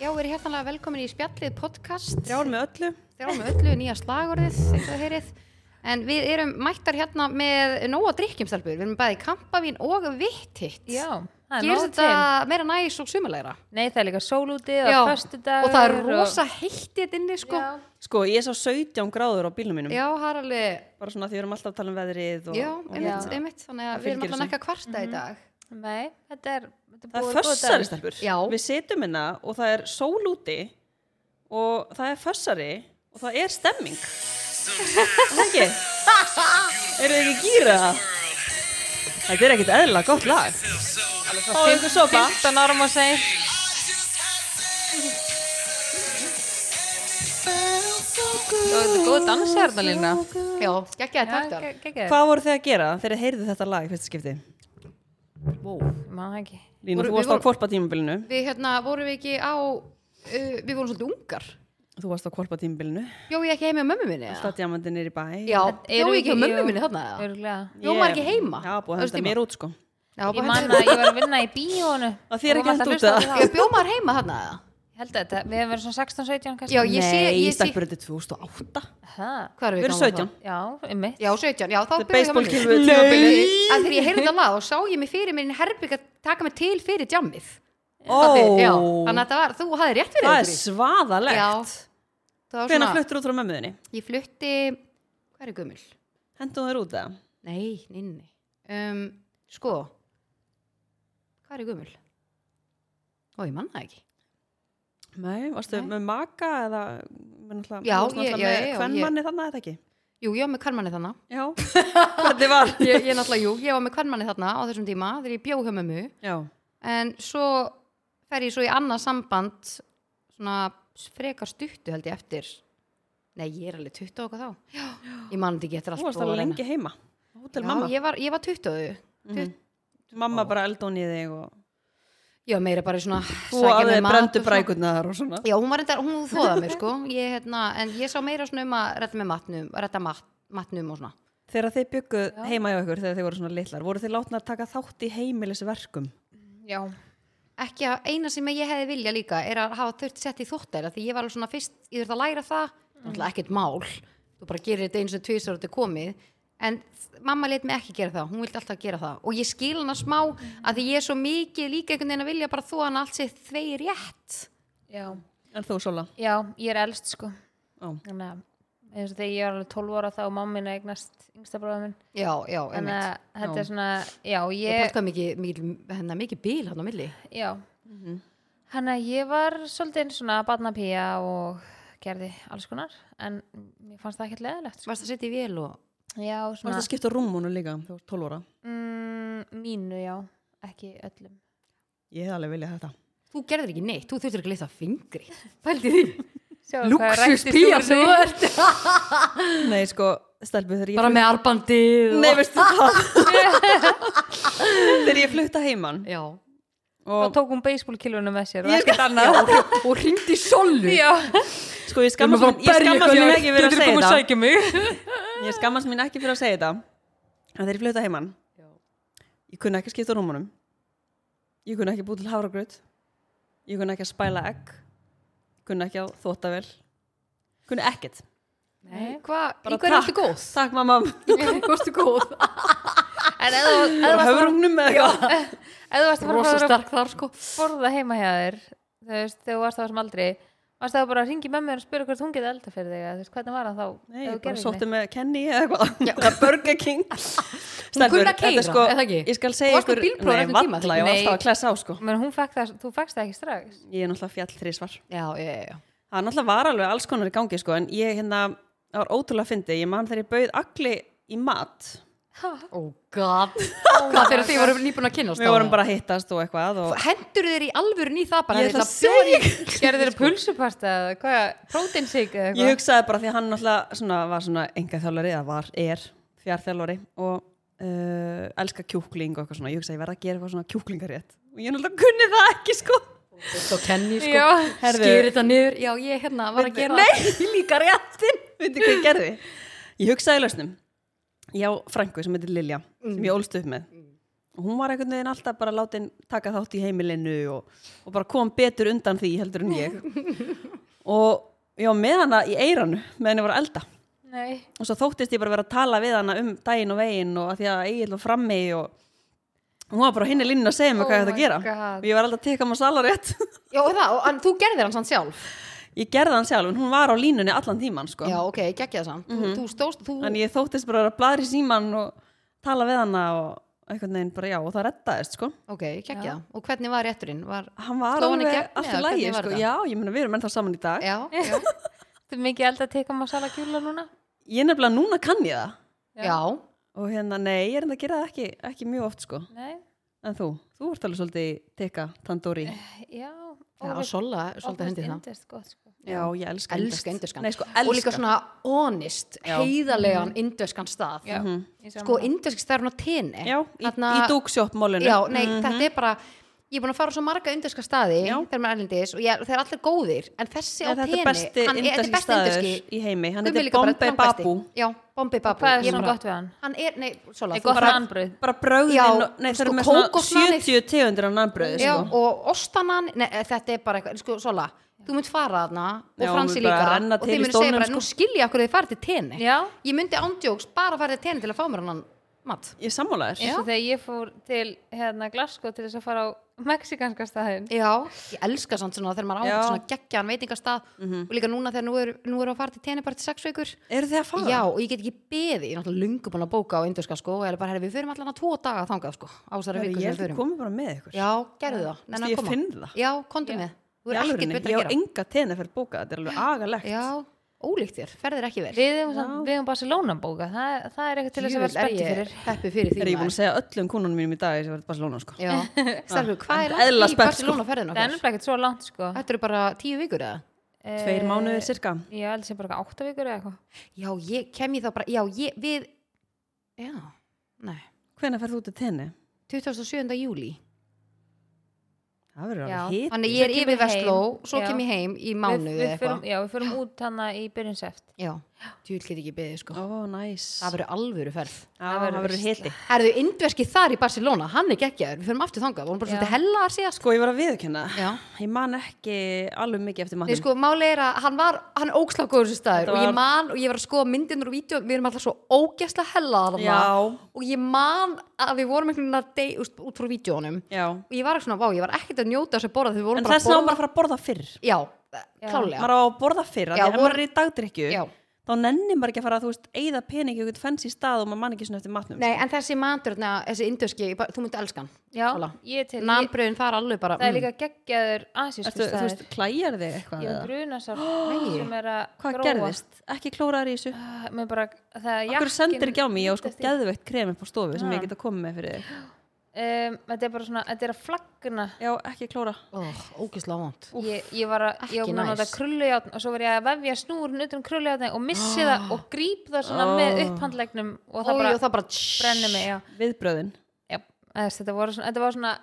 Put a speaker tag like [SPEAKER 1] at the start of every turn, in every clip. [SPEAKER 1] er hjartanlega velkomin í spjallið podcast
[SPEAKER 2] Þrjár með öllu.
[SPEAKER 1] Þrjár með öllu, nýja slagorðið eins og þið heyrið En við erum mættar hérna með nóg að drikkjum stelpur Við erum bæði kampavín og vittitt
[SPEAKER 3] Já, það er
[SPEAKER 1] Gerist
[SPEAKER 3] nóg til.
[SPEAKER 1] þetta meira næs og sumulegra
[SPEAKER 3] Nei, það er líka sól úti
[SPEAKER 1] Já,
[SPEAKER 3] og föstudagur
[SPEAKER 1] Og það er rosa heitt í þetta inni sko Já,
[SPEAKER 3] Já.
[SPEAKER 2] Sko, ég sá 17 gráður á bílnum mínum.
[SPEAKER 1] það er alveg
[SPEAKER 2] Bara svona því við erum alltaf að tala um veðrið og...
[SPEAKER 1] Já,
[SPEAKER 2] og
[SPEAKER 1] einmitt,
[SPEAKER 2] hérna.
[SPEAKER 1] einmitt Þannig
[SPEAKER 2] Það
[SPEAKER 1] að við erum
[SPEAKER 2] fylgir
[SPEAKER 1] allan
[SPEAKER 2] þessu.
[SPEAKER 1] ekki að kvarta í dag
[SPEAKER 3] Nei, þetta er þetta
[SPEAKER 2] Það
[SPEAKER 3] búið-
[SPEAKER 2] er
[SPEAKER 3] búið dagur.
[SPEAKER 2] fössari stelpur.
[SPEAKER 1] Já.
[SPEAKER 2] Við situm hérna og það er sól úti og það er fössari og það er stemming. Það ekki? Eru þið ekki gýra það? Þetta er ekkit eðla gott lag. Fá einhver sopa.
[SPEAKER 3] 15 árum og segir Það er góð dansherna lína
[SPEAKER 1] Já, geggjaði taktar
[SPEAKER 3] Hvað?
[SPEAKER 2] Hvað voru þið að gera þegar þið heyrðu þetta lag í fyrsta skipti?
[SPEAKER 3] Má ekki
[SPEAKER 2] Línu,
[SPEAKER 1] Voru-
[SPEAKER 2] þú
[SPEAKER 1] við
[SPEAKER 2] varst á
[SPEAKER 1] voru-
[SPEAKER 2] kvorpa tímabilinu.
[SPEAKER 1] Við hérna vorum við ekki á uh, Við vorum svolítið ungar
[SPEAKER 2] Þú varst á kvorpa tímabilinu.
[SPEAKER 1] Bjó ég ekki heim með mömmu minni eða?
[SPEAKER 2] Það djamandin er í bæ.
[SPEAKER 1] Já, bjó
[SPEAKER 3] Erum
[SPEAKER 1] ég
[SPEAKER 3] við
[SPEAKER 1] ekki hjá mömmu
[SPEAKER 3] jú,
[SPEAKER 1] minni þarna eða?
[SPEAKER 3] örugglega.
[SPEAKER 1] Bjó maður ekki heima?
[SPEAKER 2] Já, búið að
[SPEAKER 1] Þessu
[SPEAKER 2] henda
[SPEAKER 1] tíma?
[SPEAKER 2] mér út sko.
[SPEAKER 1] Já, bara
[SPEAKER 3] Ég
[SPEAKER 1] hendur-
[SPEAKER 3] man að ég var að vinna í bíónu
[SPEAKER 2] Það þér ekki hent út að-
[SPEAKER 1] Ég bjó maður heima þarna eða?
[SPEAKER 3] Ég held að þetta, við hefum verið svona 16-17 kannski
[SPEAKER 1] Já, ég sé,
[SPEAKER 2] Nei,
[SPEAKER 1] ég sé
[SPEAKER 2] stelpur, þetta er 2008.
[SPEAKER 3] Það,
[SPEAKER 1] Hvað erum
[SPEAKER 2] Við
[SPEAKER 1] við
[SPEAKER 2] erum
[SPEAKER 1] gamlar
[SPEAKER 2] 17.
[SPEAKER 1] þá?
[SPEAKER 3] já, um mitt
[SPEAKER 1] Já, 17, já, þá
[SPEAKER 2] Þetta
[SPEAKER 1] byrjuðu
[SPEAKER 2] er
[SPEAKER 1] gamla
[SPEAKER 2] baseballkylfu
[SPEAKER 1] lífið.
[SPEAKER 2] tímabilið.
[SPEAKER 1] Nei. Að þegar ég heyrði það lag og sá ég mig fyrir mér í herbygg að taka mig til fyrir jammið
[SPEAKER 2] Ó,
[SPEAKER 1] Pabbi, já, Þannig að þetta var, þú hafði rétt fyrir
[SPEAKER 2] það er
[SPEAKER 1] Grí.
[SPEAKER 2] svaðalegt.
[SPEAKER 1] Já, það var
[SPEAKER 2] Hvenær
[SPEAKER 1] svona
[SPEAKER 2] fluttur út frá mömmuðinni?
[SPEAKER 1] Ég flutti, hvað er gummul?
[SPEAKER 2] Hendum þær út það?
[SPEAKER 1] Nei, nei, nei um, Sko Hvað er gummul? Ó, ég manna ekki
[SPEAKER 2] Nei, varstu með maka eða með náttúrulega,
[SPEAKER 1] Já,
[SPEAKER 2] þú varst
[SPEAKER 1] ég- já,
[SPEAKER 2] náttúrulega
[SPEAKER 1] já,
[SPEAKER 2] með
[SPEAKER 1] já,
[SPEAKER 2] kvennmanni þannig að þetta ekki?
[SPEAKER 1] Jú, ég var með karmanni þarna
[SPEAKER 2] Já, hvernig var?
[SPEAKER 1] ég, ég náttúrulega, jú, ég var með kvennmanni þarna á þessum tíma þegar ég bjó hjá mömmu
[SPEAKER 2] Já,
[SPEAKER 1] en svo fer ég svo í annað samband svona frekar stuttu held ég eftir nei, ég er alveg 20 og hvað þá Já. ég man þetta ekki eftir allt
[SPEAKER 2] þú varst
[SPEAKER 1] búið að
[SPEAKER 2] alveg
[SPEAKER 1] reyna.
[SPEAKER 2] lengi heima. á Hótel
[SPEAKER 1] Já,
[SPEAKER 2] mamma. Mhm.
[SPEAKER 1] ég var, ég var 20 mm.
[SPEAKER 2] Mamma bara eldón í þig og
[SPEAKER 1] Já, meira bara svona
[SPEAKER 2] þú
[SPEAKER 1] sækja
[SPEAKER 2] að
[SPEAKER 1] mér
[SPEAKER 2] þið
[SPEAKER 1] mat og
[SPEAKER 2] brendu
[SPEAKER 1] svona.
[SPEAKER 2] brækurnar og svona.
[SPEAKER 1] Já, hún var enda, hún þóða mér sko ég, hérna, en ég sá meira svona um að redda með matnum redda mat, matnum og svona
[SPEAKER 2] Þegar þið bygguð heima hjá ykkur þegar þið voru svona litlar, voru þið látna að taka þátt í heimilisverkum?
[SPEAKER 3] Já,
[SPEAKER 1] ekki að eina sem ég hefði vilja líka er að hafa þurft sett í þóttæra því ég var alveg svona fyrst, ég þurft að læra það náttúrulega ekkert mál, þú bara gerir þetta eins og tvisar og þetta er komið en þ- mamma leit mig ekki gera það, hún vildi alltaf gera það og ég skil hana smá að því ég er svo mikið líka einhvern veginn að vilja bara þó hann allt sér þvei rétt
[SPEAKER 3] já,
[SPEAKER 2] En þú, Sola?
[SPEAKER 3] já, ég er elst sko
[SPEAKER 2] Já.
[SPEAKER 3] Þannig að eins og þegar ég var alveg 12 ára þá og mamma minna eignast yngsta bróða minn
[SPEAKER 1] já, já,
[SPEAKER 3] Þannig
[SPEAKER 1] einmitt
[SPEAKER 3] að þetta er svona, já,
[SPEAKER 1] ég
[SPEAKER 3] ég,
[SPEAKER 1] palkaði mikið, mikið, hennar mikið bíl hann á milli
[SPEAKER 3] já Þannig að ég var svolítið eins svona barnapía og gerði alls konar En mér fannst það ekkert leðilegt sko.
[SPEAKER 1] varst að setja í vél og
[SPEAKER 3] Já,
[SPEAKER 2] Varstu
[SPEAKER 3] svona,
[SPEAKER 2] að skipta rúmunu líka, þú varst 12 ára.
[SPEAKER 3] mm, mínu já, ekki öllum
[SPEAKER 2] Ég hef alveg viljað þetta.
[SPEAKER 1] þú gerður ekki neitt, þú þurftur ekki að leita fingri pældi því,
[SPEAKER 3] Sjáum hvað rættist
[SPEAKER 1] luxuspía
[SPEAKER 3] úr
[SPEAKER 1] sem
[SPEAKER 3] því.
[SPEAKER 1] þú ert
[SPEAKER 2] Nei, sko, stelpu þegar ég
[SPEAKER 1] bara með arbandi
[SPEAKER 2] Nei, veistu það Þegar ég flutta heiman
[SPEAKER 1] já
[SPEAKER 3] Þá
[SPEAKER 2] og
[SPEAKER 3] tók hún beisbólkilvunum með sér og
[SPEAKER 2] Ég-
[SPEAKER 3] ekkert annað
[SPEAKER 1] og hringdi solu
[SPEAKER 3] Já,
[SPEAKER 2] sko ég skammast mín, ég skammast mín ekki fyrir að segja þetta
[SPEAKER 3] sækja mig
[SPEAKER 2] ég skammast mín ekki fyrir að segja þetta en þegar ég flutta heiman ég kunna ekki að skipta rúmunum ég kunna ekki búið til hafragröð ég kunna ekki að spæla egg kunna ekki að þóta vel kunna ekkert
[SPEAKER 1] Nei, hva,
[SPEAKER 2] Bara
[SPEAKER 1] í hverju
[SPEAKER 2] takk.
[SPEAKER 1] ertu góð?
[SPEAKER 2] Takk mamma,
[SPEAKER 1] Í hverju ertu góð?
[SPEAKER 3] En ef þú- ef þú
[SPEAKER 2] bara
[SPEAKER 3] varst að-
[SPEAKER 2] höfrungnum eða eitthvað
[SPEAKER 3] ef þú varst að fara
[SPEAKER 1] Rosa
[SPEAKER 3] að fara
[SPEAKER 1] sterk þar sko
[SPEAKER 3] borða heima hjá þér þú veist, þegar þú varst á þessum aldri varst það bara að ringi mömmu og spyrja hvort hún geti elda fyrir þig eða þú veist, hvernig var það þá
[SPEAKER 2] Nei,
[SPEAKER 3] ef
[SPEAKER 2] ég
[SPEAKER 3] þú
[SPEAKER 2] bara
[SPEAKER 3] gerðir
[SPEAKER 2] sótti
[SPEAKER 3] neitt?
[SPEAKER 2] með Kenny eða eitthvað Eða Burger King
[SPEAKER 1] kunni
[SPEAKER 2] Stelpur,
[SPEAKER 1] að
[SPEAKER 2] þetta er
[SPEAKER 1] keyra,
[SPEAKER 2] sko,
[SPEAKER 1] eða ekki?
[SPEAKER 2] Ég skal
[SPEAKER 1] Þú
[SPEAKER 2] segja
[SPEAKER 1] varst með
[SPEAKER 2] ykkur,
[SPEAKER 1] bílpróf á
[SPEAKER 2] nei,
[SPEAKER 1] þessum tíma,
[SPEAKER 2] valla, ég var
[SPEAKER 3] ekki?
[SPEAKER 2] alltaf að klessa á sko
[SPEAKER 3] Men hún fekk það, þú fekkst það ekki strax
[SPEAKER 2] Ég er náttúrulega fjall þrísvar.
[SPEAKER 1] Já, já, já
[SPEAKER 2] Það náttúrulega var alveg alls konar í gangi sko, en ég hérna, það var ótrúlega fyndið. Ég man þegar ég bauð agli í mat.
[SPEAKER 1] Oh god Hvað þegar þið voru nýbúin að kynnast
[SPEAKER 2] Við vorum bara að hittast og eitthvað og
[SPEAKER 1] Hendur þeir í alvörun í það bara
[SPEAKER 2] Ég
[SPEAKER 1] þeir
[SPEAKER 2] ætla að
[SPEAKER 1] það bjóða í- Sko.
[SPEAKER 3] gerði þér pulsupasta, eða hvað, prótinsík eða
[SPEAKER 2] ég
[SPEAKER 3] eitthvað
[SPEAKER 2] hugsaði bara því að hann náttúrulega svona, var svona enga þjálfari, eða var, er fjárþjálfari og uh, elska kjúkling og eitthvað svona. Ég hugsaði ég verði að gera eitthvað svona kjúklingarétt og ég náttúrulega kunni það ekki sko.
[SPEAKER 1] Svo kenni sko
[SPEAKER 3] Já.
[SPEAKER 2] Herðu.
[SPEAKER 1] Skýr þetta niður Já, ég hérna var að gera
[SPEAKER 2] Nei, líka réttin Veitir hvað ég gerði? Ég hugsaði lausnum Ég á frængu sem heitir Lilja sem ég ólst upp með og hún var einhvern veginn alltaf bara látin taka þátt í heimilinu og, og bara kom betur undan því heldur en ég og ég var með hana í eiranu með henni var að elda
[SPEAKER 3] Nei.
[SPEAKER 2] og svo þóttist ég bara vera að tala við hana um daginn og veginn og að því að Egil var frammi og og hún var bara á hinni línun að segja mig
[SPEAKER 3] Oh
[SPEAKER 2] hvað ég ætti
[SPEAKER 3] my
[SPEAKER 2] að gera
[SPEAKER 3] God.
[SPEAKER 2] og ég var alltaf að teka maður salarétt
[SPEAKER 1] Já, og það, og, en þú gerðir hann sann sjálf
[SPEAKER 2] ég gerði hann sjálf en hún var á línunni allan tíman sko.
[SPEAKER 1] Já, ok, geggja það samt
[SPEAKER 2] Mhm.
[SPEAKER 1] þú, þú stóðst, þú
[SPEAKER 2] en ég þóttist bara að bladra í síman og tala við hana og einhvern veginn bara já og það rettaðist sko.
[SPEAKER 1] Ok, geggja, og hvernig var rétturinn? Var...
[SPEAKER 2] hann var
[SPEAKER 1] Sló hann í
[SPEAKER 2] alveg
[SPEAKER 1] gegn,
[SPEAKER 2] allt í
[SPEAKER 1] eða
[SPEAKER 2] lægi
[SPEAKER 1] hvernig var
[SPEAKER 2] sko.
[SPEAKER 1] þetta?
[SPEAKER 2] já, ég meina við erum ennþá saman í dag
[SPEAKER 1] Já, já,
[SPEAKER 3] Þú er mikið eld að teka masala kjúla núna?
[SPEAKER 2] ég nefnilega núna kann ég það
[SPEAKER 1] já
[SPEAKER 2] og hérna nei, ég er enda að gera það ekki, ekki mjög oft sko.
[SPEAKER 3] Nei.
[SPEAKER 2] en þú, þú ert alveg svolítið í teka tandoori
[SPEAKER 3] Já.
[SPEAKER 1] Já, sola, svolítið hendi það
[SPEAKER 3] Indist, gott, sko.
[SPEAKER 2] já, ég elska
[SPEAKER 1] Elska indverskan
[SPEAKER 2] nei, sko,
[SPEAKER 1] Og líka
[SPEAKER 2] elska.
[SPEAKER 1] svona honest,
[SPEAKER 2] Já. Mhm.
[SPEAKER 1] heiðarlegan indverskan stað
[SPEAKER 3] Já. Mm
[SPEAKER 1] Sko, indversk stað er hún á tini
[SPEAKER 2] já, í, í Mm. dúksjópp mólinu
[SPEAKER 1] Já, nei, þetta er bara Ég er búin að fara á svo marga indverska staði
[SPEAKER 2] Já.
[SPEAKER 1] þegar maður er erlendis og ég, þeir eru allir góðir en þessi á
[SPEAKER 2] þetta
[SPEAKER 1] tini,
[SPEAKER 2] er besti
[SPEAKER 1] hann er- þetta er
[SPEAKER 2] inderski
[SPEAKER 1] besti
[SPEAKER 2] staður
[SPEAKER 1] indverski
[SPEAKER 2] í heimi hann
[SPEAKER 1] Gummi
[SPEAKER 2] heitir
[SPEAKER 1] líka bara
[SPEAKER 2] Bombay
[SPEAKER 1] langbesti.
[SPEAKER 2] Babu
[SPEAKER 1] Já, Bombay Babu
[SPEAKER 3] Hvað er
[SPEAKER 1] Ég
[SPEAKER 3] svona
[SPEAKER 1] bara-
[SPEAKER 3] gott við hann?
[SPEAKER 1] Hann er, nei, Sola
[SPEAKER 3] Er
[SPEAKER 1] þú
[SPEAKER 3] gott
[SPEAKER 1] bara-
[SPEAKER 3] nannbröð?
[SPEAKER 2] bara bröðin
[SPEAKER 1] Já,
[SPEAKER 2] og- nei,
[SPEAKER 1] sko,
[SPEAKER 2] þeir eru með svona
[SPEAKER 1] kókosnanið.
[SPEAKER 2] 70 tegundir af nannbröði
[SPEAKER 1] Já,
[SPEAKER 2] sko.
[SPEAKER 1] og ostanan, nei, eh, þetta er bara eitthvað, sko, Sola þú mynd fara þarna
[SPEAKER 2] Já,
[SPEAKER 1] og Fransi
[SPEAKER 2] hún mun bara
[SPEAKER 1] líka
[SPEAKER 2] renna
[SPEAKER 1] og
[SPEAKER 2] til í
[SPEAKER 1] þið myndir segja
[SPEAKER 2] stólnum, sko."
[SPEAKER 1] bara, nú skilja okkur þið farið til teni
[SPEAKER 3] Já.
[SPEAKER 1] Ég myndi ándjóks bara farið til teni til að fá mér hann mat
[SPEAKER 2] ég sammála þér
[SPEAKER 3] Eins og þegar ég fór til hérna Glasgow til þess að fara á mexikanska staðin.
[SPEAKER 1] Já, ég elska samt svona þegar maður
[SPEAKER 2] Já. Mhm.
[SPEAKER 1] áður svona geggjaðan veitingastað og líka núna þegar nú eru nú er að fara til teni bara til sex vikur
[SPEAKER 2] eru þið að fara?
[SPEAKER 1] Já, og ég get ekki beðið, ég er náttúrulega lungu búin að bóka á indurska sko, eða bara, herri, við förum allan að tvo daga þangað sko, á þessari
[SPEAKER 2] Herri,
[SPEAKER 1] viku
[SPEAKER 2] ég
[SPEAKER 1] sem við
[SPEAKER 2] held
[SPEAKER 1] förum
[SPEAKER 2] að koma bara með ykkur
[SPEAKER 1] Já, gerðu það, nennan
[SPEAKER 2] Ég
[SPEAKER 1] að koma
[SPEAKER 2] finn það.
[SPEAKER 1] Já, komdu með, þú
[SPEAKER 2] Í
[SPEAKER 1] er
[SPEAKER 2] alvörunni,
[SPEAKER 1] ekkert betur
[SPEAKER 2] ég
[SPEAKER 1] að
[SPEAKER 2] á
[SPEAKER 1] gera
[SPEAKER 2] enga tena fyrir bóka þetta er alveg agalegt
[SPEAKER 1] Já, ólíkt þér, ferðir ekki vel
[SPEAKER 3] Við hefum, samt- við hefum Barcelona bóka. Það, það er eitthvað til þess að vera
[SPEAKER 1] Djöfull er
[SPEAKER 3] spenntið
[SPEAKER 1] ég
[SPEAKER 3] fyrir.
[SPEAKER 1] Heppi fyrir
[SPEAKER 2] er
[SPEAKER 1] því
[SPEAKER 2] ég búin að segja öllum kúnunum mínum í dag sem var í Barcelona sko.
[SPEAKER 1] Já, starfur, hvað
[SPEAKER 2] Enda
[SPEAKER 1] er
[SPEAKER 2] eðla
[SPEAKER 1] langt í
[SPEAKER 2] spennt, sko.
[SPEAKER 1] Barcelona ferðin
[SPEAKER 3] Það er
[SPEAKER 1] okkar?
[SPEAKER 3] nefnilega ekkert svo langt sko. Eh,
[SPEAKER 1] Þetta eru bara tíu vikur eða?
[SPEAKER 2] tveir
[SPEAKER 1] Eh.
[SPEAKER 2] mánuðir cirka
[SPEAKER 3] Ég held sem bara eitthvað átta vikur eða eitthvað.
[SPEAKER 1] Já, ég kem ég þá bara, já, ég, við Já, nei
[SPEAKER 2] hvenær ferð þú til tenni?
[SPEAKER 1] 27. júli
[SPEAKER 2] það verður
[SPEAKER 3] Já.
[SPEAKER 2] alveg hitt
[SPEAKER 1] Þannig ég er
[SPEAKER 3] Svo kemur
[SPEAKER 1] yfir
[SPEAKER 3] heim.
[SPEAKER 1] Vestló, svo
[SPEAKER 3] Já.
[SPEAKER 1] kem ég heim í mánuð
[SPEAKER 3] við, við
[SPEAKER 1] eða
[SPEAKER 3] förum,
[SPEAKER 1] eitthvað
[SPEAKER 3] já, við förum út hana í byrjun seft.
[SPEAKER 1] Já, djúl get ekki beðið sko
[SPEAKER 2] ó næs
[SPEAKER 1] Það verður alvöru ferð
[SPEAKER 2] það verður hitti
[SPEAKER 1] Erðu indverski þar í Barcelona, hann er geggjaður Við förum aftur þangað, vorum bara
[SPEAKER 3] Já.
[SPEAKER 1] svolítið hella að segja sko
[SPEAKER 2] sko ég var að viðkynna
[SPEAKER 1] Já.
[SPEAKER 2] ég man ekki alveg mikið eftir
[SPEAKER 1] Nei,
[SPEAKER 2] mannum
[SPEAKER 1] sko, máli er að hann var, hann er ógslagóður þessu staður
[SPEAKER 2] Þetta
[SPEAKER 1] og ég
[SPEAKER 2] var-
[SPEAKER 1] man og ég var að skoða myndinur og vídeo, við erum alltaf svo ógæsla hellaðar þarna
[SPEAKER 2] Já.
[SPEAKER 1] og ég man að við vorum einhvern veginn að dey, úst, út frá vídjónum
[SPEAKER 2] já
[SPEAKER 1] og ég var ekki svona, vá, ég var ekkert að njóta þessu borða þegar við sko- vorum
[SPEAKER 2] en
[SPEAKER 1] bara
[SPEAKER 2] þess að
[SPEAKER 1] að
[SPEAKER 2] maður að fara að borða fyrr
[SPEAKER 1] Já, klálega,
[SPEAKER 2] maður á að borða fyrr af
[SPEAKER 1] Já,
[SPEAKER 2] því að ef
[SPEAKER 1] vor-
[SPEAKER 2] maður er í dagdrykju
[SPEAKER 1] Já.
[SPEAKER 2] þá nennir maður ekki að fara þú veist eigða peningi ykkur fenns í stað og maður man ekki svona eftir matnum
[SPEAKER 1] Nei, en þessi matur, na, þessi indurski, þú myndi elskan
[SPEAKER 3] Já, ég er til. Ég,
[SPEAKER 1] Nambröðin þar alveg bara
[SPEAKER 3] það er líka geggjaður
[SPEAKER 2] Mm. Ertu,
[SPEAKER 3] asísku
[SPEAKER 2] þú
[SPEAKER 3] staðir.
[SPEAKER 2] veist, klæjar þig eitthvað
[SPEAKER 3] Ég
[SPEAKER 2] eða?
[SPEAKER 3] hef brunasár
[SPEAKER 1] Nei.
[SPEAKER 3] sem er að
[SPEAKER 2] Hvað
[SPEAKER 3] gróa.
[SPEAKER 2] gerðist? Ekki klórar í þessu?
[SPEAKER 3] Ah, Mér bara, það er
[SPEAKER 2] Akkur sendir ekki á mig, ég á sko
[SPEAKER 3] myndast í-
[SPEAKER 2] geðveitt krem upp á stofu sem
[SPEAKER 3] Ha.
[SPEAKER 2] ég get að koma með fyrir þig.
[SPEAKER 3] Um, þetta er bara svona, þetta er að flaggna.
[SPEAKER 2] Já, ekki klóra.
[SPEAKER 1] oh, Ógæsla vond
[SPEAKER 3] Ég, ég var að, ég
[SPEAKER 1] Ekki
[SPEAKER 3] var búin að nota
[SPEAKER 1] næs.
[SPEAKER 3] krullujátn og svo var ég að vefja snúrun utan krullujátni og missi það og gríp það svona
[SPEAKER 2] Ah.
[SPEAKER 3] með upphandlegnum og það
[SPEAKER 1] Ói,
[SPEAKER 3] bara
[SPEAKER 1] og það bara tss,
[SPEAKER 3] brennir mig, já.
[SPEAKER 2] Viðbröðin.
[SPEAKER 3] já þess, þetta, voru svona, þetta var svona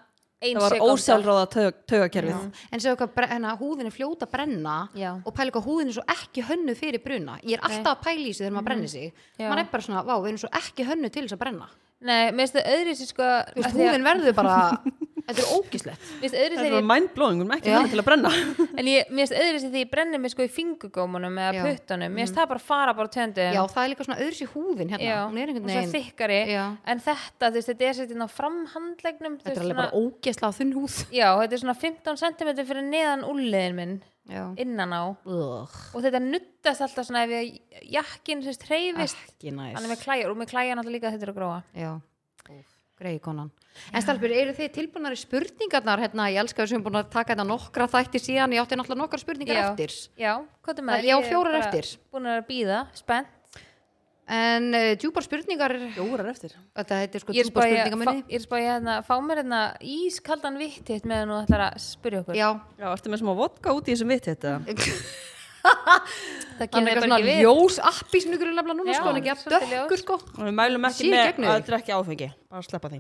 [SPEAKER 3] ein
[SPEAKER 2] Það var
[SPEAKER 3] sekúnda.
[SPEAKER 2] ósjálfráða taug, taugakerfið.
[SPEAKER 1] En séu hvað, bre- hérna, húðin er fljóta að brenna
[SPEAKER 3] Já.
[SPEAKER 1] og pæla hvað húðin er svo ekki hönnu fyrir bruna. Ég er alltaf að pæla í sig þegar maður brennir sig.
[SPEAKER 3] Mm. Já.
[SPEAKER 1] Man er bara svona, vá, við erum svo ekki hönnu til þess að brenna.
[SPEAKER 3] Nei, mér finnst það öðri sér sko
[SPEAKER 1] Þú
[SPEAKER 3] af
[SPEAKER 1] veist,
[SPEAKER 3] því að-
[SPEAKER 1] húðin verður bara, þetta er ógislegt.
[SPEAKER 3] Mér finnst öðri
[SPEAKER 2] Það
[SPEAKER 3] sér
[SPEAKER 2] var mindblowing, hún er ekki
[SPEAKER 1] Já.
[SPEAKER 2] hann til að brenna.
[SPEAKER 3] En ég, mér finnst öðru sér því ég brenni mig sko í fingugómunum eða
[SPEAKER 1] Já. Mm.
[SPEAKER 3] puttunum, mér finnst það bara fara bara töndum
[SPEAKER 1] Já, það er líka svona öðru sér húðin hérna.
[SPEAKER 3] Já,
[SPEAKER 1] Hún er einhvern
[SPEAKER 3] og svo
[SPEAKER 1] veginn,
[SPEAKER 3] þykkari
[SPEAKER 1] Já.
[SPEAKER 3] en þetta, þú veist, þetta er sett inn á framhandlegnum þú
[SPEAKER 1] þetta er
[SPEAKER 3] veist,
[SPEAKER 1] alveg bara ógisla á þunn húð.
[SPEAKER 3] já, þetta er svona 15 cm fyrir neðan úlliðin minn
[SPEAKER 1] Já.
[SPEAKER 3] innan á
[SPEAKER 1] Ugh,
[SPEAKER 3] og þetta nuttast alltaf svona ef ég jakkin, þú veist, hreyfist
[SPEAKER 1] ekki næs.
[SPEAKER 3] hann er með klæjar og með klæjar náttúrulega líka að þetta er að gróa
[SPEAKER 1] Já, greið konan. En Stalbjörn, eru þið tilbúinari spurningarnar hérna? Ég elska þessum búin að taka þetta nokkra þætti síðan. Ég átti náttúrulega nokkra spurningar
[SPEAKER 3] Já.
[SPEAKER 1] eftir.
[SPEAKER 3] já, hvað er með
[SPEAKER 1] Það- ég á fjórar eftir.
[SPEAKER 3] búin að býða, spennt
[SPEAKER 1] En uh, djúpar spurningar,
[SPEAKER 2] Jórar eftir.
[SPEAKER 1] þetta heitir sko
[SPEAKER 3] ég er
[SPEAKER 1] djúpar
[SPEAKER 3] spáði
[SPEAKER 1] spurningar
[SPEAKER 3] að
[SPEAKER 1] minni.
[SPEAKER 3] fá- ég er spá í hérna, fá mér hérna ískaldan vitt hitt meðan þú ætlar að spyrja okkur
[SPEAKER 1] Já,
[SPEAKER 2] Já, ertu með smá vodka út í þessum hérna? vitt þetta?
[SPEAKER 3] það
[SPEAKER 1] hann
[SPEAKER 3] kemur
[SPEAKER 1] er eitthvað
[SPEAKER 3] bara ekki
[SPEAKER 1] svona
[SPEAKER 3] við
[SPEAKER 1] ljós appi sem ykkur er nefnilega núna
[SPEAKER 3] Já,
[SPEAKER 1] sko, hann er ekki að
[SPEAKER 3] svolítið ljós.
[SPEAKER 1] dökkur sko.
[SPEAKER 2] Og Við mælum
[SPEAKER 1] Sér
[SPEAKER 2] ekki
[SPEAKER 1] í
[SPEAKER 2] með
[SPEAKER 1] gegnum
[SPEAKER 2] að
[SPEAKER 1] þig.
[SPEAKER 2] drekja áfengi. Bara sleppa því.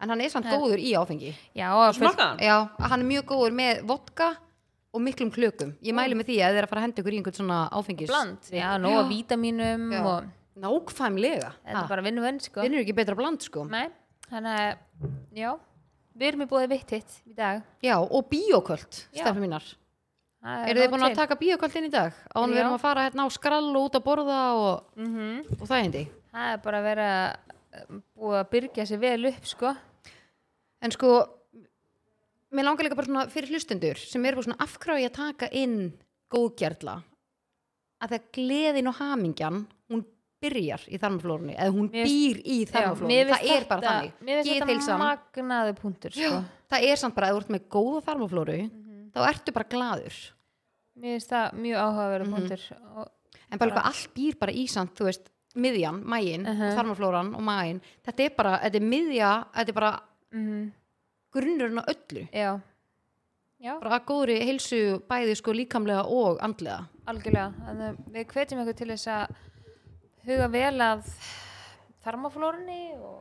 [SPEAKER 1] En hann er samt góður í áfengi.
[SPEAKER 3] já, og fullt-
[SPEAKER 2] Smakkaðan?
[SPEAKER 1] Já, hann er mjög góður með vodka og miklum klökum. Ég mæli með því að þið er að fara að henda ykkur í einhvern svona áfengis.
[SPEAKER 3] bland, já, nóg að vítaminum og
[SPEAKER 1] Nákvæmlega.
[SPEAKER 3] þetta
[SPEAKER 1] Ha,
[SPEAKER 3] er bara vinnu vönn sko
[SPEAKER 1] Þið eru ekki betra bland sko.
[SPEAKER 3] Nei. Þannig að, já, við erum í bóði vitt hitt í dag.
[SPEAKER 1] Já, og bíoköld,
[SPEAKER 3] Já.
[SPEAKER 1] stefnum mínar.
[SPEAKER 3] Það
[SPEAKER 1] Eru þið
[SPEAKER 3] nóg
[SPEAKER 1] búin að
[SPEAKER 3] til.
[SPEAKER 1] taka bíoköld inn í dag? Án við
[SPEAKER 3] Já. Mhm.
[SPEAKER 1] erum að fara hérna á skrall og út að borða og, og það hindi.
[SPEAKER 3] Það er bara að vera um, búið að byrgja sér vel upp, sko.
[SPEAKER 1] En sko, mér langar líka bara svona fyrir hlustendur sem eru bara svona afkráði að taka inn góðgerðla að það gleðin og hamingjan, hún byrjar í þarmaflórunni eða hún
[SPEAKER 3] Mér
[SPEAKER 1] býr í þarmaflórunni,
[SPEAKER 3] mér
[SPEAKER 1] það
[SPEAKER 3] finnst
[SPEAKER 1] er bara
[SPEAKER 3] þetta-
[SPEAKER 1] þannig
[SPEAKER 3] Mér finnst þetta
[SPEAKER 1] Geðheilsan.
[SPEAKER 3] magnaðu punktur, sko. Mhm.
[SPEAKER 1] Já, það er samt bara að þú ert með góða þarmaflóru þá ertu bara gladur
[SPEAKER 3] Mér finnst það mjög áhugaverðu
[SPEAKER 1] Mhm.
[SPEAKER 3] punktur. Og,
[SPEAKER 1] en bara eitthvað allt býr bara í samt þú veist, miðjan, mægin, uh
[SPEAKER 3] Mhm.
[SPEAKER 1] þarmaflóran og mægin, þetta er bara, þetta er miðja þetta er bara
[SPEAKER 3] mhm,
[SPEAKER 1] grunnurinn á öllu
[SPEAKER 3] Já, já,
[SPEAKER 1] bara að góðri heilsu bæði sko líkamlega og andlega
[SPEAKER 3] algjörlega. Þannig, að við hvetjum ykkur til þess að huga vel að þarmaflórunni og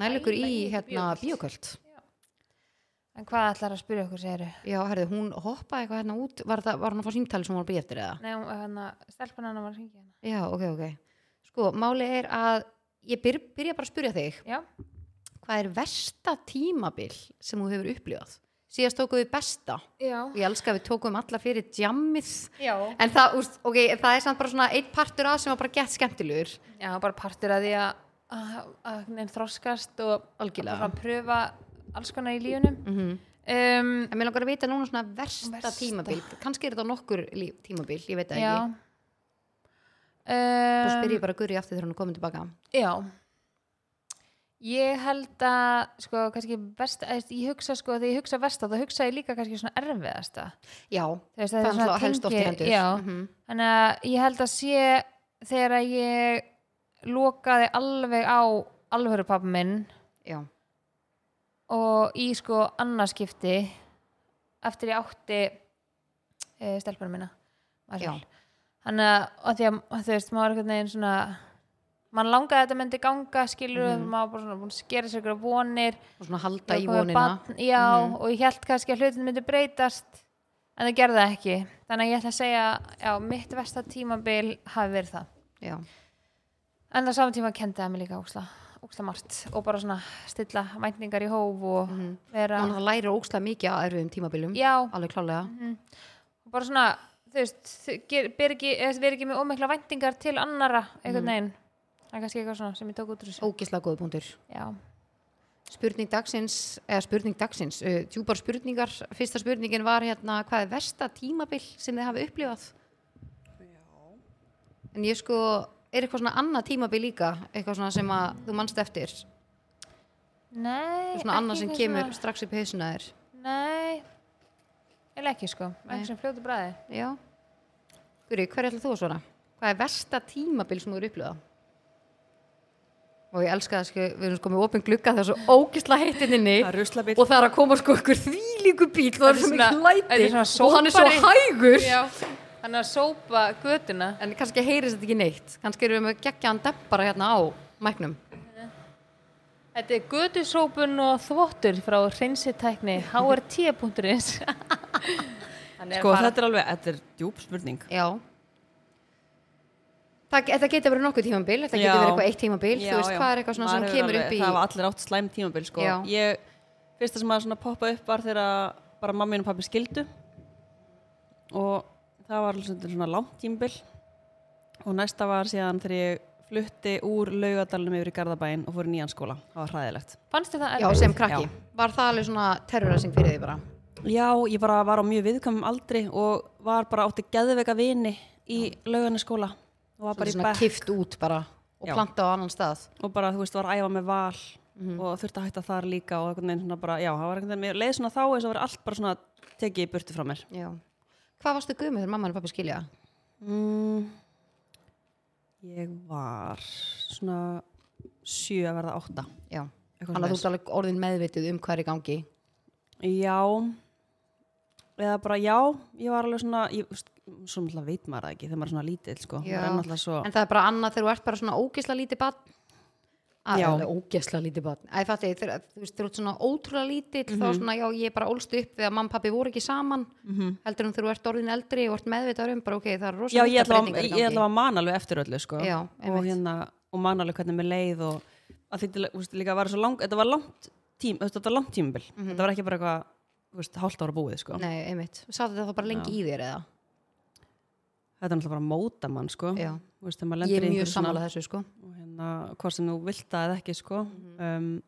[SPEAKER 1] nælu ykkur
[SPEAKER 3] Æla
[SPEAKER 1] í
[SPEAKER 3] í
[SPEAKER 1] hérna
[SPEAKER 3] bíóköld.
[SPEAKER 1] bíoköld
[SPEAKER 3] en hvað ætlar að spyrja okkur, segiru?
[SPEAKER 1] já, herðu, hún hoppaði eitthvað hérna út var, það, var hún að fá símtali sem hún var að býja eftir eða
[SPEAKER 3] Nei, hún- hérna, stelpan hann var að hringja hérna.
[SPEAKER 1] já, ok, ok, sko, máli er að ég byr, byrja bara að spyrja þig
[SPEAKER 3] Já,
[SPEAKER 1] hvað er versta tímabil sem þú hefur upplifað síðast tókum við besta
[SPEAKER 3] já,
[SPEAKER 1] ég elska að við tókum alla fyrir jammið
[SPEAKER 3] já.
[SPEAKER 1] en það, úst, ok, það er samt bara svona einn partur að sem var bara gett skemmtilegur
[SPEAKER 3] Já, bara partur að því að- að að einhvern veginn þroskast og
[SPEAKER 1] Algjörlega.
[SPEAKER 3] bara pröfa alls konar í lífunum um,
[SPEAKER 1] en mér langar að vita núna svona versta,
[SPEAKER 3] Versta.
[SPEAKER 1] tímabil kannski er þetta nokkur líf, tímabil, ég veit það
[SPEAKER 3] Já
[SPEAKER 1] ekki þá spyr
[SPEAKER 3] um,
[SPEAKER 1] ég bara Guri aftur þegar hún er komin tilbaka
[SPEAKER 3] Já Ég held að sko, kannski verst, eða, ég hugsa sko, þegar ég hugsa versta, þá hugsa ég líka kannski svona erfiðasta
[SPEAKER 1] já,
[SPEAKER 3] Þú veist,
[SPEAKER 1] það
[SPEAKER 3] þetta
[SPEAKER 1] er
[SPEAKER 3] svona
[SPEAKER 1] alltaf helst oft í
[SPEAKER 3] tengi-
[SPEAKER 1] hendur
[SPEAKER 3] Já,
[SPEAKER 1] Mhm.
[SPEAKER 3] þannig að ég held að sé þegar að ég lokaði alveg á alvöru pappa minn
[SPEAKER 1] já,
[SPEAKER 3] og í sko annarskipti eftir ég átti e, stelpunum minna Marsall. þannig að, að því að að þú veist, maður er einhvern veginn svona mann langaði að þetta myndi ganga skilur maður bara svona búin að skera sér ykkur vonir
[SPEAKER 1] og svona halda Mhm. í
[SPEAKER 3] og komið
[SPEAKER 1] vonina Mhm.
[SPEAKER 3] barn, já, og ég held kannski að hlutin myndi breytast en það gerði það ekki þannig að ég ætla að segja, já, mitt versta tímabil hafi verið það
[SPEAKER 1] já,
[SPEAKER 3] en á saman tíma kendi það mig líka óksla, óksla margt og bara svona stilla mætningar í hóf og
[SPEAKER 1] Mhm.
[SPEAKER 3] vera
[SPEAKER 1] þannig að það lærir ókslega mikið á erfiðum tímabilum
[SPEAKER 3] Já. Mhm.
[SPEAKER 1] alveg klálega
[SPEAKER 3] og bara svona þú veist, þau ger- ber ekki, eða vera ekki með ómikla væntingar til annara einhvern veginn það er kannski eitthvað svona sem ég tók út úr þessu
[SPEAKER 1] ógislega góðu punktur
[SPEAKER 3] já,
[SPEAKER 1] Spurning dagsins, eða spurning dagsins, uh, djúpar spurningar, fyrsta spurningin var hérna hvað er versta tímabil sem þið hafi upplifað? En ég sko, er eitthvað svona annað tímabil líka, eitthvað svona sem að þú mannst eftir, svona
[SPEAKER 3] nei ekki
[SPEAKER 1] annað sem
[SPEAKER 3] eitthvað
[SPEAKER 1] kemur
[SPEAKER 3] svona-
[SPEAKER 1] strax upp í hausuna þér.
[SPEAKER 3] nei, eða ekki sko ekki sem fljótu bræði
[SPEAKER 1] Já. Guri, hver ætla þú að svara? Hvað er versta tímabil sem þú er upplifað? Og ég elska það, sko, við erum sko með opin glugga þegar svo ógisla heittinninni.
[SPEAKER 2] Það er ruslabíll.
[SPEAKER 1] Og það er að koma sko ykkur þvílíku bíl og það er
[SPEAKER 3] Þetta er
[SPEAKER 1] svo mikið
[SPEAKER 3] svona- þetta
[SPEAKER 1] læti
[SPEAKER 3] er svona
[SPEAKER 1] og hann er svo
[SPEAKER 3] sópari.
[SPEAKER 1] hægur.
[SPEAKER 3] já, hann er að sópa götuna
[SPEAKER 1] En kannski heyrist þetta ekki neitt. Kannski erum við með geggjaðan deppara hérna á mæknum.
[SPEAKER 3] þetta er götusópun og þvottur frá hreinsitækni hrt.is
[SPEAKER 2] Sko, þetta er alveg, þetta er djúb spurning.
[SPEAKER 1] Já. Það, þetta getur verið nokkuð tímambil, þetta getur
[SPEAKER 2] Já.
[SPEAKER 1] verið eitthvað eitt tímambil.
[SPEAKER 2] Já,
[SPEAKER 1] Þú veist
[SPEAKER 2] já.
[SPEAKER 1] hvað er eitthvað svona sem
[SPEAKER 2] Maður hefur
[SPEAKER 1] kemur
[SPEAKER 2] alveg-
[SPEAKER 1] upp í...
[SPEAKER 2] Það var allir átt slæm tímabil, sko.
[SPEAKER 1] Já.
[SPEAKER 2] Ég, fyrsta sem að svona poppa upp var þegar að bara mamma mín og pappi skildu og það var alveg svona svona langt tímabil og næsta var síðan þegar ég flutti úr laugadalunum yfir í Garðabæin og fór í nýjan skóla. Það var hræðilegt.
[SPEAKER 3] fannstu það
[SPEAKER 1] Já,
[SPEAKER 3] erfitt?
[SPEAKER 1] sem krakki.
[SPEAKER 2] Já.
[SPEAKER 1] Var það alveg svona terroræsing fyrir því bara?
[SPEAKER 2] Já, ég bara var á mjög viðkvæmum aldri og var bara átti geðveika vini í laugarnu skóla og var bara
[SPEAKER 1] Bara
[SPEAKER 2] í
[SPEAKER 1] svona
[SPEAKER 2] bekk
[SPEAKER 1] kift út bara og
[SPEAKER 2] Já.
[SPEAKER 1] planta á annan stað.
[SPEAKER 2] og bara, þú veist, var að æfa með val og þurfti að hætta þar líka og einhvern veginn svona bara, já, það var einhvern veginn, mér leið svona þá eins og verið allt bara svona tekið í burtu frá mér.
[SPEAKER 1] Já. Hvað varstu guðmið þegar mamma og pappa skilja?
[SPEAKER 2] Mm, ég var svona sjö að verða átta.
[SPEAKER 1] Já.
[SPEAKER 2] Eitthvað
[SPEAKER 1] Þannig að þú ert alveg orðin meðvitið um hvað er í gangi.
[SPEAKER 2] Já, eða bara já, ég var alveg svona, ég, þú veist, svo náttúrulega veit maður það ekki þegar maður er svona lítill, sko.
[SPEAKER 1] Já.
[SPEAKER 2] Maður er náttúrulega svo,
[SPEAKER 1] En það er bara annað þegar þú ert bara svona ógisla lítið barn Að-
[SPEAKER 2] Já.
[SPEAKER 1] eða ógisla lítið barn Mhm. Æ, fatti, þegar, þú veist, þegar þú ert svona ótrúlega lítill þá svona, já, ég bara ólst upp við að mamma og pappi voru ekki saman heldur en þegar þú ert orðin eldri og ert meðvitað um bara, ok, það er rosa
[SPEAKER 2] já, ég
[SPEAKER 1] miklar
[SPEAKER 2] ætla, að,
[SPEAKER 1] breytingar í
[SPEAKER 2] ég
[SPEAKER 1] gangi.
[SPEAKER 2] ætla að man alveg eftir öllu, sko.
[SPEAKER 1] Já,
[SPEAKER 2] og
[SPEAKER 1] einmitt.
[SPEAKER 2] hérna, og man alveg hvernig mér leið og að því til að, þú veist, líka var svo langt, þetta var langt tím, þú veist, þetta var langt tímabil
[SPEAKER 1] Mhm.
[SPEAKER 2] þetta var ekki bara eitthvað, þú veist, hálft ára búið sko.
[SPEAKER 1] Nei, einmitt, sátt þetta þá bara lengi í þér eða
[SPEAKER 2] þetta er náttúrulega bara að móta mann sko.
[SPEAKER 1] Já.
[SPEAKER 2] Þú veist, þegar maður
[SPEAKER 1] Ég
[SPEAKER 2] lendir
[SPEAKER 1] er
[SPEAKER 2] í
[SPEAKER 1] mjög
[SPEAKER 2] einhverju svona-
[SPEAKER 1] sammála þessu sko
[SPEAKER 2] og hérna, hvort sem þú vilt það eða ekki sko.
[SPEAKER 1] Mhm.
[SPEAKER 2] um,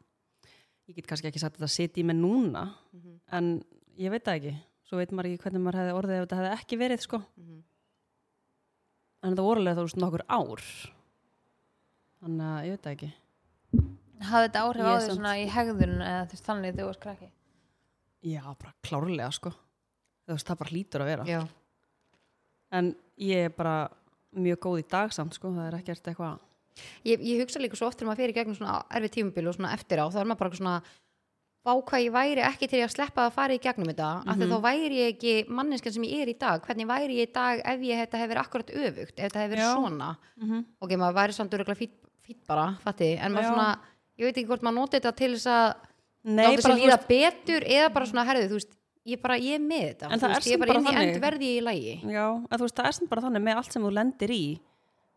[SPEAKER 2] ég get kannski ekki sagt að þetta siti í mig núna
[SPEAKER 1] Mhm.
[SPEAKER 2] en ég veit það ekki svo veit maður ekki hvernig maður hefði orðið ef þetta hefði ekki verið sko.
[SPEAKER 1] Mhm.
[SPEAKER 2] en þetta voru alveg þá þú veist, nokkur ár þannig að ég veit það ekki
[SPEAKER 3] hafði þetta áhrif
[SPEAKER 2] Ég
[SPEAKER 3] á
[SPEAKER 2] er
[SPEAKER 3] því
[SPEAKER 2] samt-
[SPEAKER 3] svona í hegðun eða þú veist þannig þegar þú varst krakki
[SPEAKER 2] já, bara klárlega sko. þú veist, það bara hlýtur að vera
[SPEAKER 1] Já,
[SPEAKER 2] en ég er bara mjög góð í dag samt sko. það er ekkert eitthvað
[SPEAKER 1] ég, ég hugsa líka svo oft þegar maður fyrir gegnum svona erfið tímubil og svona eftir á þá er maður bara svona vá hvað ég væri ekki til að sleppa að fara í gegnum þetta af
[SPEAKER 2] Mhm.
[SPEAKER 1] því þá væri ég ekki manneskan sem ég er í dag hvernig væri ég í dag ef ég þetta hefur akkurat öfugt, ef þetta hefur verið
[SPEAKER 2] Já.
[SPEAKER 1] svona
[SPEAKER 2] -hmm.
[SPEAKER 1] ok, maður væri samt öruglega fýtt fít bara, fatti, en maður
[SPEAKER 2] Já.
[SPEAKER 1] svona ég veit ekki hvort maður noti þetta til þess að
[SPEAKER 2] Nei,
[SPEAKER 1] láta
[SPEAKER 2] bara,
[SPEAKER 1] sér
[SPEAKER 2] þú
[SPEAKER 1] líða betur eða bara svona herðu, þú veist, ég bara, ég er með þetta
[SPEAKER 2] En
[SPEAKER 1] þú
[SPEAKER 2] það
[SPEAKER 1] veist,
[SPEAKER 2] er
[SPEAKER 1] ég er
[SPEAKER 2] samt
[SPEAKER 1] bara
[SPEAKER 2] bara
[SPEAKER 1] inn í
[SPEAKER 2] þannig.
[SPEAKER 1] end verði ég í lagi
[SPEAKER 2] Já, að þú veist, það er sem bara þannig með allt sem þú lendir í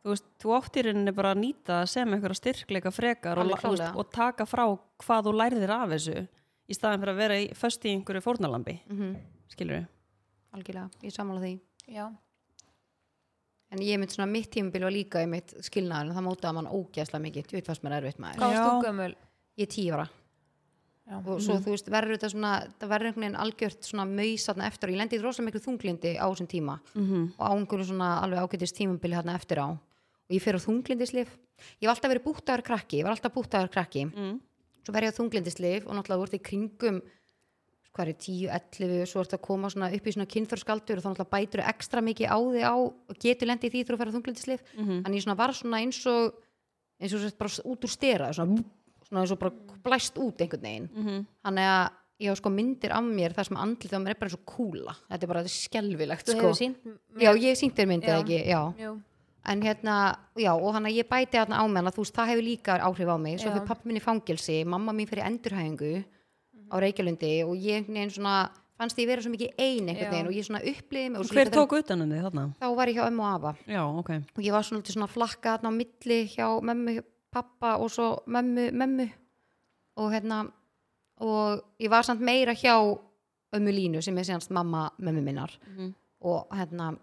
[SPEAKER 2] þú veist, þú átt í rauninni bara að nýta það sem einhverja styrkleika frekar og,
[SPEAKER 1] Alveg
[SPEAKER 2] la- þú
[SPEAKER 1] klárlega.
[SPEAKER 2] veist, og taka frá hvað þú lærðir af þessu í staðan fyrir að vera í, föst í einhverju fórnalambi
[SPEAKER 1] mm
[SPEAKER 2] skilur við?
[SPEAKER 1] algjörlega, ég er sammála því
[SPEAKER 3] já,
[SPEAKER 1] en ég mynd svona mitt tímabil var líka í mitt skilnaður en það mótaði mann ógæslega mikið ég veit fast mér erfitt maður
[SPEAKER 3] hvað varst
[SPEAKER 2] Já.
[SPEAKER 3] þú gömul
[SPEAKER 1] ég er tíu ára
[SPEAKER 3] Já. Mhm.
[SPEAKER 1] og svo þú veist verður þetta svona það verður einhvern veginn algjört svona maus þarna eftir á. ég lendi í rosalega miklu þunglindi á þessum tíma -hmm.
[SPEAKER 3] Mhm.
[SPEAKER 1] og á einhverju svona alveg ágætist tímabili þarna eftir á og ég fer á þunglindislif ég var alltaf verið búttaður krakki ég var alltaf búttaður krakki
[SPEAKER 2] Mm.
[SPEAKER 1] svo verð ég á þunglindislif og náttúrulega voru í kringum hvað er 10, 11 og svo ertu að koma svona upp í svona kynþörskaldur og þá náttúrulega bætur ekstra mikið á þig á og getur lendi í því þrú að fara þunglindislif mm
[SPEAKER 3] Mhm.
[SPEAKER 1] -hmm. en ég svona var svona eins og eins og sett bara út úr stera svona, svona eins og bara blæst út einhvern veginn
[SPEAKER 3] Mhm.
[SPEAKER 2] -hmm.
[SPEAKER 1] þannig að ég á sko myndir af mér þar sem andlitið á mér er bara eins og kúla þetta er bara skelvilegt
[SPEAKER 3] þú
[SPEAKER 1] sko
[SPEAKER 3] hefur sínt
[SPEAKER 1] já, ég sýnt þér myndið
[SPEAKER 3] Já.
[SPEAKER 1] ekki, já
[SPEAKER 3] jú,
[SPEAKER 1] en hérna, já, og hann að ég bæti hann á mig, en að þú veist, það hefur líka áhrif á mig svo
[SPEAKER 3] Já.
[SPEAKER 1] fyrir pappi minni fangelsi, mamma mín fyrir endurhæfingu á Reykjalundi og ég einhvern veginn svona, fannst því ég vera svo mikið ein einhvern
[SPEAKER 3] Já.
[SPEAKER 1] veginn og ég svona upplifði mig og svo
[SPEAKER 2] Hver
[SPEAKER 1] líka
[SPEAKER 2] tók utan um þig þarna?
[SPEAKER 1] þegar- þá var ég hjá ömmu og afa
[SPEAKER 2] Já, ok
[SPEAKER 1] og ég var svona, svolítið svona flakka þarna á milli hjá mömmu, pappa og svo mömmu, mömmu og hérna og ég var samt meira hjá ömmu Línu sem er síðanst mamma mömmu minnar
[SPEAKER 2] Mhm.
[SPEAKER 1] og hérna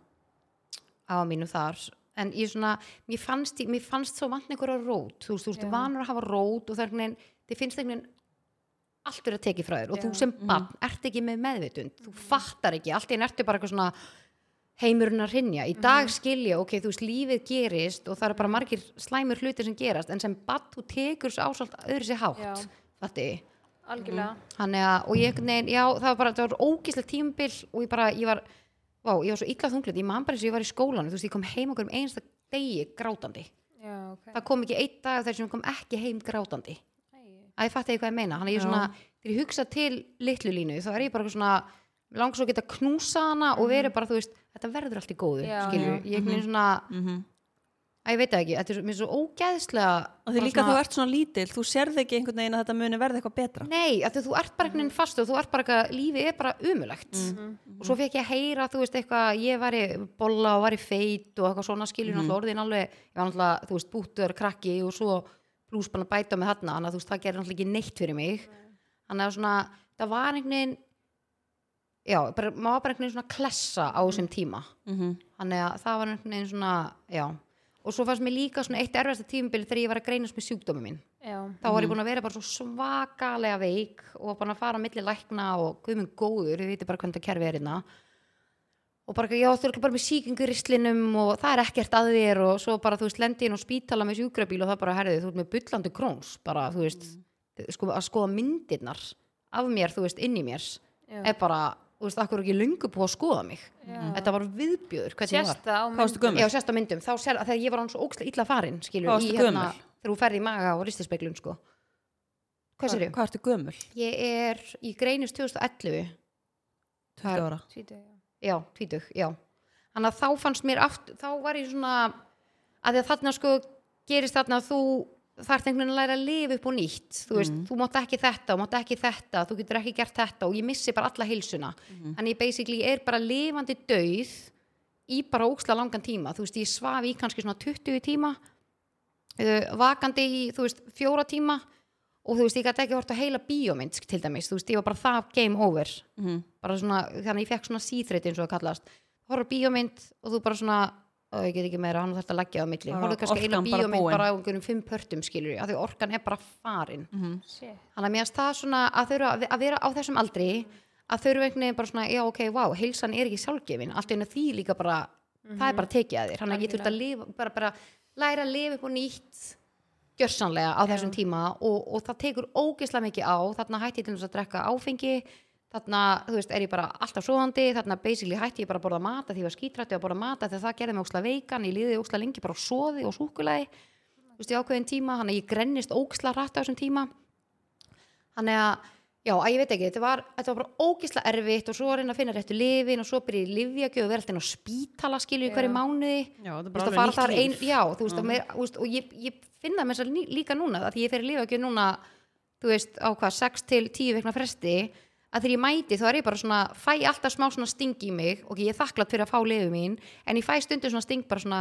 [SPEAKER 1] á mínu þar en ég svona, mér fannst, ég- mér fannst svo vant einhverja rót, þú veist, þú veist,
[SPEAKER 3] Já.
[SPEAKER 1] vanur að hafa rót og það er einhvern veginn, þið finnst einhvern veginn allt verið að tekið frá þér og þú
[SPEAKER 3] Já. Mhm.
[SPEAKER 1] sem barn ert ekki með meðvitund, þú fattar ekki allt í enn ertu bara eitthvað svona heimurinn að hrynja, í
[SPEAKER 3] Mhm.
[SPEAKER 1] dag skilja ok, þú veist, lífið gerist og það eru bara margir slæmur hlutir sem gerast, en sem barn þú tekur svo ásalt öðru sér
[SPEAKER 3] Já.
[SPEAKER 1] hátt þetta
[SPEAKER 3] algjörlega
[SPEAKER 1] Þannig að, og ég einhvern veginn, já, það var bara, það var ógíslega tímabil og ég bara, ég var, vá, ég var svo illa þunglið, ég man bara eins og ég var í skólanum, þú veist, ég kom heim okkur um einasta degi grátandi.
[SPEAKER 3] já, ok
[SPEAKER 1] Það kom ekki einn dag þar sem ég kom ekki heim grátandi.
[SPEAKER 3] Æi.
[SPEAKER 1] Að ég fatti ekki hvað ég meina, hann er ég svona, þegar ég hugsa til litlu línu, þá er ég bara eitthvað svona, mig langar svo að geta knúsa hana
[SPEAKER 2] Mhm.
[SPEAKER 1] og verið bara, þú veist, þetta verður allt í góðu,
[SPEAKER 3] Já.
[SPEAKER 1] skilju, ég einhvern veginn svona,
[SPEAKER 2] mm -hmm.
[SPEAKER 1] að ég veit það ekki, þetta er svo, mér er svo ógæðslega.
[SPEAKER 2] Og því
[SPEAKER 1] bara
[SPEAKER 2] líka
[SPEAKER 1] svona-
[SPEAKER 2] þú ert svona lítil, þú sérð ekki einhvern veginn að þetta muni verða eitthvað betra
[SPEAKER 1] Nei, af því þú ert bara einhvern veginn fast og þú ert bara eitthvað, lífið er bara umulagt
[SPEAKER 2] Mhm.
[SPEAKER 1] og svo fekk ég að heyra, þú veist, eitthvað ég var í bolla og var í feit og eitthvað svona skilur mm orðin alveg ég var náttúrulega, þú veist, búttur, krakki og svo blúsbann að bæta með þarna þannig að þú veist, það gerir náttúrulega ekki neitt fyrir mig þannig að svona, það var einhvern veginn já, bara, maður var bara einhvern veginn svona klessa á þessum tíma
[SPEAKER 2] mm -hmm.
[SPEAKER 1] þannig að það var einhvern veginn svona, já og svo fannst mér líka svona eitt erfasta tímabili þegar ég var að greinast með sjúkdómi minn
[SPEAKER 3] já,
[SPEAKER 1] þá var ég búin að vera bara svo svakalega veik og búin að fara á milli lækna og guðminn góður, við veitum bara hvernig það kerfi er hérna og bara, já, þú eru bara með sýkingu í ristlinum og það er ekkert að þér og svo bara, þú veist, lendi inn á spítala með sjúkrabíl og það bara, herðið, þú ert með bullandi króns bara, þú veist,
[SPEAKER 3] Mhm.
[SPEAKER 1] sko, að skoða myndirnar af mér, þú veist, inn í mér
[SPEAKER 3] Já.
[SPEAKER 1] er bara, þú veist, akkur er ekki löngu búið að skoða mig
[SPEAKER 3] Já.
[SPEAKER 1] þetta var viðbjöður, hvernig ég var
[SPEAKER 3] sérst það á
[SPEAKER 2] Hvað varstu
[SPEAKER 1] Já,
[SPEAKER 2] gömul?
[SPEAKER 1] sérst á myndum, þá sér, þegar ég var hann svo ókslega illa farin, skilur,
[SPEAKER 2] Hvað varstu gömul?
[SPEAKER 1] þegar þú ferði í maga og ristispeglun, sko. Hvað sér ég?
[SPEAKER 2] Hvað ertu gömul?
[SPEAKER 1] Ég er, ég greinist 2011,
[SPEAKER 2] 20 ára
[SPEAKER 3] Tvítug, já.
[SPEAKER 1] já, tvítug, já. Þannig að þá fannst mér aftur, þá var ég svona, að því að þarna sko gerist þarna að þú þarft einhvern veginn að læra að lifa upp og nýtt, þú veist, þú mátt ekki þetta og mátt ekki þetta, þú getur ekki gert þetta og ég missi bara alla heilsuna. Þannig ég basically er bara lifandi dauð í bara óksla langan tíma, þú veist, ég svaf í kannski svona 20 tíma uh, vakandi í, þú veist, fjóra tíma og þú veist, ég gæti ekki hort á heila bíómynd til dæmis, þú veist, ég var bara það game over
[SPEAKER 2] Mhm.
[SPEAKER 1] bara svona, þannig að ég fekk svona síþreyt eins og það kallast, horfður bíómynd og þú bara svona, "Ó, ég get ekki meira hann þarf að leggja á milli,
[SPEAKER 2] Bara
[SPEAKER 1] horfður kannski eina
[SPEAKER 2] orkan bara
[SPEAKER 1] bíómynd
[SPEAKER 2] búin.
[SPEAKER 1] bara á einhverjum fimm pörtum skilur ég, af því orkan er bara farin
[SPEAKER 2] Mhm.
[SPEAKER 3] Shit.
[SPEAKER 1] Þannig að mér finnst það svona að þurfa að- að vera á þessum aldri að þau eru einhvern veginn bara svona, já ok, vá, heilsan er ekki sjálfgefin, allt einu því líka bara,
[SPEAKER 2] Mhm.
[SPEAKER 1] það er bara tekið að þér, þannig að ég þurft að lifa, bara, bara læra að lifa upp og nýtt gjörsanlega á þessum tíma og, og það tekur ógeðslega mikið á, þarna hætti ég til þess að drekka áfengi, þarna, þú veist, er ég bara alltaf svoðandi, þarna basically hætti ég bara að borða mata því ég var skítrætti að borða mata þegar það gerði mig ógeðslega veikan, ég líði ógeðslega lengi bara á soði og súkulaði, þú veist, í ákveðin tíma, þannig að ég grennist ógeðslega rætt á þessum tíma þannig að já, að ég veit ekki, þetta var, þetta var bara ógisla erfitt og svo að reyna að finna réttu lifin og svo byrja í lifjagjöf og vera alltaf inn á spítala skilju í hverju mánuði
[SPEAKER 2] Já, þetta er
[SPEAKER 1] Þú
[SPEAKER 2] bara
[SPEAKER 1] veist, að
[SPEAKER 2] alveg
[SPEAKER 1] fara
[SPEAKER 2] nýtt
[SPEAKER 1] þar
[SPEAKER 2] líf.
[SPEAKER 1] já, þú veist, mm. meir, þú veist og ég, ég finna mér svo líka núna að því ég fer í lifjagjöf núna þú veist, á hvað, 6 til 10 vekna fresti að þegar ég mæti þá er ég bara svona fæ alltaf smá svona sting í mig og ég er þakklátt fyrir að fá lifið mín en ég fæ stundum svona sting bara svona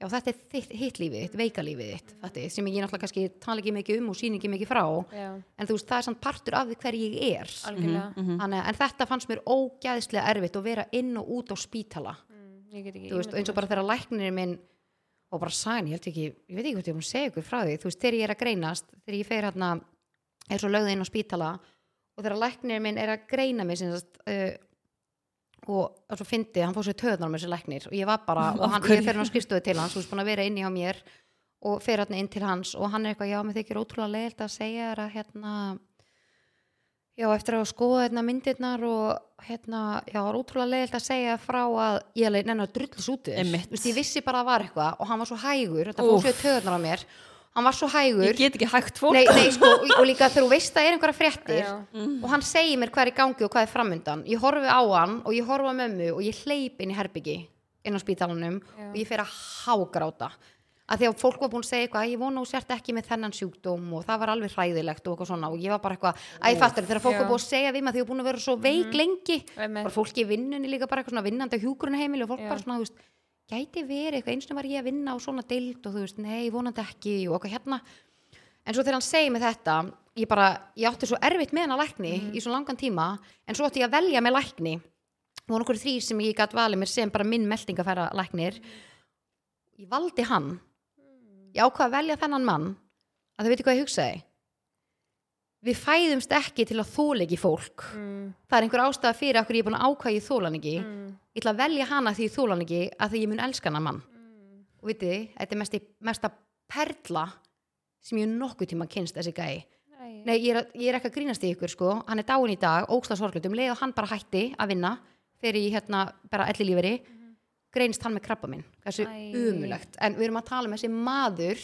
[SPEAKER 1] já, þetta er þitt, hitt lífið þitt, veika lífið þitt þetta, sem ég náttúrulega kannski tala ekki mikið um og sýni ekki mikið frá
[SPEAKER 3] Já,
[SPEAKER 1] en þú veist, það er samt partur af því hver ég er
[SPEAKER 2] Mhm,
[SPEAKER 3] algjörlega.
[SPEAKER 1] Þannig, að- en þetta fannst mér ógæðslega erfitt að vera inn og út á spítala
[SPEAKER 3] Mm, Ég get ekki
[SPEAKER 1] þú veist, eins og bara þegar læknirinn minn og bara sæn, ég held ekki, ég veit ekki hvort ég mun segja ykkur frá því, þú veist, þegar ég er að greinast þegar ég fer hérna, er svo lögð inn á spítala og þegar læknirinn minn er að greina mig sem sagt uh, og og svo fyndi, hann fór sér töðnar með sér læknir og ég var bara, og hann, ég fer hann á skrifstöðu til hans þú veist, búin að vera inni hjá mér og fer hérna inn til hans og hann er eitthvað, já, mér þykir ótrúlega leiðilt að segja þér að hérna já, eftir að skoða hérna myndirnar og hérna, já, það var ótrúlega leiðilt að segja frá að ég alveg nenni að drullus út í þér
[SPEAKER 2] Einmitt.
[SPEAKER 1] Þú veist, ég vissi bara að var eitthvað og hann var svo hægur, þetta
[SPEAKER 2] Úff.
[SPEAKER 1] fór sér töðnar á mér hann var svo hægur
[SPEAKER 2] Ég get ekki hægt fólk
[SPEAKER 1] nei, nei, sko, og, og líka þegar þú veist að er einhverja fréttir
[SPEAKER 3] Já.
[SPEAKER 1] og hann segir mér hvað er í gangi og hvað er framundan ég horfi á hann og ég horfi á mömmu og ég hleyp inn í herbyggi inn á spítalanum og ég fer að hágráta að því að fólk var búin að segja eitthvað "Æ, ég vona og sért ekki með þennan sjúkdóm og það var alveg hræðilegt og eitthvað svona og ég var bara eitthvað að ég fattar þegar fólk
[SPEAKER 3] Já. Mhm.
[SPEAKER 1] var búin að segja við mig að því að búin að vera svo veik lengi
[SPEAKER 3] Einmitt.
[SPEAKER 1] bara fólk í vinnunni líka bara eitthvað svona vinnandi á hjúgrunheimili og fólk bara svona þú veist, gæti verið eitthvað eins og var ég að vinna á svona deild og þú veist nei vonandi ekki og eitthvað hérna en svo þegar hann segir mig þetta ég bara, ég átti svo erfitt með hann að lækni í svo langan tíma, en svo átti ég að velja með lækni og voru okkur þrýr sem ég gætt valið mér sem bara minn meldingafæra læknir ég valdi hann ég ákvað að velja þennan mann að þau veitir hvað ég hugsaði við fæðumst ekki til að þóla ekki fólk
[SPEAKER 3] Mm,
[SPEAKER 1] það er einhver ástæða fyrir okkur ég er búin að ákvað ég þólan ekki ég ætla að velja hana því ég þólan ekki að því ég mun elska hana mann
[SPEAKER 3] mm.
[SPEAKER 1] og vitið þið, þetta er mesti, mesta perla sem ég nokkuð tíma kynst þessi gæi
[SPEAKER 3] Æ.
[SPEAKER 1] Nei, ég er, að- ég er ekki að grínast í ykkur sko hann er dáin í dag, óksla sorglutum, leið og hann bara hætti að vinna þegar ég hérna bara elli líferi, greinst hann með krabba minn, þessu
[SPEAKER 3] Æ.
[SPEAKER 1] umulegt en við erum að tala um þessi maður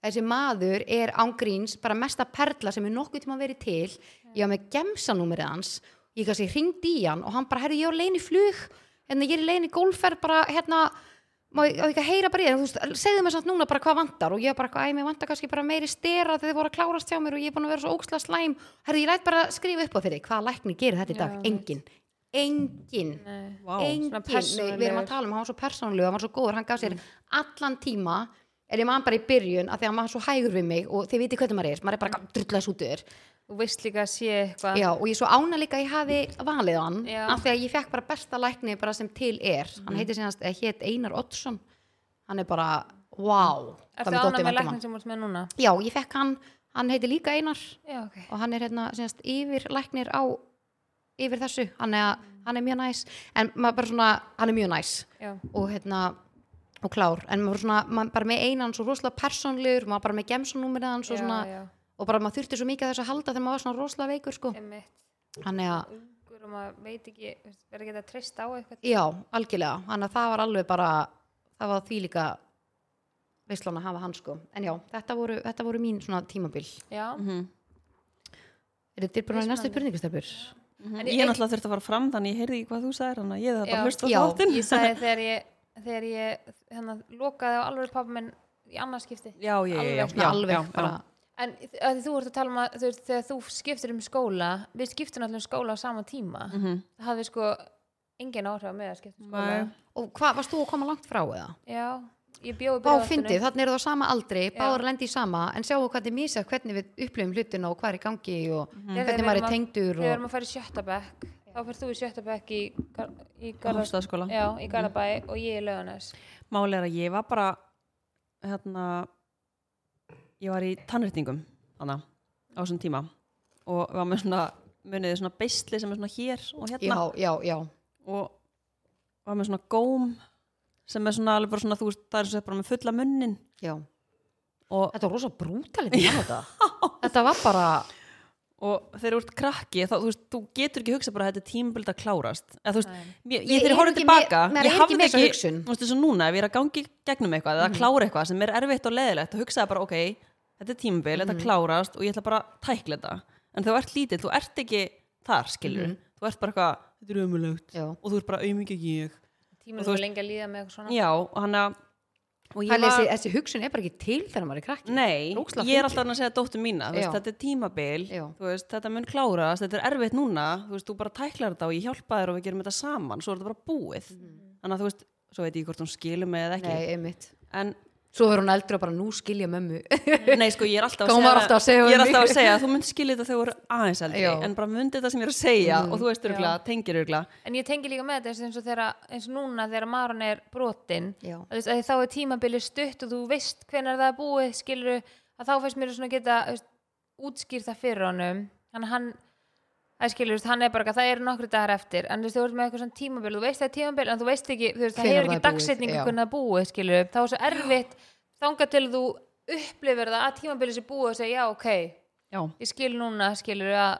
[SPEAKER 1] þessi maður er ángríns bara mesta perla sem er nokkuð tíma verið til, ég var með gemsanúmerið hans, ég kannski hringdi í hann og hann bara, herri, ég er leiðin í flug hérna, ég er leiðin í golfferð bara, hérna má ég á ég ekki að heyra bara í þér, En þú veist, segðu mér samt núna bara hvað vantar og ég bara, eitthvað, æ, mér vantar kannski bara meiri stera þegar þið voru að klárast hjá mér og ég er búin að vera svo óksla slæm, herri, ég læt bara að skrifa upp á fyrir þig, hvaða lækni gerir þetta í dag,
[SPEAKER 3] Já,
[SPEAKER 1] engin engin,
[SPEAKER 3] Nei.
[SPEAKER 2] Vá.
[SPEAKER 1] engin
[SPEAKER 3] Svona
[SPEAKER 1] Nei, við erum
[SPEAKER 3] persónulegur. Mm.
[SPEAKER 1] að tala um, hann var svo persónulegu, hann var svo góður hann gaf sér allan tíma er ég maður bara í byrjun að því að maður svo hægur við mig og þið viti hvernig maður er, maður er bara drullast út yfir
[SPEAKER 3] Þú veist líka að sé eitthvað
[SPEAKER 1] Já, og ég er svo ána líka að ég hafi valið hann
[SPEAKER 3] Já. Mhm.
[SPEAKER 1] af því að ég fekk bara besta lækni bara sem til er hann heitir sínast, eða hétt Einar Oddsson hann er bara, wow
[SPEAKER 3] Ertu ánað með læknir sem þú ert með núna?
[SPEAKER 1] Já, ég fekk hann, hann heitir líka Einar
[SPEAKER 3] Já, ok
[SPEAKER 1] og hann er hérna, sínast, yfir læknir á yfir þessu, hann er, hann er mjög næs en maður bara svona, hann er mjög næs
[SPEAKER 3] Já,
[SPEAKER 1] og hérna og klár, en maður svona, maður bara með Einar hann er svo rosalega persónlegur, maður bara með gemsonúmerið hans og
[SPEAKER 3] já,
[SPEAKER 1] svona,
[SPEAKER 3] já,
[SPEAKER 1] og bara maður þurfti svo mikið að þessu að halda þegar maður var svona rosalega veikur sko.
[SPEAKER 3] einmitt
[SPEAKER 1] Þannig að
[SPEAKER 3] ungur og maður veit ekki, verður ekki að treysta á eitthvað
[SPEAKER 1] Já, algjörlega, þannig að það var alveg bara það var því líka veislan að hafa hann sko, en já þetta voru, þetta voru mín svona tímabil
[SPEAKER 3] Já,
[SPEAKER 2] Mhm,
[SPEAKER 1] Mm. mhm. Er þetta tilbúin að í næstu spurningastöpur?
[SPEAKER 3] en
[SPEAKER 2] Ég er náttúrulega þurft að fara fram þannig ég heyrði ekki hvað þú sagðir hann ég er það bara
[SPEAKER 3] Já.
[SPEAKER 2] að hlusta á
[SPEAKER 1] Já.
[SPEAKER 2] þáttinn
[SPEAKER 3] Ég sagði þegar ég, þegar ég hérna, lokaði á alveg pappa minn í annarskipti
[SPEAKER 2] Já, já, já, já,
[SPEAKER 3] Alveg
[SPEAKER 1] Já,
[SPEAKER 2] já,
[SPEAKER 1] alveg
[SPEAKER 2] já,
[SPEAKER 1] bara,
[SPEAKER 3] En að því þú ert að tala um að þú veist, þegar þú skiptir um skóla við skiptum allir um skóla á sama tíma
[SPEAKER 2] Mhm.
[SPEAKER 3] það hafði sko engin áhrif á mig að skipta um skóla
[SPEAKER 2] Nei.
[SPEAKER 1] og hvað, varst þú að koma langt frá eða?
[SPEAKER 3] Já, ég bjóði
[SPEAKER 1] Bá fyndið, þannig eru það á sama aldri, báður lendi í sama en sjáum hvernig mísa, hvernig við upplifum hlutina og hvað er í gangi og
[SPEAKER 2] Mhm.
[SPEAKER 1] hvernig maður er tengdur
[SPEAKER 3] Við
[SPEAKER 1] og
[SPEAKER 3] erum að fara í sjötta bekk þá fyrir þú í sjötta bekk í, Gar- í, Garðar-
[SPEAKER 2] Hofstaðaskóla.
[SPEAKER 3] já, í Garabæ og ég í Laugarnes
[SPEAKER 2] Máli er að ég var bara hérna ég var í tannréttingum hana, á þessum tíma og var með svona, muniði svona beisli sem er svona hér og
[SPEAKER 1] já,
[SPEAKER 2] hérna
[SPEAKER 1] já, já,
[SPEAKER 2] og var með svona góm sem er svona alveg bara svona þú veist, það er svona bara með fulla munnin
[SPEAKER 1] já
[SPEAKER 2] og,
[SPEAKER 1] Þetta var rosa brútalinn í hann þetta Þetta var bara,
[SPEAKER 2] og þegar þú ert krakki þá, þú, veist, þú getur ekki hugsa bara að þetta er tímabild að klárast eða þú veist,
[SPEAKER 3] Nei.
[SPEAKER 2] mér,
[SPEAKER 1] Við
[SPEAKER 2] ég þegar
[SPEAKER 1] erum
[SPEAKER 2] ég horfði
[SPEAKER 1] ekki
[SPEAKER 2] tilbaka
[SPEAKER 1] með- maður
[SPEAKER 2] ég
[SPEAKER 1] er ekki
[SPEAKER 2] hafði
[SPEAKER 1] með
[SPEAKER 2] ekki,
[SPEAKER 1] þessa
[SPEAKER 2] þú
[SPEAKER 1] hugsun. Mhm.
[SPEAKER 2] veist, eins og núna ef ég er að gangi gegnum eitthvað eða klára eitthvað sem er erfitt og leðilegt þá hugsaði bara, ok, þetta er tímabil
[SPEAKER 1] Mhm.
[SPEAKER 2] þetta klárast og ég ætla bara að tækla þetta en þegar þú ert lítill, þú ert ekki þar skilur, þú ert bara eitthvað þetta er
[SPEAKER 1] Mhm.
[SPEAKER 2] ömulegt
[SPEAKER 1] já
[SPEAKER 2] og þú ert bara aumingi ekki ég
[SPEAKER 3] tímur
[SPEAKER 2] þú
[SPEAKER 3] þú
[SPEAKER 2] veist-
[SPEAKER 3] lengi að líða með eitthvað svona
[SPEAKER 2] já, og hann að og ég
[SPEAKER 1] Pæli,
[SPEAKER 2] var-
[SPEAKER 1] þessi, þessi hugsun er bara ekki til þegar maður er krakki
[SPEAKER 2] Nei,
[SPEAKER 1] Ógeðslega
[SPEAKER 2] ég
[SPEAKER 1] fyndið.
[SPEAKER 2] er alltaf að segja dóttur mína, þú veist,
[SPEAKER 1] Já.
[SPEAKER 2] þetta er tímabil
[SPEAKER 1] Já.
[SPEAKER 2] þú veist, þetta mun klárast, þetta er erfitt núna þú veist, þú bara tæklar þetta og ég hjálpa þér og við gerum þetta saman, svo er þetta bara búið þannig að þú veist, svo veit ég hvort hún skilur mig eða
[SPEAKER 1] Mhm.
[SPEAKER 2] ekki
[SPEAKER 1] Nei, einmitt
[SPEAKER 2] en,
[SPEAKER 1] Svo verður hún eldri og bara nú skilja mömmu
[SPEAKER 2] nei, sko, ég er alltaf að
[SPEAKER 1] Hvað hún var
[SPEAKER 2] segja,
[SPEAKER 1] alltaf að segja
[SPEAKER 2] ég er
[SPEAKER 1] um
[SPEAKER 2] alltaf
[SPEAKER 1] mig.
[SPEAKER 2] að segja þú munt skilja þetta þegar þú eru aðeins eldri
[SPEAKER 1] Já. Mhm.
[SPEAKER 2] en bara munt þetta sem ég er að segja og þú veist örgla, tengir örgla
[SPEAKER 3] en ég tengi líka með þetta eins og, þeirra, eins og núna þegar Maron er brotin
[SPEAKER 1] Já.
[SPEAKER 3] að, þú veist, að þá er tímabilið stutt og þú veist hvenær það er búið skilur að þá fæst mér svona að geta þú veist, útskýrt það fyrir honum hann, hann að skilur, þú veist, hann er bara eitthvað, það eru nokkru dagar eftir en þú veist, þú veist með eitthvað svona tímabil þú veist það er tímabil en þú veist ekki, þú veist, það
[SPEAKER 1] Hvenær það
[SPEAKER 3] hefur ekki
[SPEAKER 1] er búið,
[SPEAKER 3] dagsetningu
[SPEAKER 1] já.
[SPEAKER 3] hvernig það er búið skilur, þá er svo erfitt þangað til þú upplifir það að tímabilið sé búið og segja, já, ok,
[SPEAKER 2] Já,
[SPEAKER 3] ég skil núna skilur að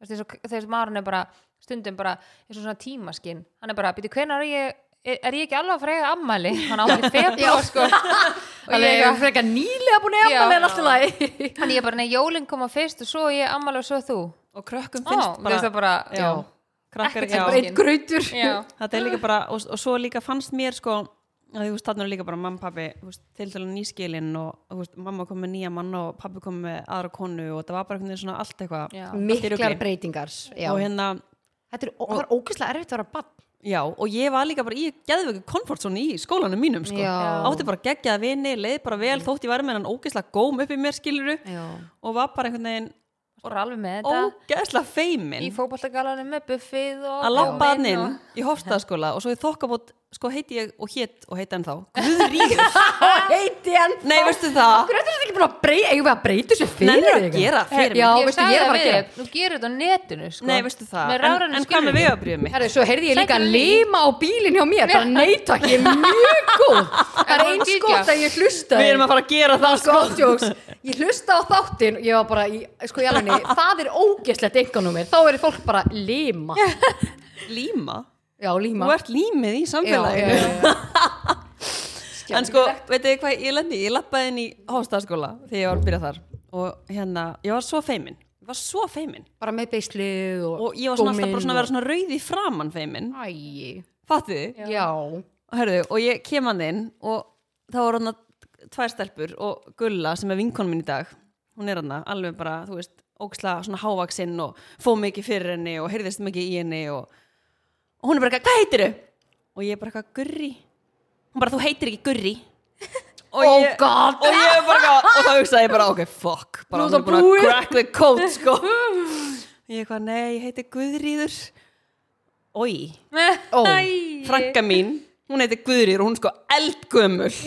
[SPEAKER 3] þú veist, eins og- þegar Marun er bara stundum bara eins og svona tímaskinn hann er bara, býtu, hvenær er ég er, er ég ekki alveg að frega ammæli hann á ekki februar sko og ég,
[SPEAKER 1] Þannig að
[SPEAKER 3] eitthvað-
[SPEAKER 1] frekar nýlega búin að
[SPEAKER 3] Já.
[SPEAKER 1] jafna með allt í lagi
[SPEAKER 3] hann ég bara, nei, jólin koma fyrst og svo ég ammæli og svo þú
[SPEAKER 2] og krökkum
[SPEAKER 3] Ó,
[SPEAKER 2] finnst
[SPEAKER 3] þú veist það bara,
[SPEAKER 2] já,
[SPEAKER 1] Já.
[SPEAKER 2] krakkar,
[SPEAKER 3] Ekkert
[SPEAKER 2] já,
[SPEAKER 3] sem
[SPEAKER 1] Eitt grautur
[SPEAKER 3] já,
[SPEAKER 2] þetta er líka bara og, og svo líka fannst mér sko að þú veist, þarna er líka bara mamma, pappi til til nýskilin og þú veist, mamma kom með nýja mann og pappi kom með aðra konu og það var bara einhvern veginn svona allt eitthvað
[SPEAKER 3] Já.
[SPEAKER 2] allt í
[SPEAKER 1] Miklar
[SPEAKER 2] rugli.
[SPEAKER 1] breytingar já.
[SPEAKER 2] og hérna,
[SPEAKER 1] Þetta er, var ógeðslega erfitt að vera bann
[SPEAKER 2] já, og ég var líka bara í geðvöku komfortzónu í skólanum mínum sko,
[SPEAKER 1] Já.
[SPEAKER 2] átti bara geggjaða vini, leið bara vel þótt ég væri með hann ógeðslega góm upp í mér skiluru
[SPEAKER 1] Já,
[SPEAKER 2] og var bara einhvern veginn
[SPEAKER 3] bara alveg með þetta
[SPEAKER 2] ógeðslega feimin
[SPEAKER 3] í fótballtagalanum með buffið og
[SPEAKER 2] að labba
[SPEAKER 3] komin
[SPEAKER 2] hann inn
[SPEAKER 3] og-
[SPEAKER 2] í hofstaðaskóla og svo í þokkabót, sko heiti ég og hétt og heita hann þá, Guðríður
[SPEAKER 1] heiti hann
[SPEAKER 2] nei, veistu það
[SPEAKER 1] Hvernig er þetta ekki búin að breyta Eigum við að breyta þessu fyrir
[SPEAKER 2] Nennirðu að
[SPEAKER 1] eitthvað?
[SPEAKER 2] gera fyrir
[SPEAKER 1] Já,
[SPEAKER 3] ég
[SPEAKER 1] veistu,
[SPEAKER 3] sagði
[SPEAKER 1] ég er
[SPEAKER 3] það
[SPEAKER 1] bara að
[SPEAKER 3] við
[SPEAKER 1] gera
[SPEAKER 3] þig, þú gerur þetta á netinu sko.
[SPEAKER 2] Nei, veistu það,
[SPEAKER 3] með
[SPEAKER 2] en,
[SPEAKER 3] rafrænum
[SPEAKER 2] en hvað með
[SPEAKER 3] skilríkjum.
[SPEAKER 2] vegabriðum mitt?
[SPEAKER 1] Herri, svo heyrði ég líka
[SPEAKER 3] Sækjum við í.
[SPEAKER 1] lima á bílinn hjá mér bara neita ekki, ég er mjög góð það er
[SPEAKER 3] En hann
[SPEAKER 1] eins
[SPEAKER 3] skilja.
[SPEAKER 1] gott að ég hlusta
[SPEAKER 2] Við erum að fara að gera það sko
[SPEAKER 1] Skotjóks, ég hlusta á þáttinn og ég var bara, í, sko ég alveg það er ógeslegt enganúmer, þá er fólk bara lima,
[SPEAKER 2] Líma?
[SPEAKER 1] já lima
[SPEAKER 2] Þú ert límið í samfélaginu En sko, veitu þið hvað ég lendi? í? Ég lappaði inn í hóstaðaskóla þegar ég var að byrja þar og hérna, ég var svo feimin ég var svo feimin
[SPEAKER 1] bara með beisli og,
[SPEAKER 2] og ég var svona alltaf bara svona að vera svona rauð í framann feimin
[SPEAKER 1] svona æ,
[SPEAKER 2] Fattu þið?
[SPEAKER 1] já,
[SPEAKER 2] Hörðu, og ég kem hann inn og þá var hann tvær stelpur og Gulla sem er vinkonum minn í dag hún er hann alveg bara, þú veist óksla svona hávaksinn og fó mikið fyrir henni og heyrðist mikið í henni og, og hún er bara eitthvað, hvað heitir þau? og ég er bara eitthvað, Gurri hún bara, þú heitir ekki Gurri og
[SPEAKER 1] Oh God.
[SPEAKER 2] og ég er bara eitthvað, og þá hugsaði ég bara, ok, fuck bara,
[SPEAKER 1] Nú er
[SPEAKER 2] hún er
[SPEAKER 1] það
[SPEAKER 2] búin að
[SPEAKER 1] búið.
[SPEAKER 2] crack the code, sko ég er eitthvað, nei, ég heiti Guðríður oi
[SPEAKER 1] ó,
[SPEAKER 3] Æ.
[SPEAKER 2] franka mín, hún heitir Guðrýr og hún er sko eldgömmul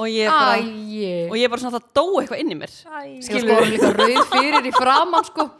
[SPEAKER 2] og ég er bara,
[SPEAKER 1] æ
[SPEAKER 2] og ég er bara svona það dó eitthvað inn í mér
[SPEAKER 3] Æ.
[SPEAKER 1] skilur, sko erum líka rauð fyrir í framann sko,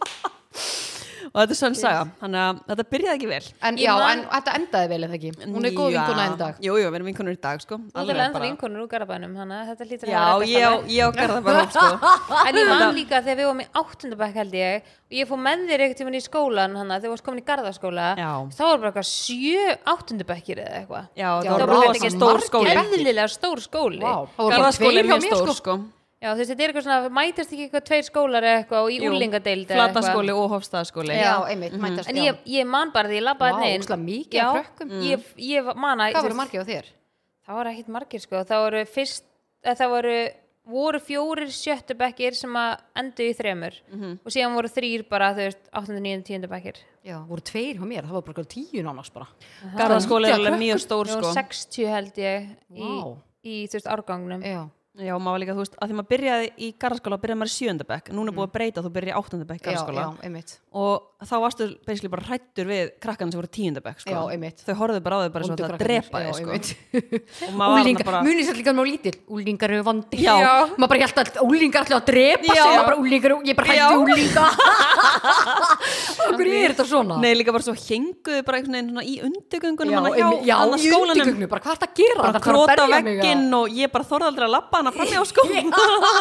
[SPEAKER 2] og þetta er svona saga, þannig að þetta byrjaði ekki vel
[SPEAKER 1] en
[SPEAKER 3] Ég
[SPEAKER 1] já,
[SPEAKER 3] man-
[SPEAKER 1] en þetta endaði vel en það ekki, hún er góð
[SPEAKER 2] Já.
[SPEAKER 1] vinkona enn dag
[SPEAKER 2] Jú, jú, við erum vinkonur í dag sko
[SPEAKER 3] Þú
[SPEAKER 2] Alveg
[SPEAKER 3] er ennþá
[SPEAKER 2] bara.
[SPEAKER 3] vinkonur úr Garabænum, þannig að þetta lítur að
[SPEAKER 2] Já,
[SPEAKER 3] vera
[SPEAKER 2] ég, á-
[SPEAKER 3] eitthvað
[SPEAKER 2] ég á garða bara hóp sko
[SPEAKER 3] saman. En ég man líka þegar við vorum í áttundabæk held ég og ég fór með þér eitthvað tímann í skólan hana, þegar við varst komin í garðaskóla
[SPEAKER 2] Já.
[SPEAKER 3] þá var bara eitthvað sjö áttundabækir eða eitthvað
[SPEAKER 2] Já,
[SPEAKER 1] Já,
[SPEAKER 2] það
[SPEAKER 1] það
[SPEAKER 2] var
[SPEAKER 1] voru
[SPEAKER 2] rosa
[SPEAKER 1] ekki
[SPEAKER 2] stór
[SPEAKER 1] margir.
[SPEAKER 2] skóli
[SPEAKER 3] Eðlilega stór skóli
[SPEAKER 1] Vá, það voru bara
[SPEAKER 2] Garðaskóli
[SPEAKER 1] tveir
[SPEAKER 2] er
[SPEAKER 1] hjá
[SPEAKER 2] mjög
[SPEAKER 1] mér
[SPEAKER 2] stór
[SPEAKER 1] sko
[SPEAKER 2] sko
[SPEAKER 3] Já, þú veist, þetta er eitthvað svona, mætast ekki eitthvað tveir skólar eða eitthvað og í úlingadeild eða eitthvað
[SPEAKER 2] Flataskóli og hofstaðaskóli
[SPEAKER 1] já, einmitt, mætast
[SPEAKER 3] En
[SPEAKER 1] já.
[SPEAKER 3] ég, ég man bara því ég labbaði
[SPEAKER 1] Vá,
[SPEAKER 3] þarna inn.
[SPEAKER 1] ógeðslega mikið
[SPEAKER 3] Já,
[SPEAKER 1] af krökkum.
[SPEAKER 3] Ég, ég man að
[SPEAKER 1] hvað voru margir á þér?
[SPEAKER 3] Það voru ekkit margir sko, það voru fyrst, eh, það voru, voru fjórir sjöttu bekkir sem að endu í þremur og síðan voru þrýr bara, þú veist, 8. 9. 10. bekkir.
[SPEAKER 1] Já, voru tveir hjá mér, það var bara tíu nánast bara.
[SPEAKER 2] Garðaskóli er
[SPEAKER 1] Mikið af
[SPEAKER 2] alveg mjög stór
[SPEAKER 3] Ég
[SPEAKER 2] sko
[SPEAKER 3] voru 60 held ég í,
[SPEAKER 1] Vá. Eh,
[SPEAKER 3] í þú veist árgangnum
[SPEAKER 1] já,
[SPEAKER 2] Já, maður líka, þú veist, að því maður byrjaði í garðaskóla byrjaði maður í sjöndabæk, núna er búið að breyta þú byrjaði í áttundabæk
[SPEAKER 1] já, já,
[SPEAKER 2] garðaskóla
[SPEAKER 1] einmitt
[SPEAKER 2] og þá varstu basically bara hrættur við krakkan sem voru tíundabæk sko.
[SPEAKER 1] Já, einmitt.
[SPEAKER 2] þau horfðu bara á þau bara svo að drepa þau sko. Og maður var þarna
[SPEAKER 1] Úlingar,
[SPEAKER 2] bara-
[SPEAKER 1] munið sér líka nú lítil Úlingar eru vandi
[SPEAKER 2] Já.
[SPEAKER 1] Maður bara hjælt að úlingar ætla að drepa sig
[SPEAKER 2] Já.
[SPEAKER 1] Maður bara úlingar, ég bara
[SPEAKER 2] Já.
[SPEAKER 1] hætti úlinga Okkur er þetta svona
[SPEAKER 2] Nei, líka bara svo henguðu bara einhvern veginn svona í undirgöngunum
[SPEAKER 1] Já,
[SPEAKER 2] hana
[SPEAKER 1] einmitt,
[SPEAKER 2] hjá
[SPEAKER 1] já,
[SPEAKER 2] annars
[SPEAKER 1] í
[SPEAKER 2] skólanum
[SPEAKER 1] undirgögnu, bara hvað er þetta að gera?
[SPEAKER 2] bara
[SPEAKER 1] Þetta þarf að
[SPEAKER 2] króta
[SPEAKER 1] berja mig,
[SPEAKER 2] vegginn og ég bara þorði aldrei að lappa hana sko. fram hjá skólanum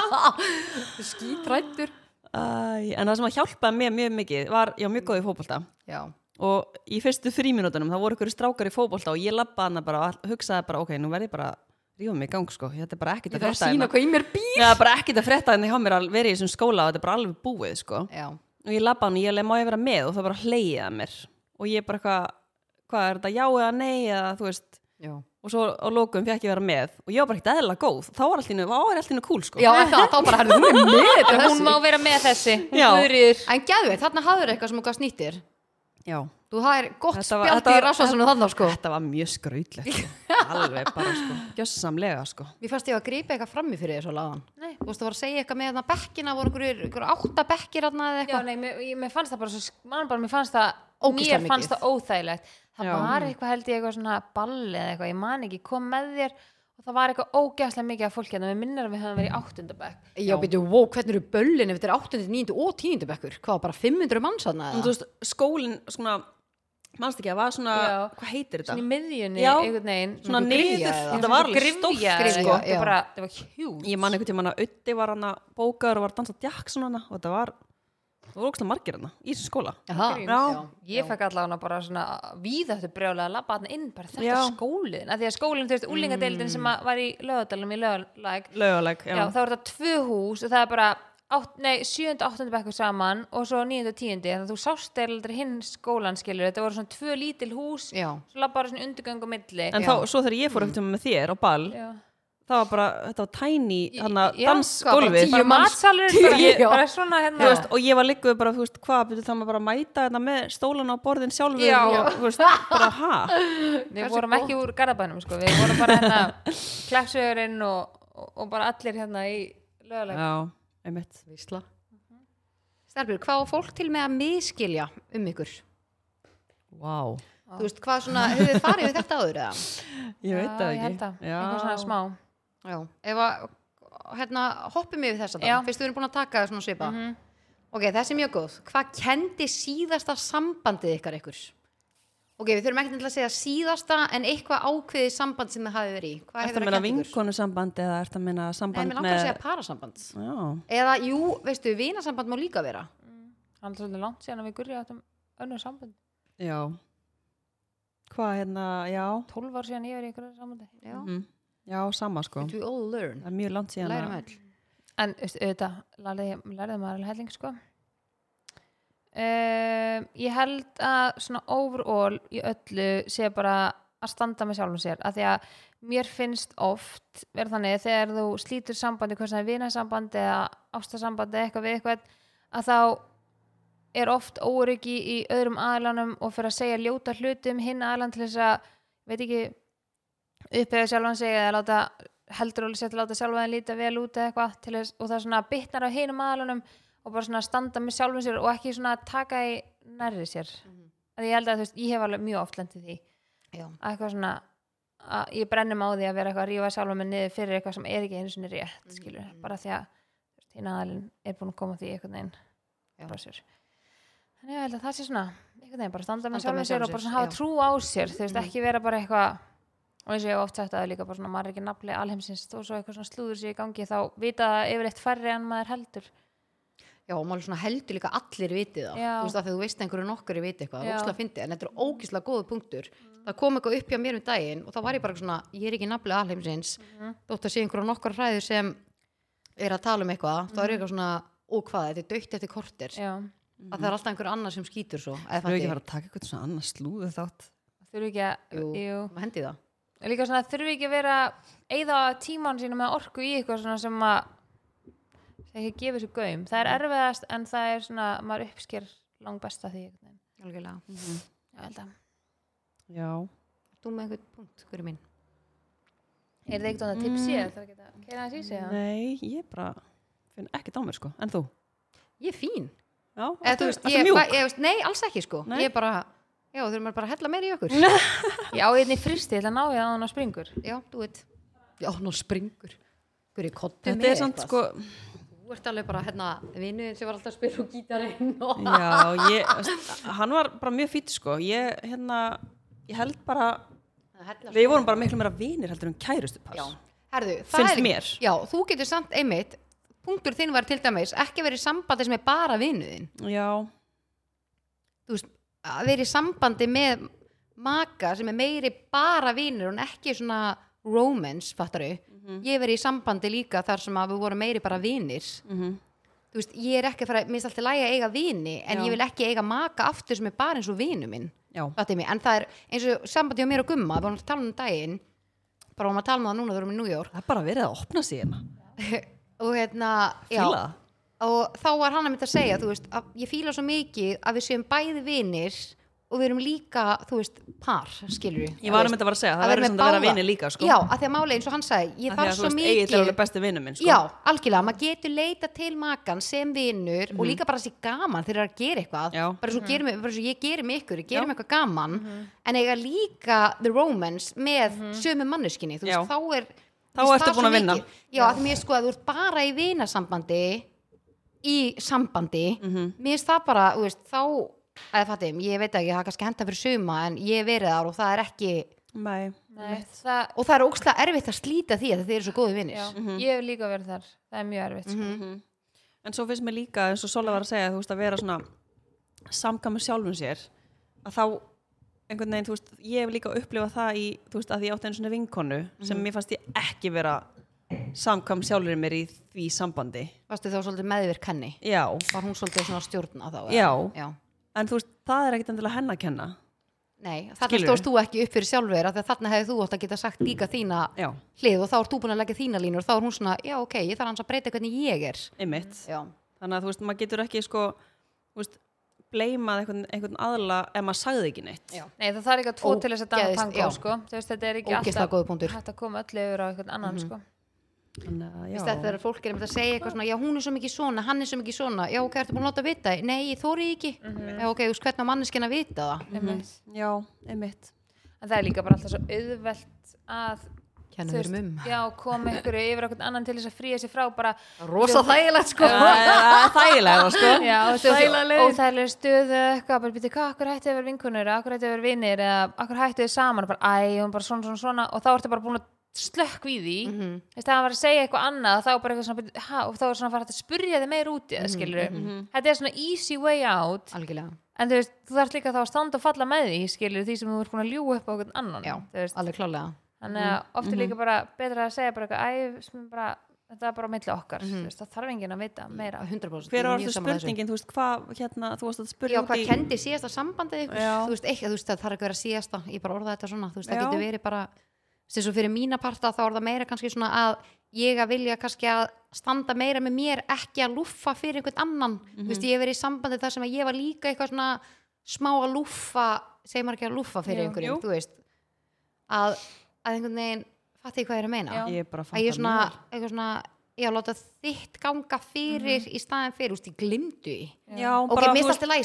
[SPEAKER 1] eða? Skítræddur
[SPEAKER 2] Æ, en það sem að hjálpaði mér mjög mikið var, ég var mjög góð í fótbolta
[SPEAKER 1] Já,
[SPEAKER 2] og í fyrstu fríminútonum þá voru ykkur strákar í fótbolta og ég lappaði hana bara og all- hugsaði bara, ok, nú verði ég bara að rífa mig í gang sko, þetta er bara ekkert
[SPEAKER 1] ég
[SPEAKER 2] að
[SPEAKER 1] þarf að
[SPEAKER 2] frétta
[SPEAKER 1] sína
[SPEAKER 2] hérna
[SPEAKER 1] hvað í mér býr
[SPEAKER 2] Já, bara ekkert að frétta hérna hjá mér að vera í þessum skóla og þetta er bara alveg búið sko
[SPEAKER 1] Já,
[SPEAKER 2] og ég labba hann og ég leið má ég vera með og það bara hleyið að mér og ég bara eitthvað, hvað er þetta já eða nei eða þú veist
[SPEAKER 1] já
[SPEAKER 2] og svo á lókum fekk ég vera með og ég var bara ekkert eðla góð, þá var allt í nú, þá var allt í nú kúl sko
[SPEAKER 1] Já, en það, þá bara herrðu hún er með þetta
[SPEAKER 3] hún
[SPEAKER 1] þessi.
[SPEAKER 3] má vera með þessi hún
[SPEAKER 2] Já.
[SPEAKER 3] guðriður
[SPEAKER 1] En gæðu veit, þarna hafður eitthvað sem okkar snýttir
[SPEAKER 2] Já.
[SPEAKER 1] Þú hafðir gott
[SPEAKER 2] Þetta var-
[SPEAKER 1] spjaldi
[SPEAKER 2] þetta
[SPEAKER 1] í
[SPEAKER 2] var-
[SPEAKER 1] rassvarsinu þarna sko
[SPEAKER 2] þetta var mjög skrautlegt sko. alveg bara sko, gjössamlega sko
[SPEAKER 1] Mér fannst ég að gripa eitthvað frammi fyrir þér svo laðan
[SPEAKER 3] Nei.
[SPEAKER 1] Þú veist að var að segja eitthvað með þarna bekkina voru einhverjur einhver átta bekkir þarna eða
[SPEAKER 3] Já,
[SPEAKER 1] eitthvað
[SPEAKER 3] nei, mér, ég- mér fannst það bara svo, sk- man bara, mér fannst það,
[SPEAKER 1] Ógeðslega
[SPEAKER 3] mér fannst
[SPEAKER 1] mikið.
[SPEAKER 3] það óþægilegt. Það
[SPEAKER 2] Já.
[SPEAKER 3] var eitthvað held ég eitthvað svona balli eða eitthvað, ég man ekki, kom með þér og það var eitthvað ógeðslega mikið af fólki en mér minnir að við höfum verið í áttundabæk.
[SPEAKER 1] Já, byrju, wow, hvernig eru böllin ef þetta er 8. 9. og 10. bekkur Hvað, bara 500 manns þarna
[SPEAKER 2] en, þú
[SPEAKER 1] eða?
[SPEAKER 2] veist, skólin svona mannst ekki að var svona,
[SPEAKER 3] Já.
[SPEAKER 2] hvað heitir þetta
[SPEAKER 3] Svona í miðjunni,
[SPEAKER 2] Já.
[SPEAKER 3] einhvern veginn.
[SPEAKER 2] svona
[SPEAKER 1] einhver gryfja
[SPEAKER 2] niður,
[SPEAKER 1] eða-
[SPEAKER 2] þetta var alveg
[SPEAKER 3] gryfja,
[SPEAKER 2] stórt sko.
[SPEAKER 3] eða
[SPEAKER 1] gryfja,
[SPEAKER 3] eitthvað,
[SPEAKER 1] já.
[SPEAKER 3] þetta bara, það var hjúl.
[SPEAKER 2] ég man einhvern tímann að Uddi var hann að bókaður og var að dansa djakson hana og þetta var, það voru ógstlega margir hana í þessu skóla
[SPEAKER 1] Jaha,
[SPEAKER 2] Já.
[SPEAKER 3] Ég fekk allavega bara svona víðáttu brjálega að labba þarna inn, bara þetta
[SPEAKER 2] Já.
[SPEAKER 3] er skólinn. Af því að skólinn, þú veist, úlingadeildin sem að var í lögadalum í lögalæk,
[SPEAKER 2] löguleg,
[SPEAKER 3] já, þá er þetta tvö hús og það er bara átt, nei, 7. og 8. bekkur saman og svo 9. og 10. þannig að þú sást eldri hinn skólan skilur þetta voru svona tvö lítil hús
[SPEAKER 1] Já.
[SPEAKER 3] svo labba bara svona undirgöng og milli
[SPEAKER 2] en þá, svo þegar ég fór ekkert um með þér á ball
[SPEAKER 3] já.
[SPEAKER 2] það var bara, þetta var tiny hann að
[SPEAKER 3] já,
[SPEAKER 2] dansgólfið
[SPEAKER 1] hvað,
[SPEAKER 3] bara
[SPEAKER 1] Tíu manns-
[SPEAKER 3] matsalur
[SPEAKER 1] tíu,
[SPEAKER 3] bara,
[SPEAKER 1] já.
[SPEAKER 3] bara svona
[SPEAKER 2] Þú
[SPEAKER 3] hérna
[SPEAKER 2] veist, og ég var líkuð bara, þú veist, hvað betur það maður bara að mæta þetta með stólan á borðin sjálfur
[SPEAKER 3] Já.
[SPEAKER 2] og, þú veist, bara ha
[SPEAKER 3] við vorum ekki úr garðabænum sko. við vorum bara hérna klepsögurinn og, og, og bara allir hérna í lögulega
[SPEAKER 2] já, einmitt
[SPEAKER 1] Vísla Stærpjör, Mhm. hvað á fólk til með að miskilja um ykkur?
[SPEAKER 2] wow.
[SPEAKER 1] Þú veist, hvað svona, hefur þið farið við þetta áður eða?
[SPEAKER 2] ég veit það
[SPEAKER 3] ég
[SPEAKER 2] ekki
[SPEAKER 3] held það,
[SPEAKER 2] Já.
[SPEAKER 3] eitthvað svona smá
[SPEAKER 1] Já, ef að, hérna, hoppum við þess að
[SPEAKER 3] Já.
[SPEAKER 1] það Fyrst við erum búin að taka svona svipa
[SPEAKER 2] Mhm.
[SPEAKER 1] Ok, þessi er mjög góð Hvað kendi síðasta sambandið ykkar ykkur? Ok, við þurfum ekkert endilega að segja síðasta en eitthvað ákveðið samband sem þið hafið verið í Hvað
[SPEAKER 2] Er
[SPEAKER 1] hefur
[SPEAKER 2] það
[SPEAKER 1] það
[SPEAKER 2] meina
[SPEAKER 1] kennt ykkur?
[SPEAKER 2] vinkonusamband eða er það meina
[SPEAKER 1] Nei,
[SPEAKER 2] samband
[SPEAKER 1] mér langar að
[SPEAKER 2] með
[SPEAKER 1] segja parasamband
[SPEAKER 2] Já,
[SPEAKER 1] Eða, jú, veistu, vinasamband má líka vera
[SPEAKER 3] hann er svolítið langt síðan að við gurja áttum önnur sambund
[SPEAKER 2] já Hvað hérna, já
[SPEAKER 3] 12 ár síðan ég verið í einhverju sambundi
[SPEAKER 1] Já,
[SPEAKER 2] mm. Já, sama sko
[SPEAKER 1] we all learn
[SPEAKER 2] Það er mjög langt síðan
[SPEAKER 1] Lærum
[SPEAKER 2] að-
[SPEAKER 1] öll
[SPEAKER 3] En veist, auðvitað, lærði, lærði maður alveg helling sko. Um, ég held að svona overall í öllu sé bara að standa með sjálfum sér af því að mér finnst oft verð þannig þegar þú slítur sambandi hvers vegna vinasambandi eða ástasambandi eða eitthvað við eitthvað að þá er oft óryggi í öðrum aðlanum og fyrir að segja ljóta hlutum hinn aðlan til þess að veit ekki upphefðu sjálfan sig eða láta heldur alveg sér til að láta sjálfa þeim líta vel út eða eitthvað til þess, og það svona bitnar á hinum aðalunum og bara svona standa með sjálfum sér og ekki svona taka í nærri sér mm
[SPEAKER 1] Mhm.
[SPEAKER 3] ég held að þú veist, ég hef alveg mjög oft lendið því
[SPEAKER 1] Já,
[SPEAKER 3] að eitthvað svona að ég brennum á því að vera eitthvað að rífa sjálfa mig niður fyrir eitthvað sem er ekki einu sinni rétt
[SPEAKER 1] Mm,
[SPEAKER 3] skilur, bara því að þú veist, hinn aðalinn er búin að koma því einhvern veginn
[SPEAKER 1] Já.
[SPEAKER 3] frá sér þannig að ég held að það sé svona einhvern veginn bara standa með
[SPEAKER 1] Standa með
[SPEAKER 3] sjálfum sér
[SPEAKER 1] sjálfum
[SPEAKER 3] og bara
[SPEAKER 1] sér,
[SPEAKER 3] svona hafa
[SPEAKER 1] já. Mm.
[SPEAKER 3] trú á sér þú veist, ekki vera bara eitthvað og eins og ég hef oft sagt að það er líka bara svona maður er ekki nafli alheimsins þó svo eitthvað svona slúður sér í gangi þá vita það yfirleitt færri en maður heldur
[SPEAKER 1] Já, og maður svona heldur líka allir vitið það
[SPEAKER 3] Já.
[SPEAKER 1] Þú veist að þegar þú veist að einhverju nokkari viti eitthvað Það
[SPEAKER 3] Já.
[SPEAKER 1] er ógislega fyndið, en þetta er ógislega góðu punktur Það kom eitthvað upp hjá mér um daginn og þá var ég bara svona, ég er ekki nafnilega alheimsins
[SPEAKER 3] Mhm.
[SPEAKER 1] Þótt að sé einhverju nokkar hræður sem er að tala um eitthvað þá er eitthvað svona, ó hvað, þetta er dögt eftir kortir
[SPEAKER 3] já,
[SPEAKER 1] að það er alltaf einhver annar sem skýtur svo eða
[SPEAKER 2] Þau ekki
[SPEAKER 1] fatti,
[SPEAKER 2] að fara að taka eitthvað svona annars slúðu þátt
[SPEAKER 3] þurfi ekki að
[SPEAKER 1] jú,
[SPEAKER 3] jú.
[SPEAKER 1] maður hendi það
[SPEAKER 3] En líka svona þurfi ekki að vera eigða tíman sínum með orku í eitthvað svona sem að það ekki gefur sér gaum það er erfiðast en það er svona maður uppsker langt besta því einhvern veginn.
[SPEAKER 1] Algjörlega.
[SPEAKER 3] ég held að
[SPEAKER 2] Já,
[SPEAKER 1] Þú með einhvern punkt, hverju mín
[SPEAKER 3] Ég Er það eitthvað tipsi mm. það geta keira aðeins í sig? eða?
[SPEAKER 2] Nei, ég bara finn ekkert á mér sko, en þú?
[SPEAKER 1] Ég er fín
[SPEAKER 2] Já,
[SPEAKER 1] Eða, þú veist, ég,
[SPEAKER 2] mjúk
[SPEAKER 1] ba- ég, veist, Nei, alls ekki sko
[SPEAKER 2] Nei.
[SPEAKER 1] Ég er bara, já, þurfum maður bara að hella meira í okkur
[SPEAKER 3] Ég á einni fristi, ég ætla að ná ég að hann á springur.
[SPEAKER 1] Já, þú veit Já, ná springur Hver er kottið
[SPEAKER 2] Þetta er samt sko,
[SPEAKER 1] Þú ert alveg bara, hérna, vinnuðin sem var alltaf að spila og gítarinn og...
[SPEAKER 2] já, ég, hann var bara mjög fýtt sko, ég, hérna, ég held bara,
[SPEAKER 1] Hella,
[SPEAKER 2] við vorum bara miklu meira vinir heldur en kærustu
[SPEAKER 1] Hérna, sko. Já, herðu,
[SPEAKER 2] Finnst
[SPEAKER 1] er,
[SPEAKER 2] mér.
[SPEAKER 1] Já, þú getur samt einmitt punktur þinn var til dæmis ekki verið í sambandi sem er bara vinnuðin
[SPEAKER 2] Já,
[SPEAKER 1] þú veist, að vera í sambandi með maka sem er meiri bara vinur en ekki svona romance, fattaru
[SPEAKER 2] Mhm.
[SPEAKER 1] ég verið í sambandi líka þar sem að við vorum meiri bara vinir
[SPEAKER 2] Mhm.
[SPEAKER 1] þú veist, ég er ekki að fara, minnst alltaf lægi að eiga vini en
[SPEAKER 2] Já.
[SPEAKER 1] ég vil ekki eiga maka aftur sem er bara eins og vinu minn
[SPEAKER 2] já,
[SPEAKER 1] fattu mig, en það er eins og sambandi á mér og gumma, við vorum að tala um daginn bara vorum að tala um það núna, þú erum í New York
[SPEAKER 2] það er bara verið að opna sig hérna,
[SPEAKER 1] og hérna, já
[SPEAKER 2] fíla það.
[SPEAKER 1] og þá var hann að mynda að segja þú veist, að ég fíla svo mikið að við séum bæði vinir og við erum líka þú veist, par, skilur við
[SPEAKER 2] Ég var að mynda að vera að segja, það verður samt að vera vinir líka sko.
[SPEAKER 1] já, að því að máli eins og hann sagði ég
[SPEAKER 2] Af því að
[SPEAKER 1] þarf
[SPEAKER 2] þú
[SPEAKER 1] svo
[SPEAKER 2] veist, Egill er
[SPEAKER 1] mikið
[SPEAKER 2] alveg besti vinur minn sko.
[SPEAKER 1] já, algjörlega, maður getur leita til makan sem vinur og líka bara sér gaman þegar það er að gera eitthvað
[SPEAKER 2] Mhm. Já. Mhm.
[SPEAKER 1] bara svo, gerum, við- bara svo ég gerum ykkur, ég gerum eitthvað gaman en eiga líka the romance með sömu manneskinni þú veist,
[SPEAKER 2] Mhm. Já.
[SPEAKER 1] þá er
[SPEAKER 2] Þá
[SPEAKER 1] þú veist, það
[SPEAKER 2] ertu
[SPEAKER 1] er
[SPEAKER 2] búin
[SPEAKER 1] svo
[SPEAKER 2] að vinna.
[SPEAKER 1] mikið. já, af því mér sko að þú ert bara í vinasambandi í sambandi
[SPEAKER 2] Mhm.
[SPEAKER 1] mér finnst það bara, þú veist, þá eða fattum, ég veit ekki, það er kannski henda fyrir suma en ég hef verið þar og það er ekki
[SPEAKER 2] Nei,
[SPEAKER 3] Nei, það,
[SPEAKER 1] og það er ókslega erfitt að slíta því að þið eru svo góði vinnir
[SPEAKER 3] já, ég hef líka verið þar. Það er mjög erfitt. Sko.
[SPEAKER 2] en svo finnst mér líka eins og Sola var að segja, þú veist að vera svona samkama sjálfum sér að þá einhvern veginn, þú veist, ég hef líka upplifað það í, þú veist, að ég átti einu svona vinkonu sem mér fannst ég ekki vera samkam sjálfur mér í því sambandi
[SPEAKER 1] varstu þá svolítið meðvirk henni
[SPEAKER 2] já,
[SPEAKER 1] var hún svolítið svona að stjórna þá eða?
[SPEAKER 2] Já.
[SPEAKER 1] já.
[SPEAKER 2] en þú veist, það er ekkit endilega henn að kenna
[SPEAKER 1] Nei, þarna
[SPEAKER 2] Skilurðu?
[SPEAKER 1] stóðst þú ekki upp fyrir sjálfur af því að þarna hefði þú átt að geta sagt líka þína
[SPEAKER 2] já,
[SPEAKER 1] hlið og þá ert þú búin að leggja þína línur og þá er hún svona, já ok, ég þarf hans að breyta hvernig ég er
[SPEAKER 2] einmitt
[SPEAKER 1] Já,
[SPEAKER 2] þannig að þú veist, maður getur ekki sko, þú veist, bleimað einhvern, einhvern aðla ef maður sagði ekki neitt
[SPEAKER 1] Já.
[SPEAKER 3] Nei, það þarf ekki að tvo til þess að danna
[SPEAKER 1] Ógeðs-
[SPEAKER 3] tango,
[SPEAKER 1] já.
[SPEAKER 3] sko. Þú veist, þetta er ekki
[SPEAKER 1] ógeðslega
[SPEAKER 3] alltaf
[SPEAKER 1] góði punktur
[SPEAKER 3] hægt að koma öllu yfir á einhvern annan, sko.
[SPEAKER 2] þannig að,
[SPEAKER 1] Vist þetta
[SPEAKER 2] já,
[SPEAKER 1] er að fólk er einmitt að segja eitthvað svona, já hún er svo mikið svona, hann er svo mikið svona, já ok, ertu búin að láta vita? það? Nei, ég þóri ekki. Já ok, þú veist hvernig á manneskinn að vita það?
[SPEAKER 3] Einmitt.
[SPEAKER 2] já, einmitt
[SPEAKER 3] En það er líka bara alltaf svo auðvelt að
[SPEAKER 1] Kennum
[SPEAKER 3] þú
[SPEAKER 1] við um.
[SPEAKER 3] já, koma einhverju yfir okkur annan til þess að fríja sér frá bara,
[SPEAKER 1] Rosa þægilegt sko.
[SPEAKER 2] það er þægilega, sko
[SPEAKER 3] já,
[SPEAKER 1] Þægilega leið.
[SPEAKER 3] og það er stöðu eða eitthvað, bara býti, hvað, akkur hættu að vera vinkunur akkur hættu að vera vinir, eða akkur hættu þið saman bara, æ, hún bara svona, svona, svona og þá ertu bara búin að slökk við því mm
[SPEAKER 1] Mhm.
[SPEAKER 3] -hmm. það var að segja eitthvað annað, þá er bara eitthvað svona bíddu, ha, og þá er svona að fara að spurja þið meir út í
[SPEAKER 1] Mhm,
[SPEAKER 3] það, skilur þetta er svona easy way out
[SPEAKER 1] Algjörlega,
[SPEAKER 3] en þú veist, þú þarf líka þá að standa og falla með því, skilur því sem þú ert búin að ljú upp á okkur annan
[SPEAKER 1] já,
[SPEAKER 3] þú veist,
[SPEAKER 1] alveg klálega.
[SPEAKER 3] þannig að
[SPEAKER 1] Mhm,
[SPEAKER 3] oft er líka bara betra að segja bara eitthvað, æ, sem bara þetta er bara á milli okkar, mm veist, það þarf enginn að vita meira,
[SPEAKER 1] 100%. Mhm. ég
[SPEAKER 2] hver
[SPEAKER 1] er
[SPEAKER 2] var
[SPEAKER 1] mjög
[SPEAKER 2] þetta
[SPEAKER 1] sammála þessu.
[SPEAKER 2] spurningin, þú veist, hvað hérna, þú varst að
[SPEAKER 1] Já,
[SPEAKER 2] spurja
[SPEAKER 1] hvað kendi síðasta sambandið ykkur?
[SPEAKER 2] Já.
[SPEAKER 1] Þú veist, eitthvað, þú veist, það þarf ekki að vera síðasta, ég bara orða þetta svona, þú veist, það
[SPEAKER 2] Já.
[SPEAKER 1] getur verið bara, sem svo fyrir mína parta þá er það meira kannski svona að ég að vilja kannski að standa meira með mér, ekki að lúffa fyrir einhvern annan,
[SPEAKER 2] Mhm.
[SPEAKER 1] þú veist, ég hef verið í sambandi þar sem að ég var líka eitthvað svona smá að lúffa, segir maður ekki að lúffa fyrir
[SPEAKER 3] Jú,
[SPEAKER 1] einhverjum,
[SPEAKER 2] jú.
[SPEAKER 1] þú veist, að, að einhvern veginn, fatti ég hvað ég er að meina?
[SPEAKER 3] Já.
[SPEAKER 2] ég er bara að
[SPEAKER 1] að ég
[SPEAKER 2] fatta
[SPEAKER 1] svona,
[SPEAKER 2] mjög
[SPEAKER 1] eitthvað svona, ég að láta þitt ganga fyrir
[SPEAKER 2] Mhm.
[SPEAKER 1] í staðin fyrir, þú veist, ég glimdu í
[SPEAKER 2] vel. já,
[SPEAKER 1] ok,
[SPEAKER 2] bara,
[SPEAKER 1] mér
[SPEAKER 2] þú
[SPEAKER 1] finnst
[SPEAKER 2] veist,
[SPEAKER 1] alltaf lagi,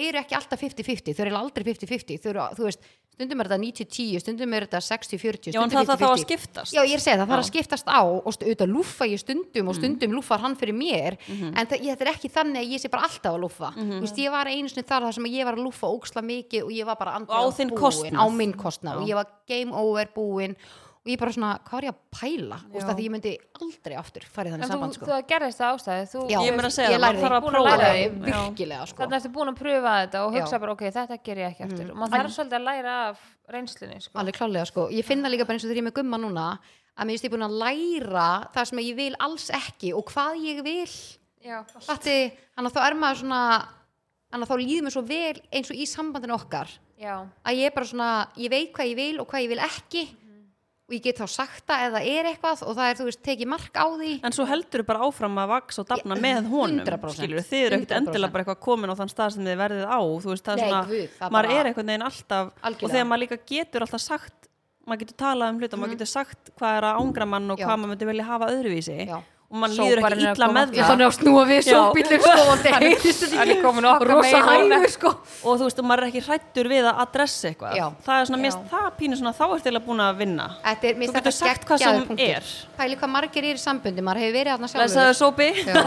[SPEAKER 1] samböndi eru ekki alltaf 50-50 þau eru aldrei 50-50, þau eru, þú veist stundum er þetta 90-10, stundum er þetta 60-40
[SPEAKER 2] já,
[SPEAKER 1] stundum
[SPEAKER 2] en það þarf þá að
[SPEAKER 1] 50-50.
[SPEAKER 2] skiptast
[SPEAKER 1] Já, ég er að segja það, það er að skiptast á og stu, auðvitað lúfa ég stundum
[SPEAKER 2] Mhm.
[SPEAKER 1] og stundum lúfar hann fyrir mér en það, ég, þetta er ekki þannig að ég sé bara alltaf að lúfa þú
[SPEAKER 2] Mhm.
[SPEAKER 1] veist, ég var einu sinni þar þar sem ég var að lúfa óksla mikið og ég var bara andlega
[SPEAKER 2] á þinn
[SPEAKER 1] búin,
[SPEAKER 2] kostnað.
[SPEAKER 1] á minn kostnað og ég var game over búin og ég bara svona, hvað er ég að pæla þú veist,
[SPEAKER 2] Já.
[SPEAKER 1] að því ég myndi aldrei aftur farið þannig
[SPEAKER 3] en þú,
[SPEAKER 1] samband
[SPEAKER 3] sko.
[SPEAKER 1] sko.
[SPEAKER 3] þú gerðist það ástæði þú,
[SPEAKER 1] Já,
[SPEAKER 2] Ég meina að segja
[SPEAKER 1] ég
[SPEAKER 2] það,
[SPEAKER 1] lærði
[SPEAKER 2] maður þarf að
[SPEAKER 1] búin
[SPEAKER 3] prófa
[SPEAKER 1] læra því,
[SPEAKER 3] það.
[SPEAKER 1] virkilega sko.
[SPEAKER 3] þannig ertu búin að pröfa þetta og hugsa
[SPEAKER 1] Já. Mhm.
[SPEAKER 3] bara, ok, þetta ger ég ekki aftur og maður þarf svolítið að læra af reynslunni sko.
[SPEAKER 1] alveg klálega sko, ég finna líka bara eins og þegar ég er með gumma núna að mér finnst ég búin að læra það sem ég vil alls ekki og hvað ég vil
[SPEAKER 3] já,
[SPEAKER 1] Þatti, hann að þá er maður svona hann að þá líður mér svo vel eins og í sambandinu okkar
[SPEAKER 3] já,
[SPEAKER 1] að ég er bara svona, ég veit hvað ég vil og hvað ég vil ekki og ég get þá sagt það eða er eitthvað og það er, þú veist, tekið mark á því
[SPEAKER 2] en svo heldur bara áfram að vaks og dafna með honum
[SPEAKER 1] 100%,
[SPEAKER 2] skilur, þið eru ekkert
[SPEAKER 1] 100%.
[SPEAKER 2] endilega bara eitthvað komin á þann stað sem þið verðið á þú veist, það
[SPEAKER 1] Nei,
[SPEAKER 2] er svona,
[SPEAKER 1] guð, það
[SPEAKER 2] maður
[SPEAKER 1] bara-
[SPEAKER 2] er einhvern veginn alltaf
[SPEAKER 1] Algjörlega. Mhm.
[SPEAKER 2] og þegar maður líka getur alltaf sagt maður getur talað um hluta, maður getur sagt hvað er að ángra mann og
[SPEAKER 1] Já.
[SPEAKER 2] hvað maður myndi velja hafa öðruvísi
[SPEAKER 1] Já.
[SPEAKER 2] og mann
[SPEAKER 3] Sóparinn
[SPEAKER 2] líður ekki
[SPEAKER 3] er að
[SPEAKER 2] illa
[SPEAKER 3] koma.
[SPEAKER 2] með
[SPEAKER 1] Já,
[SPEAKER 2] það
[SPEAKER 1] þannig að snúa við
[SPEAKER 2] Já.
[SPEAKER 1] sjóbílum sko og það
[SPEAKER 3] Hann er-
[SPEAKER 1] heyrist þetta
[SPEAKER 3] hann er
[SPEAKER 1] ekki.
[SPEAKER 3] komin okkar
[SPEAKER 1] rosa
[SPEAKER 3] megin og-
[SPEAKER 1] hægur sko
[SPEAKER 2] og þú veist, og maður er ekki hrættur við að adressa eitthvað
[SPEAKER 1] Já.
[SPEAKER 2] það er svona, mér
[SPEAKER 1] Já.
[SPEAKER 2] finnst það pínu svona, þá ertu eiginlega búin að vinna
[SPEAKER 1] Þetta er, mér
[SPEAKER 2] þú
[SPEAKER 1] finnst
[SPEAKER 2] getur
[SPEAKER 1] þetta
[SPEAKER 2] sagt hvað
[SPEAKER 1] geggjaður
[SPEAKER 2] sem
[SPEAKER 1] punktur.
[SPEAKER 2] er
[SPEAKER 1] Pæli hvað margir eru í sambundi, maður hefur verið aðna
[SPEAKER 2] lesaðu
[SPEAKER 1] sjálfur
[SPEAKER 2] sópi
[SPEAKER 1] Já.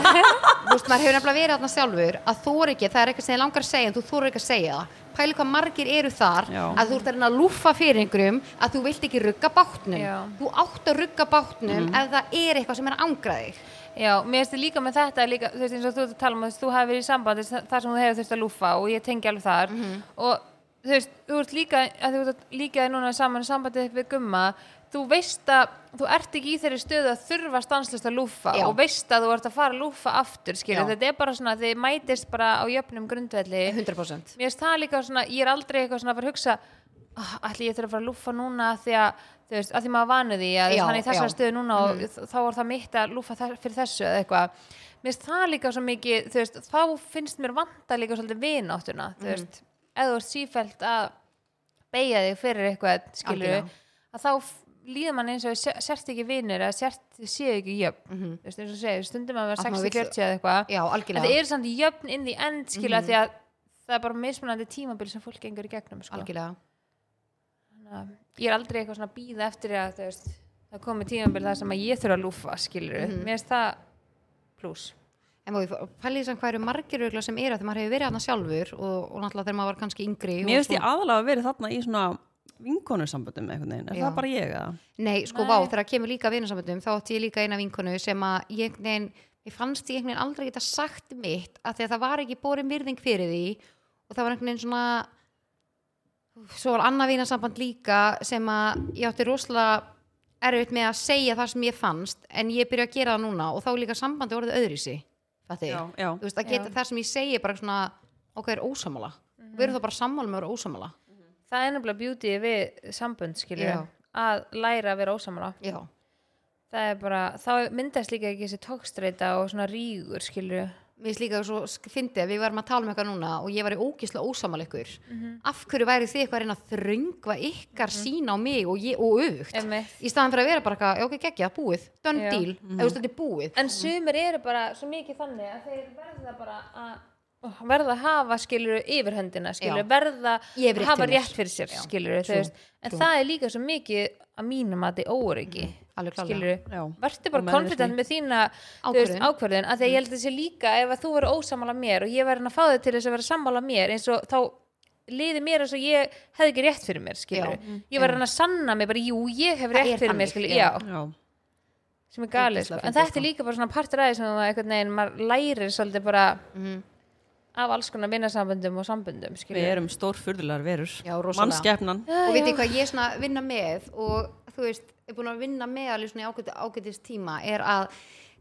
[SPEAKER 1] Þú veist, maður hefur nefnilega verið aðna sjálfur að þú er ekki, það er eitthvað sem þið langar að segja en þú þú ekki að segja það Pæli hvað margir eru þar
[SPEAKER 2] Já.
[SPEAKER 1] að þú ert að reyna að lúfa fyrir einhverjum að þú vilt ekki rugga bátnum
[SPEAKER 3] Já.
[SPEAKER 1] Þú átt að rugga bátnum ef það er eitthvað sem er að angra þig
[SPEAKER 3] Já, mér finnst þið líka með þetta líka, þú veist eins og þú ert að tala um þú veist, þú hafi verið í sambandi þar þar sem þú hefur þurft að lúfa og ég tengi alveg þar
[SPEAKER 1] Mhm.
[SPEAKER 3] og þú veist, þú ert líka að þú ert að líka þér núna saman í sambandi við gumma þú veist að þú ert ekki í þeirri stöðu að þurfa stanslust að lúfa
[SPEAKER 1] Já.
[SPEAKER 3] og veist að þú ert að fara að lúfa aftur skilur,
[SPEAKER 1] Já.
[SPEAKER 3] þetta er bara svona að þið mætist bara á jöfnum
[SPEAKER 2] Eh,
[SPEAKER 3] grundvelli
[SPEAKER 1] 100%
[SPEAKER 3] mér finnst það líka svona, ég er aldrei eitthvað svona að fara að hugsa oh, allir ég þurfa að fara að lúffa núna af því að, þú veist, að því maður vanu því að
[SPEAKER 1] Já,
[SPEAKER 3] hann er í
[SPEAKER 1] já.
[SPEAKER 3] þessar
[SPEAKER 1] Mm.
[SPEAKER 3] stöðu núna og þá er það mitt að lúffa þess, fyrir þessu eða eitthvað mér finnst það líka svo mikið, þú veist, þá finnst mér vanta líka svolítið vináttuna
[SPEAKER 1] Mm.
[SPEAKER 3] þú veist, ef þú ert sífælt að beigja þig fyrir eitthvað skilur,
[SPEAKER 1] Algjörlega.
[SPEAKER 3] að þá f- líður mann eins og sé- sért ekki vinur eða sért, séu ekki jöfn þú veist, eins og segir, stundum að vera
[SPEAKER 1] Mhm. Að maður
[SPEAKER 3] 60-40 eða eitthvað
[SPEAKER 1] Já, Mhm. algjörlega.
[SPEAKER 3] En það eru samt jöfn inn í end skilja því að það er bara mismunandi tímabil sem fólk gengur í gegnum sko.
[SPEAKER 1] Algjörlega
[SPEAKER 3] Þannig að ég er aldrei eitthvað svona að býða eftir að þú veist, það komi tímabil þar sem að ég þurfa að lúfa skilur
[SPEAKER 1] Mhm.
[SPEAKER 3] mér finnst það pluss
[SPEAKER 1] En maður pælið sem hvað eru margir örgla sem eru þegar maður hefur verið aðna sjálfur og, og náttúrulega þegar maður var kannski yngri og
[SPEAKER 2] mér finnst
[SPEAKER 1] svona-
[SPEAKER 2] ég aðalega að vera þarna í svona vinkonusamböndum einhvern veginn, er
[SPEAKER 1] Já.
[SPEAKER 2] það bara ég að
[SPEAKER 1] Nei, sko vá, þegar kemur líka vinarsamöndum þá átti ég líka eina vinkonu sem að ég, negin, ég fannst ég einhvern veginn aldrei geta sagt mitt að því að það var ekki borin virðing fyrir því og það var einhvern veginn svona svo var annað vinarsamband líka sem að ég átti rosalega erfitt með að segja það sem ég fannst en ég byrja að gera það núna og þá er líka sambandi orðið öðrisi Þetta
[SPEAKER 2] Já,
[SPEAKER 1] er,
[SPEAKER 2] já.
[SPEAKER 1] þú veist, að geta
[SPEAKER 3] Já.
[SPEAKER 1] það sem ég segi bara svona, ok, er ósamála við erum þá bara sammála með að vera ósamála
[SPEAKER 3] það er nefnilega beauty við sambund skilur
[SPEAKER 1] Já.
[SPEAKER 3] að læra að vera ósamala
[SPEAKER 1] Já,
[SPEAKER 3] það er bara, þá myndast líka ekki þessi tókstreita og svona rígur skilur
[SPEAKER 1] mér finnst líka svo sk- fyndið að við varum að tala um eitthvað núna og ég var í ógisla ósamal ykkur
[SPEAKER 3] Mhm.
[SPEAKER 1] af hverju væri þið eitthvað að reyna að þröngva ykkar sín á mig og, ég, og auðvögt
[SPEAKER 3] Einmitt.
[SPEAKER 1] í staðan fyrir að vera bara eitthvað, já, ok, geggja, búið done
[SPEAKER 3] Já.
[SPEAKER 1] deal, mm -hmm. eða þetta er búið
[SPEAKER 3] En sumir eru bara svo mikið þannig að þeir verða bara að oh, verða að hafa skilur yfirhöndina skilur,
[SPEAKER 1] Já.
[SPEAKER 3] verða
[SPEAKER 1] Ég hef
[SPEAKER 3] að
[SPEAKER 1] rétt
[SPEAKER 3] hafa
[SPEAKER 1] til mér.
[SPEAKER 3] rétt fyrir sér
[SPEAKER 1] Já.
[SPEAKER 3] skilur,
[SPEAKER 1] Trú,
[SPEAKER 3] veist, en
[SPEAKER 1] trú.
[SPEAKER 3] það er líka svo mikið að mínum að þið óöryggi
[SPEAKER 1] Mm, alveg klárlega.
[SPEAKER 2] Já.
[SPEAKER 3] skilur, verður
[SPEAKER 2] Og
[SPEAKER 3] bara
[SPEAKER 2] meðvirkni.
[SPEAKER 3] confident með þína þú
[SPEAKER 1] Ákvörðun.
[SPEAKER 3] ákvörðun að því að ég held að sé líka ef að þú verður ósamála mér og ég verður að fá þig til þess að vera sammála mér eins og þá liði mér eins og ég hefði ekki rétt fyrir mér skilur,
[SPEAKER 1] Já. Mm,
[SPEAKER 3] ég verður að sanna mig bara, jú, ég hef
[SPEAKER 1] Það
[SPEAKER 3] rétt
[SPEAKER 1] er
[SPEAKER 3] fyrir mér
[SPEAKER 1] þannig,
[SPEAKER 3] skilur,
[SPEAKER 1] já.
[SPEAKER 3] já
[SPEAKER 2] já,
[SPEAKER 3] sem er galið sko.
[SPEAKER 1] Ógeðslega
[SPEAKER 3] en
[SPEAKER 1] fyndið,
[SPEAKER 3] þetta er líka bara svona partur aðeins sem maður einhvern veginn, maður lærir svolítið bara
[SPEAKER 1] Mhm.
[SPEAKER 3] af alls konar vinnasamböndum og samböndum skilur.
[SPEAKER 2] við erum stórfurðulegar verur
[SPEAKER 1] Já, rosalega.
[SPEAKER 2] mannskeppnan
[SPEAKER 1] og veit ég hvað ég er svona að vinna með og þú veist, er búin að vinna með alveg svona í ágæti, ágætis tíma er að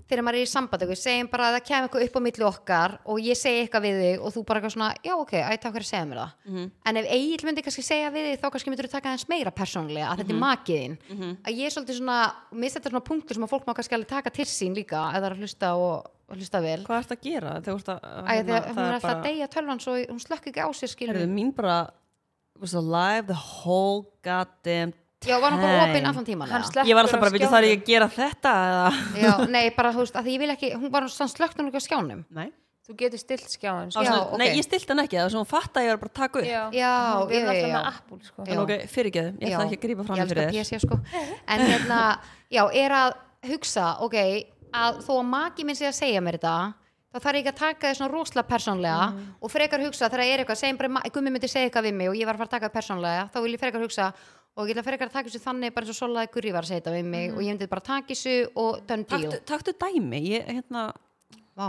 [SPEAKER 1] þegar maður er í sambandi, við segjum bara að það kemur eitthvað upp á milli okkar og ég segi eitthvað við þig og þú bara eitthvað svona, já ok, ætti takk fyrir að segja mér það en ef Egil myndi kannski segja við þig þá kannski myndir þú taka þess meira persónlega að þetta er makiðin, að ég er svolítið svona og mér þetta svona punktur sem að fólk má kannski alveg taka til sín líka, ef það er að hlusta og, og hlusta vel,
[SPEAKER 2] hvað ertu að gera þegar þú ert að hérna,
[SPEAKER 1] Æ, þegar hún
[SPEAKER 2] það
[SPEAKER 1] er
[SPEAKER 2] er
[SPEAKER 1] alltaf að deyja tölvan svo hún slökk ekki á sér skilur
[SPEAKER 2] Herðu, mín bara was alive the whole goddamn
[SPEAKER 1] já, var hún bara
[SPEAKER 2] time.
[SPEAKER 1] opinn allan tíman
[SPEAKER 3] Hann
[SPEAKER 1] eða?
[SPEAKER 3] sleppur
[SPEAKER 2] Ég var alltaf
[SPEAKER 3] á
[SPEAKER 2] bara, veitir það er
[SPEAKER 3] skjánum."
[SPEAKER 2] ég að gera þetta eða
[SPEAKER 1] Já, nei, bara þú veist, að því ég vil ekki, hún var svona slögt hún ekki á skjánum.
[SPEAKER 2] Nei,
[SPEAKER 3] þú getur stilt skjáin
[SPEAKER 2] já,
[SPEAKER 3] sko.
[SPEAKER 1] Já,
[SPEAKER 2] svona,
[SPEAKER 1] ok.
[SPEAKER 2] nei ég stilt hann ekki, það var svona fatt að ég var bara að taka upp
[SPEAKER 3] já,
[SPEAKER 1] Já,
[SPEAKER 3] við erum
[SPEAKER 1] já, já.
[SPEAKER 3] alltaf með Apple sko.
[SPEAKER 1] Já.
[SPEAKER 2] En ok, fyrirgeðu, ég ætla ekki að grípa fram í fyrir
[SPEAKER 1] Ég
[SPEAKER 2] þér
[SPEAKER 1] elska PC, sko. En hérna, já, er að hugsa, ok, að þó að maki minn sé að segja mér þetta, þá þarf ég ekki að taka þið svona rosalega persónlega
[SPEAKER 2] Mm.
[SPEAKER 1] og frekar hugsa þegar er eitthvað, segjum bara, ma- gummi myndi segja eitthvað við mig og ég var að fara að taka það persónlega, þá vil ég frekar hugsa og ég ætla frekar að taka þessu þannig bara eins og solaði gurri var að segja þetta við mig
[SPEAKER 2] Mm.
[SPEAKER 1] og ég myndi bara taka þessu og done deal.
[SPEAKER 2] Taktu, taktu dæmi, ég hérna
[SPEAKER 1] Vá,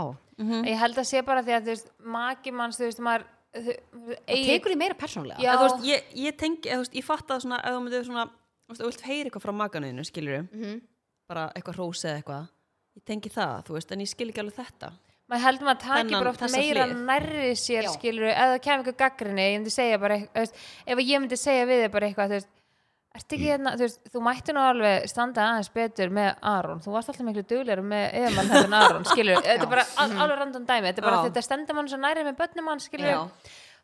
[SPEAKER 3] ég held að sé bara því að þú veist maki manns, þú veist maður þú-
[SPEAKER 1] það
[SPEAKER 3] Egill-
[SPEAKER 1] tekur því meira persónlega.
[SPEAKER 3] Já.
[SPEAKER 2] eða, þú veist, ég, ég tengi, eða, þú veist, ég fatt að svona, ef þú myndir svona þú veist, ef þú vilt heyra eitthvað frá maganuðinu, skilur
[SPEAKER 1] Mhm.
[SPEAKER 2] bara eitthvað hrósa eða eitthvað ég tengi það, þú veist, en ég skil ekki alveg þetta
[SPEAKER 3] maður heldur maður að taki
[SPEAKER 2] Þennan-
[SPEAKER 3] bara oft
[SPEAKER 2] þessa
[SPEAKER 3] meira
[SPEAKER 2] hlið.
[SPEAKER 3] nærri sér
[SPEAKER 1] Já.
[SPEAKER 3] skilur eða það kemur eitthvað gaggrinni ég myndi segja bara, eitthvað, þú veist, ef ég myndi segja við þig bara eitthvað, þú veist Ertu
[SPEAKER 2] Mm.
[SPEAKER 3] ekki hérna, þú veist, þú mætti nú alveg standa aðeins betur með Aron, þú varst alltaf miklu duglegur með Eðamann hefðin Aron, skilur þetta er bara al, alveg random dæmi, þetta er bara
[SPEAKER 2] Já.
[SPEAKER 3] þetta stenda mann svo nærið með börnum mann, skilur
[SPEAKER 2] Já.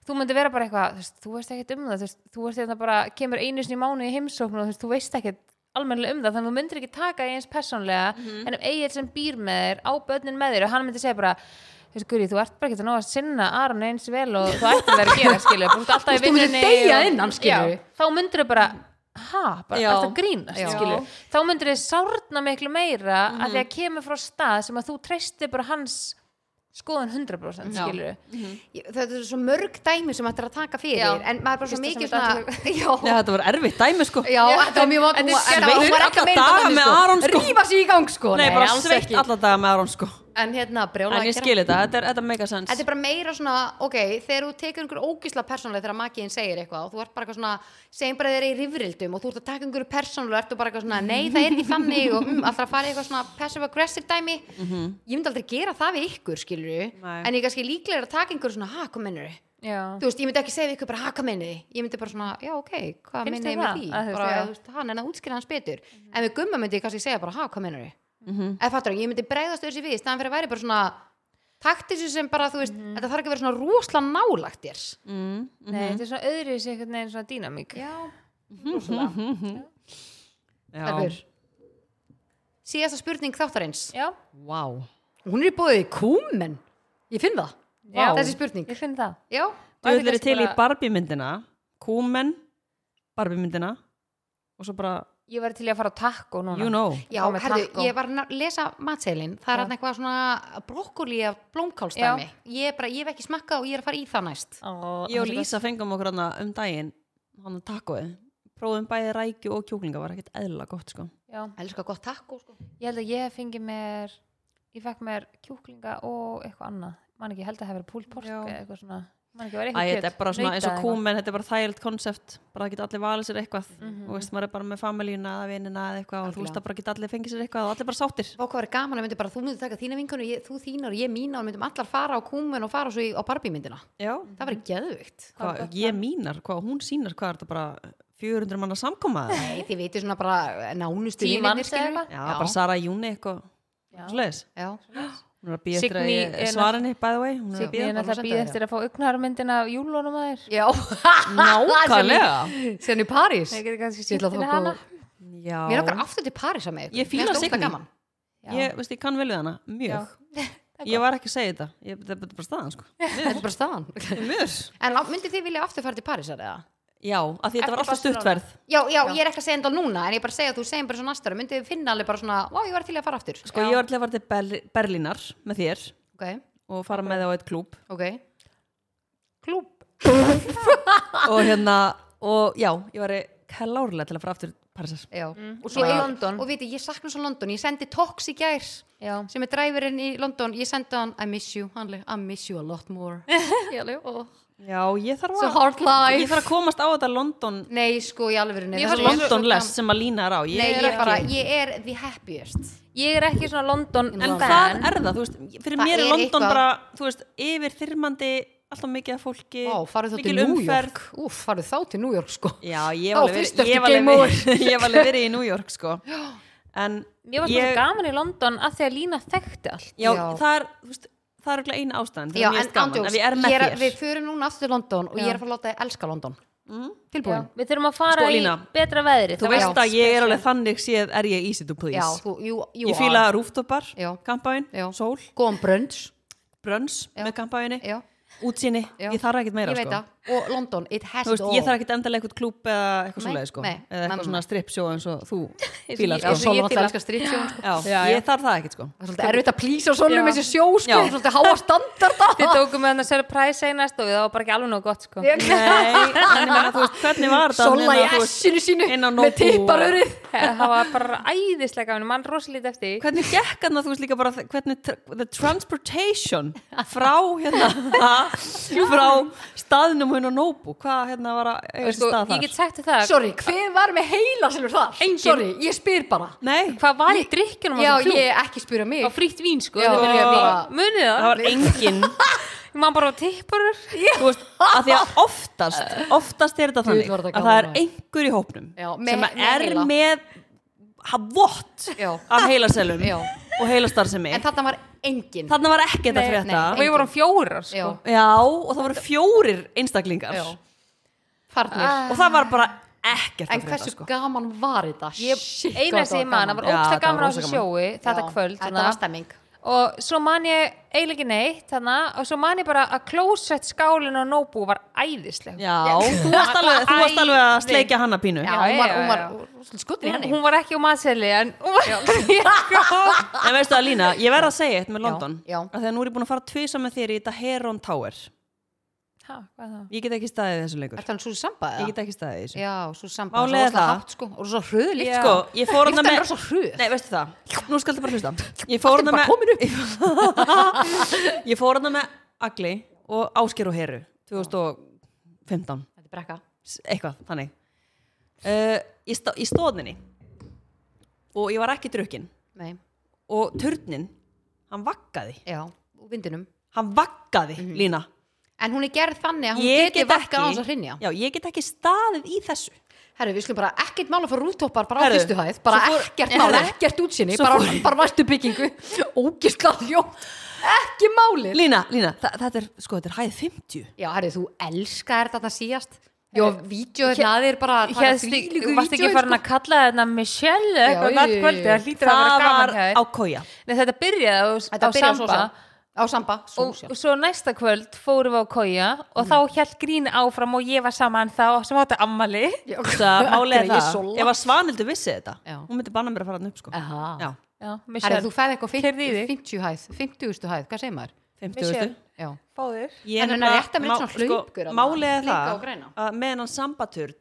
[SPEAKER 3] þú myndi vera bara eitthvað, þú veist, þú veist ekkert um það þú veist, þú veist þetta bara, kemur einu sinni í mánu í heimsókn og þú veist, þú veist ekkert almennilega um það, þannig að þú myndir ekki taka því eins persónlega en um eigið sem býr með þér á börnin með þér og hann myndi segja bara þú veist, Guri, þú ert bara ekkert að ná að sinna Aron eins vel og þú ætti að vera að gera, skilju þú ert alltaf
[SPEAKER 1] Þú veist, þú myndir deyja innan, skilurðu.
[SPEAKER 3] Já, þá myndir þau bara ha, bara
[SPEAKER 2] Já. Mhm.
[SPEAKER 3] alltaf grínast,
[SPEAKER 1] Já.
[SPEAKER 3] skilju þá myndir þau sárna miklu meira mm að því að kemur frá stað sem að þú treystir bara hans skoðun 100%
[SPEAKER 1] Já.
[SPEAKER 3] skilju
[SPEAKER 1] Ég- þetta er svo mörg dæmi sem þetta er að taka fyrir
[SPEAKER 3] Já.
[SPEAKER 1] en maður er bara svo
[SPEAKER 3] Fyrsta sem
[SPEAKER 1] mikið
[SPEAKER 3] þetta
[SPEAKER 1] svona
[SPEAKER 2] Já,
[SPEAKER 1] já,
[SPEAKER 2] þetta var erfitt dæmi sko
[SPEAKER 1] já, þetta var mjög vond
[SPEAKER 3] En
[SPEAKER 1] hún var- þetta
[SPEAKER 3] þetta er
[SPEAKER 1] var- hún var ekki að
[SPEAKER 2] sveitt alla
[SPEAKER 1] meina
[SPEAKER 2] daga
[SPEAKER 1] þetta
[SPEAKER 2] með Aron,
[SPEAKER 1] þannig,
[SPEAKER 2] sko.
[SPEAKER 1] sko. rífa sig í gang sko
[SPEAKER 2] Nei, bara
[SPEAKER 1] alls
[SPEAKER 2] sveitt
[SPEAKER 1] ekki.
[SPEAKER 2] alla daga með Aron sko
[SPEAKER 1] en hérna brjóla
[SPEAKER 2] En ég skil þetta, þetta er, þetta er megasens
[SPEAKER 1] Þetta er bara meira svona, ok, þegar þú tekur einhver ógisla persónulega þegar makiðin segir eitthvað og þú ert bara eitthvað svona, segjum bara þeir eru í rifrildum og þú ert að taka einhverju persónulega og ertu bara eitthvað svona, nei það er ekki þannig og mm, alltaf að fara í eitthvað svona passive aggressive dæmi ég myndi aldrei gera það við ykkur, skilur
[SPEAKER 2] Nei.
[SPEAKER 1] en ég er kannski líklega að taka einhverju svona, ha, hvað mennur þið?
[SPEAKER 3] Já.
[SPEAKER 1] Þú veist, ég myndi ekki segja við ykkur bara, ha, hvað mennur þið? Ég myndi bara svona, já, ok, hvað
[SPEAKER 3] Finnst
[SPEAKER 1] mennur
[SPEAKER 3] þér
[SPEAKER 1] þið með
[SPEAKER 3] það?
[SPEAKER 1] því?
[SPEAKER 3] Að þú veist,
[SPEAKER 1] Bara,
[SPEAKER 3] já. Mhm.
[SPEAKER 1] þú veist, hann er að útskýra hans betur. En við gumma myndi ég kannski segja bara, ha, hvað mennur þið? eða fattur ekki, ég myndi bregðast öðru sér við staðan fyrir að væri bara svona taktisu sem bara, þú veist,
[SPEAKER 3] Mhm.
[SPEAKER 1] þetta þarf ekki að vera svona rosalega nálagt þér
[SPEAKER 2] mm, mm,
[SPEAKER 3] Nei, þetta er svona öðru sér einhvern veginn svona dýnamík
[SPEAKER 1] já, rosalega
[SPEAKER 2] Já,
[SPEAKER 1] síðasta spurning þáttarins
[SPEAKER 3] Já,
[SPEAKER 2] vá
[SPEAKER 1] hún er í bóðið kúmen, ég finn það
[SPEAKER 2] Vá.
[SPEAKER 1] þessi spurning,
[SPEAKER 3] ég finn það
[SPEAKER 1] já
[SPEAKER 2] Þú
[SPEAKER 3] Og
[SPEAKER 2] ætlir
[SPEAKER 3] þetta
[SPEAKER 2] til í
[SPEAKER 3] bara-
[SPEAKER 2] Barbie myndina Kúmen Barbie myndina Og svo bara,
[SPEAKER 3] Ég var til í að fara á takko núna
[SPEAKER 2] you know
[SPEAKER 1] Já,
[SPEAKER 3] Fá mér
[SPEAKER 1] herðu,
[SPEAKER 3] takkó.
[SPEAKER 1] ég var að lesa matseilin það er hann eitthvað svona brokkoli af blómkálstæmi, ég er bara, ég hef ekki smakkað og ég er að fara í það næst
[SPEAKER 3] Ó,
[SPEAKER 2] Ég og
[SPEAKER 3] þetta-
[SPEAKER 2] Lísa fengum okkur hana um daginn Hann að takoði Prófum bæði rækju og kjúklinga var ekkert eðla gott sko
[SPEAKER 3] Já,
[SPEAKER 1] Elskar gott takk sko.
[SPEAKER 3] ég held að ég fengi mér Ég fekk mér kjúklinga og eitthvað annað Man ekki, ég held að það hefur púl pork
[SPEAKER 2] Já.
[SPEAKER 3] eða eitthvað svona Man ekki, var
[SPEAKER 2] Æ,
[SPEAKER 3] eitthvað
[SPEAKER 2] þetta er bara svona
[SPEAKER 3] nautað
[SPEAKER 2] eins og
[SPEAKER 3] eitthvað.
[SPEAKER 2] kúmen, þetta er bara þægild konsept, bara að geta allir valið sér eitthvað, og veist, maður er bara með familíuna eða vinina eða eitthvað og þú veist
[SPEAKER 1] Algjörlega.
[SPEAKER 2] að bara geta allir fengið sér eitthvað og allir bara sáttir.
[SPEAKER 1] Vá, hvað er gaman að myndi bara, þú myndir taka þína vinkonu ég, þú þínar og ég mína og myndum allar fara á kúmen og fara svo í, á barbímyndina
[SPEAKER 2] Já.
[SPEAKER 1] það var geðvikt
[SPEAKER 2] Hvað, ég mínar, hvað hún sínar, hvað er þetta bara 400 manna samkomaði?
[SPEAKER 1] Nei, þið veitir svona bara eh, nánustu
[SPEAKER 3] Tíu
[SPEAKER 1] vinirnir,
[SPEAKER 3] manns
[SPEAKER 1] skilurðu.
[SPEAKER 3] eða eitthvað?
[SPEAKER 2] Já, bara Sara Júni eitthvað,
[SPEAKER 3] Já.
[SPEAKER 2] svoleiðis.
[SPEAKER 1] Já,
[SPEAKER 2] Hún er að býja eftir að
[SPEAKER 3] Signý
[SPEAKER 2] ég
[SPEAKER 3] er
[SPEAKER 2] svara henni, by the way. Hún er að
[SPEAKER 3] Signý
[SPEAKER 2] bíða,
[SPEAKER 3] er
[SPEAKER 2] bara
[SPEAKER 3] náttúrulega
[SPEAKER 2] að
[SPEAKER 3] að býða
[SPEAKER 2] senda
[SPEAKER 3] eftir að fá augnarmyndina af júlunum að þér
[SPEAKER 1] já.
[SPEAKER 2] Nákvæmlega.
[SPEAKER 1] Sen í París
[SPEAKER 3] Það getur kannski
[SPEAKER 1] Ég ætla
[SPEAKER 3] sýnt
[SPEAKER 1] að
[SPEAKER 3] henni
[SPEAKER 1] fá
[SPEAKER 3] hana
[SPEAKER 1] góð-
[SPEAKER 2] þér.
[SPEAKER 1] Mér okkar
[SPEAKER 2] Já,
[SPEAKER 1] aftur til París að með ykkur
[SPEAKER 2] Ég
[SPEAKER 1] Mér
[SPEAKER 2] fíla
[SPEAKER 1] finnst ógeðslega
[SPEAKER 2] Signý.
[SPEAKER 1] gaman.
[SPEAKER 2] ég, veist, ég kann vel við hana, mjög. Ég var ekki að segja þetta, ég, þetta er bara staðan, sko.
[SPEAKER 1] Þetta er bara staðan
[SPEAKER 2] Mjög.
[SPEAKER 1] En lá- myndið þið vilja aftur fara til París eða?
[SPEAKER 2] Já, af því þetta
[SPEAKER 3] Eftir
[SPEAKER 2] var alltaf
[SPEAKER 3] Barcelona.
[SPEAKER 2] stuttverð.
[SPEAKER 1] Já, já, ég er ekki að segja enda núna En ég er bara að segja að þú segir bara svo næstara Myndið þið finna alveg bara svona Vá, ég var til í að fara aftur
[SPEAKER 2] Sko, ég var til að fara til Berl- Berlínar með þér
[SPEAKER 1] Ok,
[SPEAKER 2] og fara með þig á eitt klúb
[SPEAKER 1] ok Klúb
[SPEAKER 2] og hérna, og já, ég var klárlega til að fara aftur Parísar.
[SPEAKER 1] Já Og
[SPEAKER 3] Í
[SPEAKER 1] ég-
[SPEAKER 3] London.
[SPEAKER 1] Og viti, ég sakna svo London Ég sendi Tox í gær
[SPEAKER 3] Já,
[SPEAKER 1] Sem er dræfurinn í London Ég sendi hann I miss you Hann leik I miss you a lot more Já, og
[SPEAKER 2] Já, ég þarf
[SPEAKER 1] It's a
[SPEAKER 2] að,
[SPEAKER 1] hard
[SPEAKER 2] ég
[SPEAKER 1] life
[SPEAKER 2] þarf að komast á þetta London,
[SPEAKER 1] Nei, sko, í alvörinu
[SPEAKER 3] Ég
[SPEAKER 1] það
[SPEAKER 3] var
[SPEAKER 1] sem
[SPEAKER 3] London
[SPEAKER 1] svo-
[SPEAKER 2] Londonless sem að lína er á. Ég
[SPEAKER 1] Nei, ég
[SPEAKER 2] er
[SPEAKER 1] er bara, ég er the happiest
[SPEAKER 3] ég er ekki svona London
[SPEAKER 2] En
[SPEAKER 3] fan.
[SPEAKER 2] það er það, þú veist, fyrir
[SPEAKER 1] Það
[SPEAKER 2] mér er
[SPEAKER 1] er
[SPEAKER 2] London
[SPEAKER 1] eitthvað.
[SPEAKER 2] bara, þú veist, yfir þyrmandi, alltaf mikið af fólki,
[SPEAKER 1] Vá, farið þá til
[SPEAKER 2] mikil
[SPEAKER 1] New
[SPEAKER 2] umferð.
[SPEAKER 1] York Úf, farið þá til New York, sko
[SPEAKER 2] Já, ég
[SPEAKER 1] Þá
[SPEAKER 2] var alveg
[SPEAKER 1] fyrst ertu
[SPEAKER 2] verið- ég var alveg
[SPEAKER 1] game
[SPEAKER 2] verið- ég var alveg verið í New York, sko. En
[SPEAKER 3] Mér var svona svo gaman í London að því að Lína þekkti allt
[SPEAKER 2] Já,
[SPEAKER 1] Já.
[SPEAKER 2] það er, þú veist, það er örugglega eina ástæðan
[SPEAKER 1] Já,
[SPEAKER 2] þegar mér
[SPEAKER 1] en
[SPEAKER 2] er gaman,
[SPEAKER 1] ándjóks,
[SPEAKER 2] ef ég er með þér
[SPEAKER 1] Við förum núna aftur til London og
[SPEAKER 3] Já.
[SPEAKER 1] ég er að fara að láta þið elska London
[SPEAKER 2] Mm.
[SPEAKER 3] Já,
[SPEAKER 1] Tilbúin
[SPEAKER 3] Við þurfum að fara
[SPEAKER 2] Sko,
[SPEAKER 3] í
[SPEAKER 2] Lína,
[SPEAKER 3] betra veðri
[SPEAKER 2] Þú veist að ég er alveg þannig séð er ég easy to please
[SPEAKER 1] Já, þú, you, you
[SPEAKER 2] Ég fíla
[SPEAKER 1] are
[SPEAKER 2] rúftopar,
[SPEAKER 1] Já.
[SPEAKER 2] kampæin,
[SPEAKER 1] Já.
[SPEAKER 2] sól,
[SPEAKER 1] Góðan brönds
[SPEAKER 2] brönns með kampæinni,
[SPEAKER 1] Já,
[SPEAKER 2] útsinni,
[SPEAKER 1] Já.
[SPEAKER 2] ég þarf ekkert meira
[SPEAKER 1] ég veit
[SPEAKER 2] sko.
[SPEAKER 1] það Og London, it has
[SPEAKER 2] Þú
[SPEAKER 1] it
[SPEAKER 2] veist,
[SPEAKER 1] all
[SPEAKER 2] ég þarf ekkert endalega eitthvað klúb eða eitthvað
[SPEAKER 1] Nei,
[SPEAKER 2] svoleið sko.
[SPEAKER 1] nei,
[SPEAKER 2] eða
[SPEAKER 1] mamma.
[SPEAKER 2] eitthvað svona stripsjó eins og þú fílar
[SPEAKER 1] Já,
[SPEAKER 2] sko.
[SPEAKER 1] svo
[SPEAKER 3] ég
[SPEAKER 1] náttúrulega
[SPEAKER 3] fíla.
[SPEAKER 1] elskar strýtsjón sko.
[SPEAKER 2] Já,
[SPEAKER 3] Já, já.
[SPEAKER 2] ég þarf það ekkert sko.
[SPEAKER 1] Það er svolítið erfitt að plýsa svona
[SPEAKER 3] Já.
[SPEAKER 1] með þessi sjó sko,
[SPEAKER 2] Já.
[SPEAKER 1] svolítið háa standarda
[SPEAKER 3] Við tókum með hann að selja præs einast og það var bara ekki alveg nóg gott sko
[SPEAKER 1] Ég-
[SPEAKER 2] Nei, en ég meina, þú veist, hvernig var þetta
[SPEAKER 1] Sola í
[SPEAKER 2] hérna, þú veist,
[SPEAKER 1] essinu sínu
[SPEAKER 2] inn á
[SPEAKER 1] með
[SPEAKER 2] Nóbú
[SPEAKER 1] tipparörið
[SPEAKER 3] Það var bara æðislega gaman, mann rosalítið eftir því.
[SPEAKER 2] hvernig gekk hann að þú veist líka bara þ- hvernig tr- the transportation frá hérna frá staðnum hún á Nóbu hvað hérna var að eiga
[SPEAKER 3] sko,
[SPEAKER 2] sér stað
[SPEAKER 3] Ég
[SPEAKER 2] þar
[SPEAKER 3] get sagt þér það,
[SPEAKER 1] Sorry, hver var með heila silfur þar?
[SPEAKER 3] Enginn.
[SPEAKER 1] Sorry, ég spyr bara
[SPEAKER 2] nei,
[SPEAKER 3] hvað var í drikkjunum á
[SPEAKER 1] Já,
[SPEAKER 3] þessum klúb?
[SPEAKER 1] ég ekki spyrja mig
[SPEAKER 3] Á frítt vín sko,
[SPEAKER 1] Já,
[SPEAKER 3] það
[SPEAKER 1] já.
[SPEAKER 3] munið það Munið
[SPEAKER 2] það
[SPEAKER 3] það,
[SPEAKER 2] var engin
[SPEAKER 3] mann bara tipparur
[SPEAKER 2] þú veist, að því að oftast oftast er þetta
[SPEAKER 1] Guð,
[SPEAKER 2] þannig
[SPEAKER 1] var þetta
[SPEAKER 2] að það er
[SPEAKER 1] gaman, maður.
[SPEAKER 2] einhver í hópnum
[SPEAKER 1] Já, með-
[SPEAKER 2] sem að
[SPEAKER 1] með
[SPEAKER 2] er
[SPEAKER 1] heila.
[SPEAKER 2] með ha- vott
[SPEAKER 1] Já.
[SPEAKER 2] af heilaselum
[SPEAKER 1] Já.
[SPEAKER 2] og heilastarfsemi
[SPEAKER 1] En þarna var engin
[SPEAKER 2] Þannig var ekkert að
[SPEAKER 3] Nei,
[SPEAKER 2] frétta
[SPEAKER 1] nei.
[SPEAKER 3] við vorum fjórar
[SPEAKER 1] Já,
[SPEAKER 3] sko.
[SPEAKER 2] Já, og það voru fjórir einstaklingar
[SPEAKER 1] já. farnir
[SPEAKER 3] Ah,
[SPEAKER 2] Og það var bara ekkert
[SPEAKER 1] en
[SPEAKER 2] að
[SPEAKER 1] hversu
[SPEAKER 2] frétta sko.
[SPEAKER 1] gaman var þetta
[SPEAKER 3] ég,
[SPEAKER 1] Shit, hvað
[SPEAKER 3] eina
[SPEAKER 1] þetta
[SPEAKER 3] sem ég man, það var
[SPEAKER 2] Já,
[SPEAKER 3] ógsta
[SPEAKER 2] þetta var
[SPEAKER 3] gaman á
[SPEAKER 2] rosa
[SPEAKER 3] þessu
[SPEAKER 2] gaman.
[SPEAKER 3] sjói þetta
[SPEAKER 1] Já,
[SPEAKER 3] kvöld
[SPEAKER 1] þetta
[SPEAKER 3] þarna.
[SPEAKER 1] var stemming
[SPEAKER 3] og svo man ég eiginlega ekki neitt þarna, og svo man ég bara að klósett skálin á Nóbú var æðisleg
[SPEAKER 2] Já, þú varst alveg, þú varst alveg að sleikja hana pínu
[SPEAKER 1] já,
[SPEAKER 3] Já,
[SPEAKER 1] hún var,
[SPEAKER 3] já,
[SPEAKER 1] hún var
[SPEAKER 3] já.
[SPEAKER 1] skutin
[SPEAKER 3] hún,
[SPEAKER 1] henni
[SPEAKER 3] hún var ekki úr matseli en hún var ekki
[SPEAKER 2] En veistu að Lína, ég verð að segja eitt með London
[SPEAKER 1] já.
[SPEAKER 2] að Þegar nú er ég búin að fara tvisa með þér í þetta Heron Tower
[SPEAKER 3] ha, hvað þá?
[SPEAKER 2] Ég get ekki staðið í þessu lengur
[SPEAKER 1] Er það hann Susi Samba
[SPEAKER 2] Ég
[SPEAKER 1] eða?
[SPEAKER 2] get ekki staðið í þessu
[SPEAKER 1] Já, Susi Samba
[SPEAKER 2] Málið
[SPEAKER 1] svo
[SPEAKER 2] er
[SPEAKER 1] rosalega
[SPEAKER 2] það-
[SPEAKER 1] hátt, sko, Og svo hröðlíkt
[SPEAKER 2] Sko, ég fór hana
[SPEAKER 1] Lyftan
[SPEAKER 2] með
[SPEAKER 1] er rosa hröð.
[SPEAKER 2] Nei, veistu það, nú skal þetta bara hlusta Ég fór
[SPEAKER 1] Allt er
[SPEAKER 2] hana
[SPEAKER 1] bara komin
[SPEAKER 2] með Ég fór hana með Agli og Ásker og Heru 2015
[SPEAKER 1] Þetta er brekka
[SPEAKER 2] s- eitthvað, þannig uh, í, stó, í stóðninni og ég var ekki drukkin
[SPEAKER 1] Nei,
[SPEAKER 2] og turnin, hann vakkaði
[SPEAKER 1] já, úr vindinum
[SPEAKER 2] hann vakkaði,
[SPEAKER 3] Mhm.
[SPEAKER 2] Lína
[SPEAKER 1] En hún er gerð þannig að hún
[SPEAKER 2] ég
[SPEAKER 1] geti
[SPEAKER 2] get
[SPEAKER 1] vakka á
[SPEAKER 2] ekki,
[SPEAKER 1] hans að hrinja
[SPEAKER 2] já, ég get ekki staðið í þessu
[SPEAKER 1] Herru, við skulum bara ekkert mála fyrir rúftoppar bara á
[SPEAKER 2] Herru,
[SPEAKER 1] fyrstu hæð, bara
[SPEAKER 2] svo fór-
[SPEAKER 1] ekkert
[SPEAKER 2] Herru,
[SPEAKER 1] mála ekkert útsinni,
[SPEAKER 2] svo
[SPEAKER 1] bara,
[SPEAKER 2] fór-
[SPEAKER 1] bara væstu byggingu ógistlega þjótt, ekki máli
[SPEAKER 2] Lína, Lína, þa þetta er, sko, þetta er hæð 50
[SPEAKER 1] Já, herru, þú elskar þarna síðast Jó, vídeo hérna að þér bara það er
[SPEAKER 3] Hélst ekki-
[SPEAKER 1] þvílíku
[SPEAKER 3] varstu ekki
[SPEAKER 1] vídeói,
[SPEAKER 3] farin
[SPEAKER 1] sko.
[SPEAKER 3] að kalla þetta Michelle eða
[SPEAKER 1] Já,
[SPEAKER 3] eitthvað
[SPEAKER 1] jú,
[SPEAKER 3] nætt
[SPEAKER 1] jú, jú.
[SPEAKER 3] kvöldi það hlýtur að
[SPEAKER 2] það
[SPEAKER 3] vera
[SPEAKER 2] var
[SPEAKER 3] gaman hjá
[SPEAKER 2] á
[SPEAKER 3] þér
[SPEAKER 2] koja
[SPEAKER 3] Nei, þetta byrjaði á,
[SPEAKER 1] Þetta
[SPEAKER 3] á
[SPEAKER 1] byrjar svo
[SPEAKER 3] samba
[SPEAKER 1] sem. Á samba, svo
[SPEAKER 3] og,
[SPEAKER 1] sem.
[SPEAKER 3] og svo næsta kvöld fórum við á koja og þá held grín áfram og ég var saman þá sem átti ammali
[SPEAKER 1] Já.
[SPEAKER 2] það málega
[SPEAKER 1] Greið
[SPEAKER 2] það,
[SPEAKER 1] sola.
[SPEAKER 2] ef að Svanhildur vissi þetta
[SPEAKER 1] Já.
[SPEAKER 2] hún myndi banna mér að fara hann upp sko.
[SPEAKER 1] Aha.
[SPEAKER 2] já,
[SPEAKER 3] Já,
[SPEAKER 1] Herru,
[SPEAKER 3] Michelle,
[SPEAKER 1] þú færði eitthvað
[SPEAKER 3] Keyrði
[SPEAKER 1] 50,
[SPEAKER 3] í þig.
[SPEAKER 1] 50 hæð 50 hæð, hvað segir maður?
[SPEAKER 2] 50
[SPEAKER 3] Michelle.
[SPEAKER 2] veistu.
[SPEAKER 1] Já,
[SPEAKER 3] fáður
[SPEAKER 2] Ég
[SPEAKER 1] En hún er
[SPEAKER 2] nefnilega-
[SPEAKER 1] rétt að mynda
[SPEAKER 2] má-
[SPEAKER 1] svona hlaupgur þarna,
[SPEAKER 2] Málið er
[SPEAKER 1] blinka og
[SPEAKER 2] það
[SPEAKER 1] græna.
[SPEAKER 2] að meðan hann sambaturn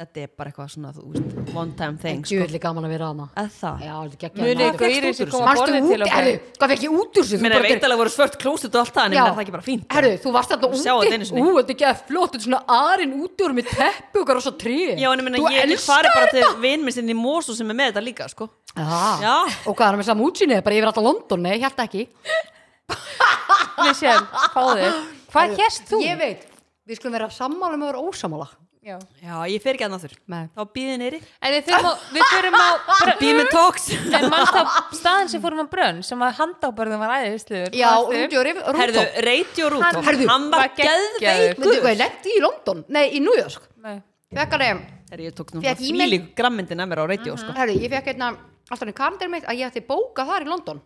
[SPEAKER 2] Þetta er bara eitthvað svona, þú veist, one time thing
[SPEAKER 1] en
[SPEAKER 2] sko.
[SPEAKER 1] djúðli gaman að vera hana
[SPEAKER 2] Eða það
[SPEAKER 1] Já, þetta er
[SPEAKER 3] Munið
[SPEAKER 1] geggjað
[SPEAKER 3] ykkur
[SPEAKER 1] maður.
[SPEAKER 3] Íris
[SPEAKER 2] út
[SPEAKER 3] sem
[SPEAKER 2] úr
[SPEAKER 3] kom á
[SPEAKER 1] Manstu
[SPEAKER 3] borðið
[SPEAKER 1] út,
[SPEAKER 3] til okkar.
[SPEAKER 1] herru, hvað fekk ég út úr þessu? Þú
[SPEAKER 2] Mér er
[SPEAKER 1] bara gerðir-
[SPEAKER 2] veitalega voru svört klósut og allt það En ég
[SPEAKER 1] Já.
[SPEAKER 2] menn það ekki bara fínt sko.
[SPEAKER 1] Herru, þú varst alltaf
[SPEAKER 2] Sjá þetta einu
[SPEAKER 1] úti
[SPEAKER 2] sinni.
[SPEAKER 1] Ú, þetta er ekki að flott, þetta er svona arinn úti og með teppi og okkar á svo trí
[SPEAKER 2] Já, en ég meina, ég get farið bara til vinminn í Mosu sem er með þetta líka, sko Já.
[SPEAKER 1] Og hvað er hann með saman útsýnið, bara yfir alltaf London, nei, hjælt ekki
[SPEAKER 3] Michelle, fáður Hvað hérst þú?
[SPEAKER 1] Ég veit, við skulum vera sammála með að vera ósammála
[SPEAKER 3] Já.
[SPEAKER 2] Já, ég fer ekki að náður
[SPEAKER 1] Nei.
[SPEAKER 2] Þá býðið neyri
[SPEAKER 3] En við fyrir á, við fyrir á
[SPEAKER 2] Býð með tóks
[SPEAKER 3] En mannst á staðan sem fórum á brönn sem var handábörðum var æðisluður
[SPEAKER 1] Já, úti og rif-
[SPEAKER 2] Herðu,
[SPEAKER 1] rúftop
[SPEAKER 2] reyti og rútó
[SPEAKER 1] Hann- Herðu,
[SPEAKER 2] Hann var
[SPEAKER 3] var geggjaður.
[SPEAKER 2] geðveikur
[SPEAKER 1] Veitu hvað, ég lendi í London, nei, í New York Fekkar ég,
[SPEAKER 2] Herru, ég tók
[SPEAKER 1] Fékk Mhm.
[SPEAKER 2] svona
[SPEAKER 1] e-mail.
[SPEAKER 2] fílík grammyndin að mér á reyti sko
[SPEAKER 1] herru, ég fekk hérna einna Alltaf hann karandir mitt að ég ætti bóka þar í London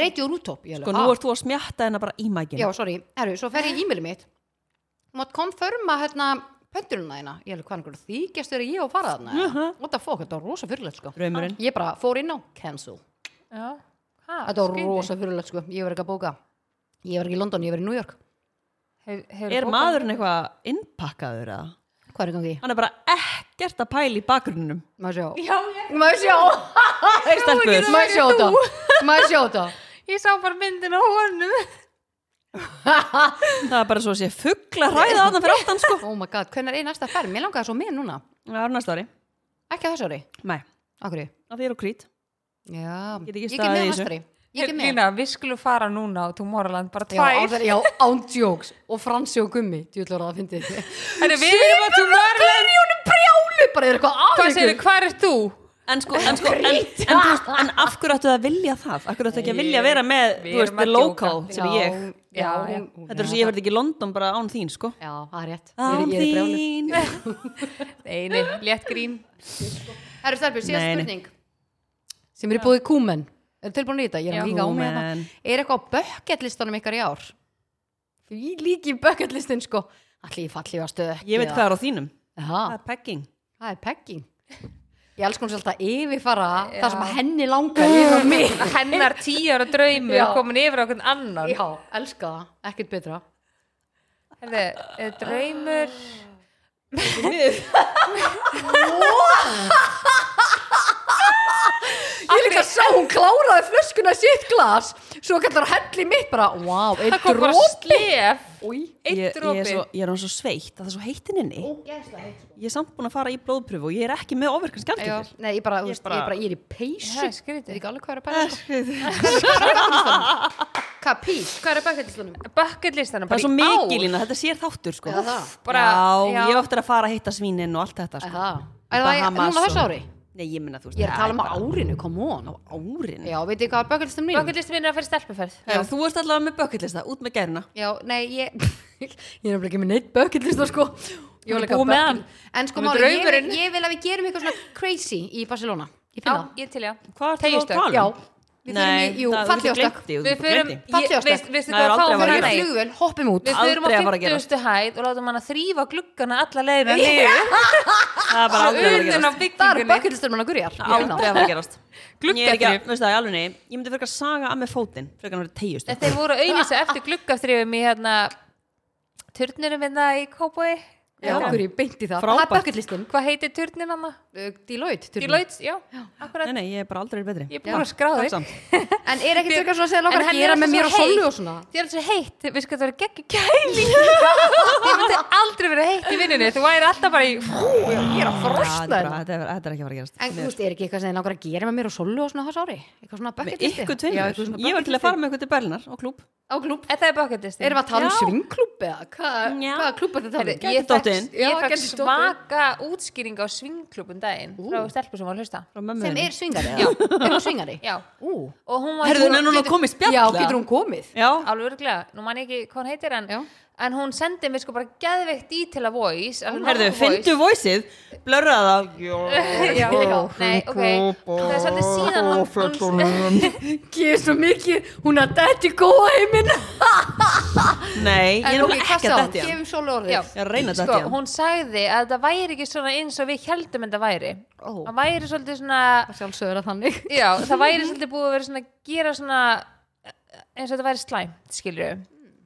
[SPEAKER 1] Reyti og rúftop
[SPEAKER 2] Sko, nú ert þú að smjatta hennar bara í mækinu
[SPEAKER 1] Ah. Já, sorry, herru, svo fer ég í e-mailið mitt Mátt konfirma hérna pöntununa þína, ég hefði hvað einhverju þýkjast þegar ég á að fara þarna uh -huh. What the fuck, þetta var rosa fyrirlegt sko
[SPEAKER 2] Draumurinn.
[SPEAKER 1] Ég bara fór inn á cancel
[SPEAKER 3] Já, ha,
[SPEAKER 2] Ah,
[SPEAKER 1] Þetta var
[SPEAKER 3] skrýtið.
[SPEAKER 1] rosa fyrirlegt sko, ég var ekki að bóka Ég var ekki í London, ég var í New York
[SPEAKER 3] Hef- hefur
[SPEAKER 2] Er
[SPEAKER 3] bókað-
[SPEAKER 2] maðurinn eitthvað innpakkaður eða?
[SPEAKER 1] Hvað er í gangi?
[SPEAKER 2] Hann er bara ekkert að pæla í bakgrunnum
[SPEAKER 1] Má sjá
[SPEAKER 3] Já, ég,
[SPEAKER 1] Má sjá
[SPEAKER 2] Stelpur
[SPEAKER 1] Má sjá þetta Má sjá þetta
[SPEAKER 3] ég sá bara myndin á honum
[SPEAKER 2] Það er bara svo að sé fuggla ræða að það fyrir áttan sko
[SPEAKER 1] Oh my god, hvernig er næsta ferð? Mér langaði svo með núna
[SPEAKER 2] Það er næsta ári
[SPEAKER 1] Ekki á þessu ári,
[SPEAKER 2] Nei,
[SPEAKER 1] akkur ég
[SPEAKER 2] að þið eru krít
[SPEAKER 1] Já,
[SPEAKER 2] Get
[SPEAKER 1] ég
[SPEAKER 2] ekki
[SPEAKER 1] get
[SPEAKER 2] staðið
[SPEAKER 1] með
[SPEAKER 2] í
[SPEAKER 1] á
[SPEAKER 2] þessu.
[SPEAKER 1] næsta ári Ég get með
[SPEAKER 3] Lína, við skulum fara núna á Tomorrowland bara
[SPEAKER 1] Já, á
[SPEAKER 3] tvær
[SPEAKER 1] þær- já, ándjóks og fransi og gummi, djúðlur að það fyndi
[SPEAKER 3] Herru, við erum á Tomorrowland
[SPEAKER 1] Brjálu bara er eitthvað af
[SPEAKER 3] Hvað
[SPEAKER 1] ykkur.
[SPEAKER 3] segir, hvað er þú?
[SPEAKER 2] En sko, en sko, en, en, þú veist, en af hverju ættu það að vilja það? Af hverju ættu ekki að vilja vera með,
[SPEAKER 3] Við
[SPEAKER 2] þú veist,
[SPEAKER 3] erum
[SPEAKER 2] the
[SPEAKER 3] að
[SPEAKER 2] local
[SPEAKER 3] djóka.
[SPEAKER 2] sem er ég
[SPEAKER 1] Já,
[SPEAKER 3] Já,
[SPEAKER 1] hún-
[SPEAKER 3] já.
[SPEAKER 1] hún-
[SPEAKER 2] Þetta er svo ég verði ekki í London bara án þín, sko
[SPEAKER 1] Já, það er rétt
[SPEAKER 2] Án
[SPEAKER 1] Ég er- ég er brjáluð.
[SPEAKER 2] þín
[SPEAKER 3] Nei, nei, létt grín
[SPEAKER 1] Herru Stelbjörn, síðast
[SPEAKER 2] Nei, nei.
[SPEAKER 1] spurning sem er í búið kúmen Er tilbúin í þetta? Ég er
[SPEAKER 3] Já.
[SPEAKER 1] líka á mig
[SPEAKER 2] Kúmen.
[SPEAKER 1] þetta Er eitthvað á bökketlistanum ykkar í ár? Því líki bökketlistin sko Allir í fallið að stöð
[SPEAKER 2] Ég veit hvað er á þínum Það
[SPEAKER 1] Það
[SPEAKER 2] er pegging
[SPEAKER 1] það er pegging Ég alls konar sér alltaf að yfirfara það sem að henni langar yfir á mig
[SPEAKER 3] Hennar tíu ára draumur
[SPEAKER 1] Já.
[SPEAKER 3] komin yfir á okkur annan
[SPEAKER 1] Já, elska það, ekkert betra
[SPEAKER 3] Herru, eh, draumur
[SPEAKER 1] Ég líka sá hún kláraði flöskuna í sitt glas Svo kallar helli mitt bara Vá, wow, er
[SPEAKER 3] Það kom bara slef
[SPEAKER 2] Ég,
[SPEAKER 3] Eitt
[SPEAKER 2] ég er
[SPEAKER 3] dropi
[SPEAKER 2] svo, ég er hann svo sveitt að það er svo heitt inni Ég er samt búin að fara í blóðpröfu og ég er ekki með ofirkan
[SPEAKER 1] Já,
[SPEAKER 2] skjaldkirtil
[SPEAKER 1] nei, ég bara, þú veist,
[SPEAKER 2] bara-
[SPEAKER 1] ég, bara, ég er í peysu
[SPEAKER 3] Það er
[SPEAKER 1] Ég
[SPEAKER 3] skrítið.
[SPEAKER 1] veit ekki alveg hvað er að pæla sko. Hvað, pís, hvað er að bækja til slunum?
[SPEAKER 3] Bucket listanum
[SPEAKER 2] Það
[SPEAKER 3] bara
[SPEAKER 2] er svo
[SPEAKER 3] í ár
[SPEAKER 2] mikið lína, þetta sér þáttur sko
[SPEAKER 1] Já, það.
[SPEAKER 2] bara,
[SPEAKER 3] Bara-
[SPEAKER 2] já,
[SPEAKER 3] já.
[SPEAKER 2] ég átti að fara að hitta svínin og allt þetta sko.
[SPEAKER 1] Það, er það núna
[SPEAKER 2] Bahamas
[SPEAKER 1] þessu
[SPEAKER 2] og-
[SPEAKER 1] ári?
[SPEAKER 2] Nei, ég menna, þú veist,
[SPEAKER 1] Ég er að
[SPEAKER 2] það
[SPEAKER 1] tala um á árinu, come on
[SPEAKER 2] bara árin.
[SPEAKER 1] Já, veitir hvað er bökulstum mín?
[SPEAKER 3] Bökkullistum minn er að fyrir stelpuferð
[SPEAKER 2] Já, þú ert allavega með bucketlista, út með gæruna.
[SPEAKER 1] Já, nei, ég Ég er nefnilega ekki með neitt bökullist sko. Ég var
[SPEAKER 3] Hún er
[SPEAKER 1] líka
[SPEAKER 3] búin með
[SPEAKER 1] bucket-
[SPEAKER 3] hann.
[SPEAKER 1] En sko
[SPEAKER 3] Hún er
[SPEAKER 1] máli, ég, vil-
[SPEAKER 3] draumurinn.
[SPEAKER 1] ég vil að við gerum eitthvað svona crazy í Barcelona Ég
[SPEAKER 3] Já,
[SPEAKER 1] finna það
[SPEAKER 3] ég til já
[SPEAKER 2] Hvað ert þú að
[SPEAKER 3] Teygjustökk.
[SPEAKER 2] tala um?
[SPEAKER 1] Já, við
[SPEAKER 2] Nei,
[SPEAKER 1] þurfum í, jú,
[SPEAKER 2] það- þú
[SPEAKER 1] fallið
[SPEAKER 2] getur
[SPEAKER 1] á stökk
[SPEAKER 2] gleymt því, þú
[SPEAKER 3] Við
[SPEAKER 2] getur
[SPEAKER 3] förum,
[SPEAKER 2] gleymt því.
[SPEAKER 1] Fallið á
[SPEAKER 3] ég- veist-
[SPEAKER 1] stökk.
[SPEAKER 3] veistu
[SPEAKER 2] Það er
[SPEAKER 3] hvað
[SPEAKER 2] aldrei að
[SPEAKER 3] fáum
[SPEAKER 2] fara
[SPEAKER 1] Förum
[SPEAKER 2] að
[SPEAKER 3] við
[SPEAKER 1] í
[SPEAKER 2] gera.
[SPEAKER 3] hann
[SPEAKER 1] flugvél, hoppum út
[SPEAKER 3] Við förum á
[SPEAKER 2] Aldrei að fara að gera.
[SPEAKER 3] 50. hæð og látum hann að þrýfa gluggana alla leiðina niður
[SPEAKER 2] Það er bara aldrei að fara að
[SPEAKER 3] utan á
[SPEAKER 1] Það er
[SPEAKER 2] gerast.
[SPEAKER 3] byggingunni
[SPEAKER 1] bökullstum mín að gurjar
[SPEAKER 2] Aldrei að fara að gerast. Ég er ekki,
[SPEAKER 3] Gluggaþrif.
[SPEAKER 2] að- veist það, í alveg ég myndi fyrir að saga að með fótinn, fyrir að vera tegjust.
[SPEAKER 3] Þeir voru auðvitað eftir gluggaþrifum í hérna turnirum hérna í Kópói
[SPEAKER 1] Já, okkur ég beinti það Það
[SPEAKER 2] Frábært.
[SPEAKER 1] er bökullstum
[SPEAKER 3] Hvað heitir turnin hann?
[SPEAKER 1] Uh, Deloitte turninn.
[SPEAKER 3] Deloitte, já, akkurat
[SPEAKER 2] Nei, nei, ég er bara aldrei betri.
[SPEAKER 3] Ég er búin að skráða
[SPEAKER 2] Takk
[SPEAKER 3] þig
[SPEAKER 2] samt.
[SPEAKER 1] En er ekkert eitthvað svona að segja
[SPEAKER 3] En
[SPEAKER 1] lókar að
[SPEAKER 3] henni
[SPEAKER 1] gera
[SPEAKER 3] er
[SPEAKER 1] með
[SPEAKER 3] alltaf
[SPEAKER 1] mér og
[SPEAKER 3] svo heitt.
[SPEAKER 1] Sollu og svona?
[SPEAKER 3] Þið er alltaf svo heitt, við sko það var geggjum kæling Þið myndi aldrei verið heitt í vinnunni Þú væri alltaf bara í
[SPEAKER 1] Ég er að
[SPEAKER 2] Já,
[SPEAKER 1] frosta
[SPEAKER 2] Þetta er hérna. bara-
[SPEAKER 1] henni.
[SPEAKER 2] þetta er- þetta er ekki að fara að gerast.
[SPEAKER 1] En þú veist, er ekki eitthvað sem þið langar að gera með mér og Sollu og svona þess ári? Eitthvað svona
[SPEAKER 2] Með
[SPEAKER 1] bucketlisti?
[SPEAKER 2] ykkur
[SPEAKER 1] Já, eitthvað
[SPEAKER 2] tveimur.
[SPEAKER 1] svona
[SPEAKER 2] Ég var til að fara með ykkur til Berlinar og klúb.
[SPEAKER 1] bucketlisti. Á klúb.
[SPEAKER 3] En það er bucketlistin
[SPEAKER 1] Erum við að tala um
[SPEAKER 2] Já.
[SPEAKER 1] svingklúb eða? Hva-
[SPEAKER 2] Já.
[SPEAKER 1] Hvaða klúb er þetta
[SPEAKER 3] Ég
[SPEAKER 1] talið?
[SPEAKER 2] Gæti
[SPEAKER 3] fekk-
[SPEAKER 2] dottið inn.
[SPEAKER 1] Já,
[SPEAKER 3] Ég fekk
[SPEAKER 1] gæti dottið inn.
[SPEAKER 3] svaka útskýring á svingklubun daginn frá stelpu sem var að hlusta
[SPEAKER 2] Frá mömmu
[SPEAKER 1] Sem
[SPEAKER 2] þinni.
[SPEAKER 1] er svingari? Já. Er hún svingari?
[SPEAKER 3] Já,
[SPEAKER 1] Ú.
[SPEAKER 3] og hún var
[SPEAKER 2] Herðu, en hún
[SPEAKER 3] getur-
[SPEAKER 2] að koma í spjall?
[SPEAKER 1] Já,
[SPEAKER 2] eða?
[SPEAKER 1] getur hún komið?
[SPEAKER 2] Já,
[SPEAKER 3] alveg örglega, nú man ég ekki hvað hann heitir en,
[SPEAKER 1] Já.
[SPEAKER 3] en hún sendi mér sko bara geðveikt í til að voice alveg
[SPEAKER 2] herðu,
[SPEAKER 3] nokkuð
[SPEAKER 2] finnstu voiceið, blörra það.
[SPEAKER 3] voice. já, já, nei, ok það er svolítið síðan hún, hún
[SPEAKER 1] Ég er svo mikið, hún er dætt í góa heiminn.
[SPEAKER 2] Nei, ég
[SPEAKER 1] En
[SPEAKER 2] er
[SPEAKER 1] ok,
[SPEAKER 2] nokkuð
[SPEAKER 1] hvað
[SPEAKER 2] ekki
[SPEAKER 1] sá?
[SPEAKER 2] að dætti hann.
[SPEAKER 1] Gefum Sollu
[SPEAKER 3] já,
[SPEAKER 1] orðið.
[SPEAKER 2] Ég er að reyna að
[SPEAKER 3] sko,
[SPEAKER 2] dætti hann.
[SPEAKER 3] hún sagði að það væri ekki svona eins og við heldum en það væri
[SPEAKER 1] Ó.
[SPEAKER 3] það væri svolítið svona
[SPEAKER 1] Sjálfsögur að þannig.
[SPEAKER 3] já, það væri svolítið búið að vera svona gera svona eins og þetta væri slæmt skilur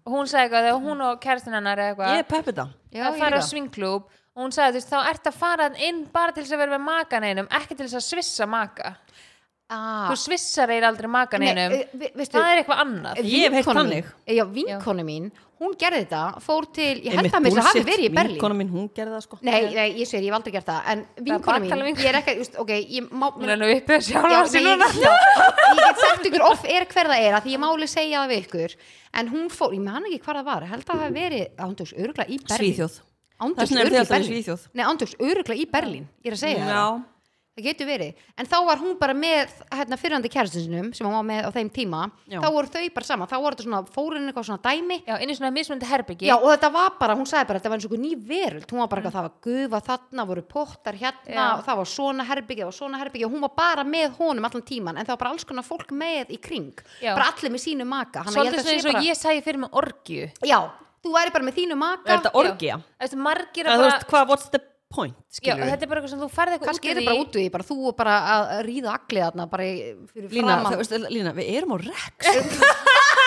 [SPEAKER 3] og hún sagði eitthvað þegar hún og kæristin hennar eða eitthvað
[SPEAKER 2] Ég er peppið það.
[SPEAKER 1] Já,
[SPEAKER 3] að
[SPEAKER 1] ég
[SPEAKER 3] fara á
[SPEAKER 1] líka.
[SPEAKER 3] svingklúb og hún sagði þú veist þá ert að fara þarna inn bara til þess að vera með makan einum ekki til þess að svissa maka
[SPEAKER 1] Ah.
[SPEAKER 3] þú svissar eir aldrei makan
[SPEAKER 1] Nei,
[SPEAKER 3] einum
[SPEAKER 1] eh, vi- veistu-
[SPEAKER 3] það er eitthvað annað
[SPEAKER 2] Ég hef heyrt
[SPEAKER 1] Vinkona
[SPEAKER 2] þannig.
[SPEAKER 1] mín, já, vinkonu mín, hún gerði þetta fór til, ég held
[SPEAKER 2] Einmitt
[SPEAKER 1] að mér það hafi
[SPEAKER 2] bullshit,
[SPEAKER 1] verið í Berlín
[SPEAKER 2] Vinkona mín, hún gerði það sko.
[SPEAKER 1] Nei, nei, ég segir, ég hef aldrei gert það en vinkona mín,
[SPEAKER 3] baktala vinkona.
[SPEAKER 1] ég er ekki, just, ok ég má,
[SPEAKER 3] hún er nú uppið að sjálfa
[SPEAKER 1] Já,
[SPEAKER 3] sig
[SPEAKER 1] nei,
[SPEAKER 3] núna
[SPEAKER 1] ég, já, ég get sagt ykkur off er hver það er að því ég máli segja það við ykkur en hún fór, ég man ekki hvað það var held að það hafi verið ándjóks örugla í Berlín
[SPEAKER 2] Svíþjóð.
[SPEAKER 1] ándjóks
[SPEAKER 2] Þess vegna eru
[SPEAKER 1] örugla
[SPEAKER 2] þið
[SPEAKER 1] í
[SPEAKER 2] alltaf í
[SPEAKER 1] Berlín
[SPEAKER 2] Svíþjóð.
[SPEAKER 1] Nei, ándjóks örugla í Berlín, ég er að segja
[SPEAKER 2] Já.
[SPEAKER 1] það það getur verið, en þá var hún bara með hérna, fyrrandi kæristinsinum sem hún var með á þeim tíma,
[SPEAKER 2] Já.
[SPEAKER 1] þá voru þau bara sama þá voru þetta svona, fórun eitthvað svona dæmi
[SPEAKER 3] já, inn í svona mismundi herbyggi
[SPEAKER 1] Já og þetta var bara, hún sagði bara þetta var eins og einhver ný veröld, hún var bara eitthvað það var gufa þarna, voru pottar hérna
[SPEAKER 3] Já.
[SPEAKER 1] og það var svona herbyggja og svona herbyggja og hún var bara með honum allan tíman en það var bara alls konar fólk með í kring,
[SPEAKER 3] Já.
[SPEAKER 1] bara allir með sínu maka Þannig að
[SPEAKER 3] svolítið
[SPEAKER 1] held að
[SPEAKER 3] svona
[SPEAKER 1] sé
[SPEAKER 3] eins og
[SPEAKER 1] bara-
[SPEAKER 3] ég sagði fyrir mig orgju
[SPEAKER 1] Já, þú væri bara með þínu maka
[SPEAKER 2] Er þetta orgja?
[SPEAKER 3] Eftir, margir
[SPEAKER 2] Það þú
[SPEAKER 3] að bara
[SPEAKER 2] veist, hvað, what's the point,
[SPEAKER 3] já,
[SPEAKER 2] skilur
[SPEAKER 3] þetta er bara eitthvað sem þú færði eitthvað
[SPEAKER 1] kannski er þetta
[SPEAKER 3] út
[SPEAKER 1] bara út við, bara þú og bara að ríða allir þarna, bara í- fyrir
[SPEAKER 2] Lína,
[SPEAKER 1] framan
[SPEAKER 2] það, veist, Lína, við erum á Rex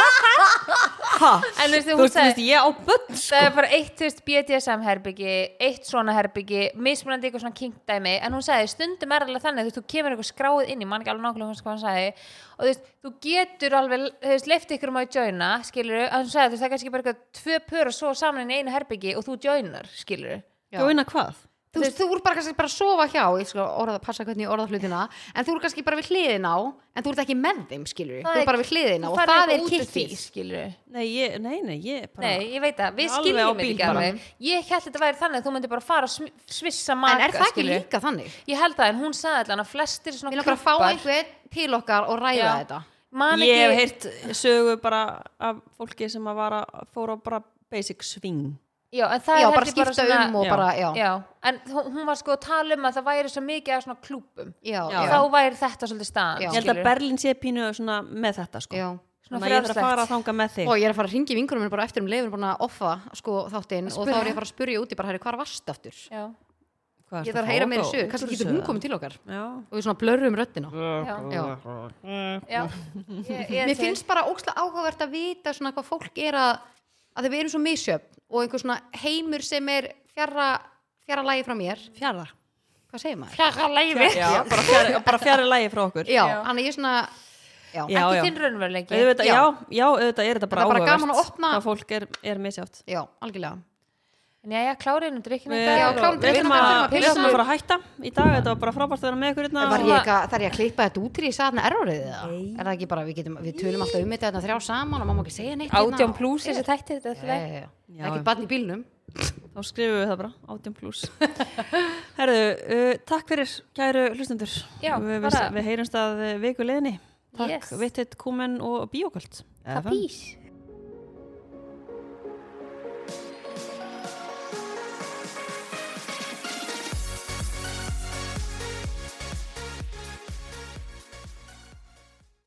[SPEAKER 2] ha,
[SPEAKER 3] En
[SPEAKER 2] þú
[SPEAKER 3] veistu, hún
[SPEAKER 2] veist, þú veist,
[SPEAKER 3] sagði-
[SPEAKER 2] ég á börn sko.
[SPEAKER 3] Það er bara eitt, þú veist, BDSM herbyggi, eitt svona herbyggi, mismunandi eitthvað svona kinkdæmi, en hún sagði, stundum er alveg þannig, þú veist, þú kemur eitthvað skráð inn í, mann ekki alveg nákvæmlega hvað hann sagði, og þú veist, þú getur alveg, þú veist, leift ykkur um að joina, skilur, en hún sagði, þú veist, það er kannski bara eitthvað tvö pör og svo saman inn í einu herbyggi og þú joinar, skilur.
[SPEAKER 1] Já.
[SPEAKER 2] Jóina hvað?
[SPEAKER 1] þú veist, þú ert bara kannski bara að sofa hjá ég skal orða, passa hvernig ég orða hlutina en þú ert kannski bara við hliðin á en þú ert ekki með þeim, skilur þú ert bara við hliðin á og það er kittið
[SPEAKER 3] skilur.
[SPEAKER 2] Nei, ég, nei, nei, ég bara
[SPEAKER 3] Nei, ég veit það, við
[SPEAKER 2] Alveg á
[SPEAKER 3] skiljum þetta
[SPEAKER 2] bíl
[SPEAKER 3] ekki
[SPEAKER 2] bara.
[SPEAKER 3] alveg. Ég held þetta væri þannig að þú myndir bara fara að sm- svissa maka,
[SPEAKER 1] en er það ekki
[SPEAKER 3] skilurðu.
[SPEAKER 1] líka þannig?
[SPEAKER 3] Ég held það, en hún sagði allan að flestir svona
[SPEAKER 1] Við langar að fá
[SPEAKER 3] klúbbar-
[SPEAKER 1] einhvern til okkar og ræða
[SPEAKER 3] Já.
[SPEAKER 1] þetta
[SPEAKER 3] man
[SPEAKER 2] Ég hef
[SPEAKER 3] ekki
[SPEAKER 2] heyrt sögu bara af fólki sem að vara, fór á bara basic swing
[SPEAKER 3] já, en það
[SPEAKER 1] Já,
[SPEAKER 3] er
[SPEAKER 1] bara
[SPEAKER 3] held ég
[SPEAKER 1] skipta
[SPEAKER 3] svona,
[SPEAKER 1] um og
[SPEAKER 2] Já.
[SPEAKER 1] bara, já,
[SPEAKER 3] já. en hún- hún var sko að tala um að það væri svo mikið af svona klúpum
[SPEAKER 1] já,
[SPEAKER 2] Já.
[SPEAKER 1] já.
[SPEAKER 3] þá væri þetta svolítið staðan
[SPEAKER 1] Já.
[SPEAKER 2] Ég held að Berlín sé pínu svona með þetta sko.
[SPEAKER 1] já.
[SPEAKER 3] Svona
[SPEAKER 2] Þannig að ég þarf að
[SPEAKER 3] frjálslegt.
[SPEAKER 2] fara að þanga með þig
[SPEAKER 1] Og ég er að fara að ringi vingunum minn bara eftir um leifin bara að offa sko, þáttinn og þá er ég að fara að spurja úti bara, hæri, hvað varst aftur?
[SPEAKER 3] já,
[SPEAKER 2] Hvað,
[SPEAKER 1] Ég
[SPEAKER 2] ertu
[SPEAKER 1] þarf að
[SPEAKER 2] fá
[SPEAKER 1] heyra meira
[SPEAKER 2] þá?
[SPEAKER 1] sög, kannski getur hún komið til okkar
[SPEAKER 2] Já,
[SPEAKER 1] og við svona blörrum röddina
[SPEAKER 3] já,
[SPEAKER 1] Já.
[SPEAKER 3] já. Ég, ég
[SPEAKER 1] Mér
[SPEAKER 3] til.
[SPEAKER 1] finnst bara ókslega áhugavert að vita svona hvað fólk er að að þegar við erum svo misjöfn og einhver svona heimur sem er fjarra fjarra lagi frá mér,
[SPEAKER 2] fjara
[SPEAKER 1] hvað segir maður?
[SPEAKER 3] Fjara læfi
[SPEAKER 2] Já, bara fjara, bara fjara lægi frá okkur
[SPEAKER 1] Já,
[SPEAKER 3] Já.
[SPEAKER 1] hann er ég svona já,
[SPEAKER 2] Já,
[SPEAKER 3] ekki
[SPEAKER 2] já.
[SPEAKER 3] þinn raunveruleiki
[SPEAKER 2] Auðvitað,
[SPEAKER 1] Já.
[SPEAKER 2] já, já, auðvitað er þetta bara
[SPEAKER 1] Þetta er bara
[SPEAKER 2] áhugavert
[SPEAKER 1] gaman að opna-
[SPEAKER 2] Hvað fólk er, er misjátt
[SPEAKER 1] já, algjörlega
[SPEAKER 3] en já, já, klárið um drikkinu
[SPEAKER 2] Við
[SPEAKER 1] Já,
[SPEAKER 3] þetta
[SPEAKER 1] klárum
[SPEAKER 2] við ætlum
[SPEAKER 1] drikkina,
[SPEAKER 2] að
[SPEAKER 1] förum að
[SPEAKER 2] við ætlum
[SPEAKER 1] pilsa.
[SPEAKER 2] að fara að hætta í dag, þetta var bara frábært að vera með ykkur
[SPEAKER 1] Var
[SPEAKER 2] hérna
[SPEAKER 1] ég ekki að, þarf ég að klippa þetta út í því saðna erfarið eða? Er það ekki bara, við, getum, við tölum alltaf um þetta þarna þrjá saman og má ekki segja neitt hérna
[SPEAKER 3] átján
[SPEAKER 1] og-
[SPEAKER 3] plús þessi tætti þetta er
[SPEAKER 1] Já,
[SPEAKER 3] alltaf
[SPEAKER 1] já, já.
[SPEAKER 2] Já.
[SPEAKER 1] Ekkert barn í bílnum
[SPEAKER 2] þá skrifum við það bara, 18 pluss herðu, uh, takk fyrir kæru hlustendur
[SPEAKER 3] Já,
[SPEAKER 2] við, við,
[SPEAKER 3] bara-
[SPEAKER 2] við heyrumst að uh, viku leðinni takk,
[SPEAKER 3] Yes.
[SPEAKER 2] yes. vittitt, kúmen og bíoköld
[SPEAKER 3] Kapís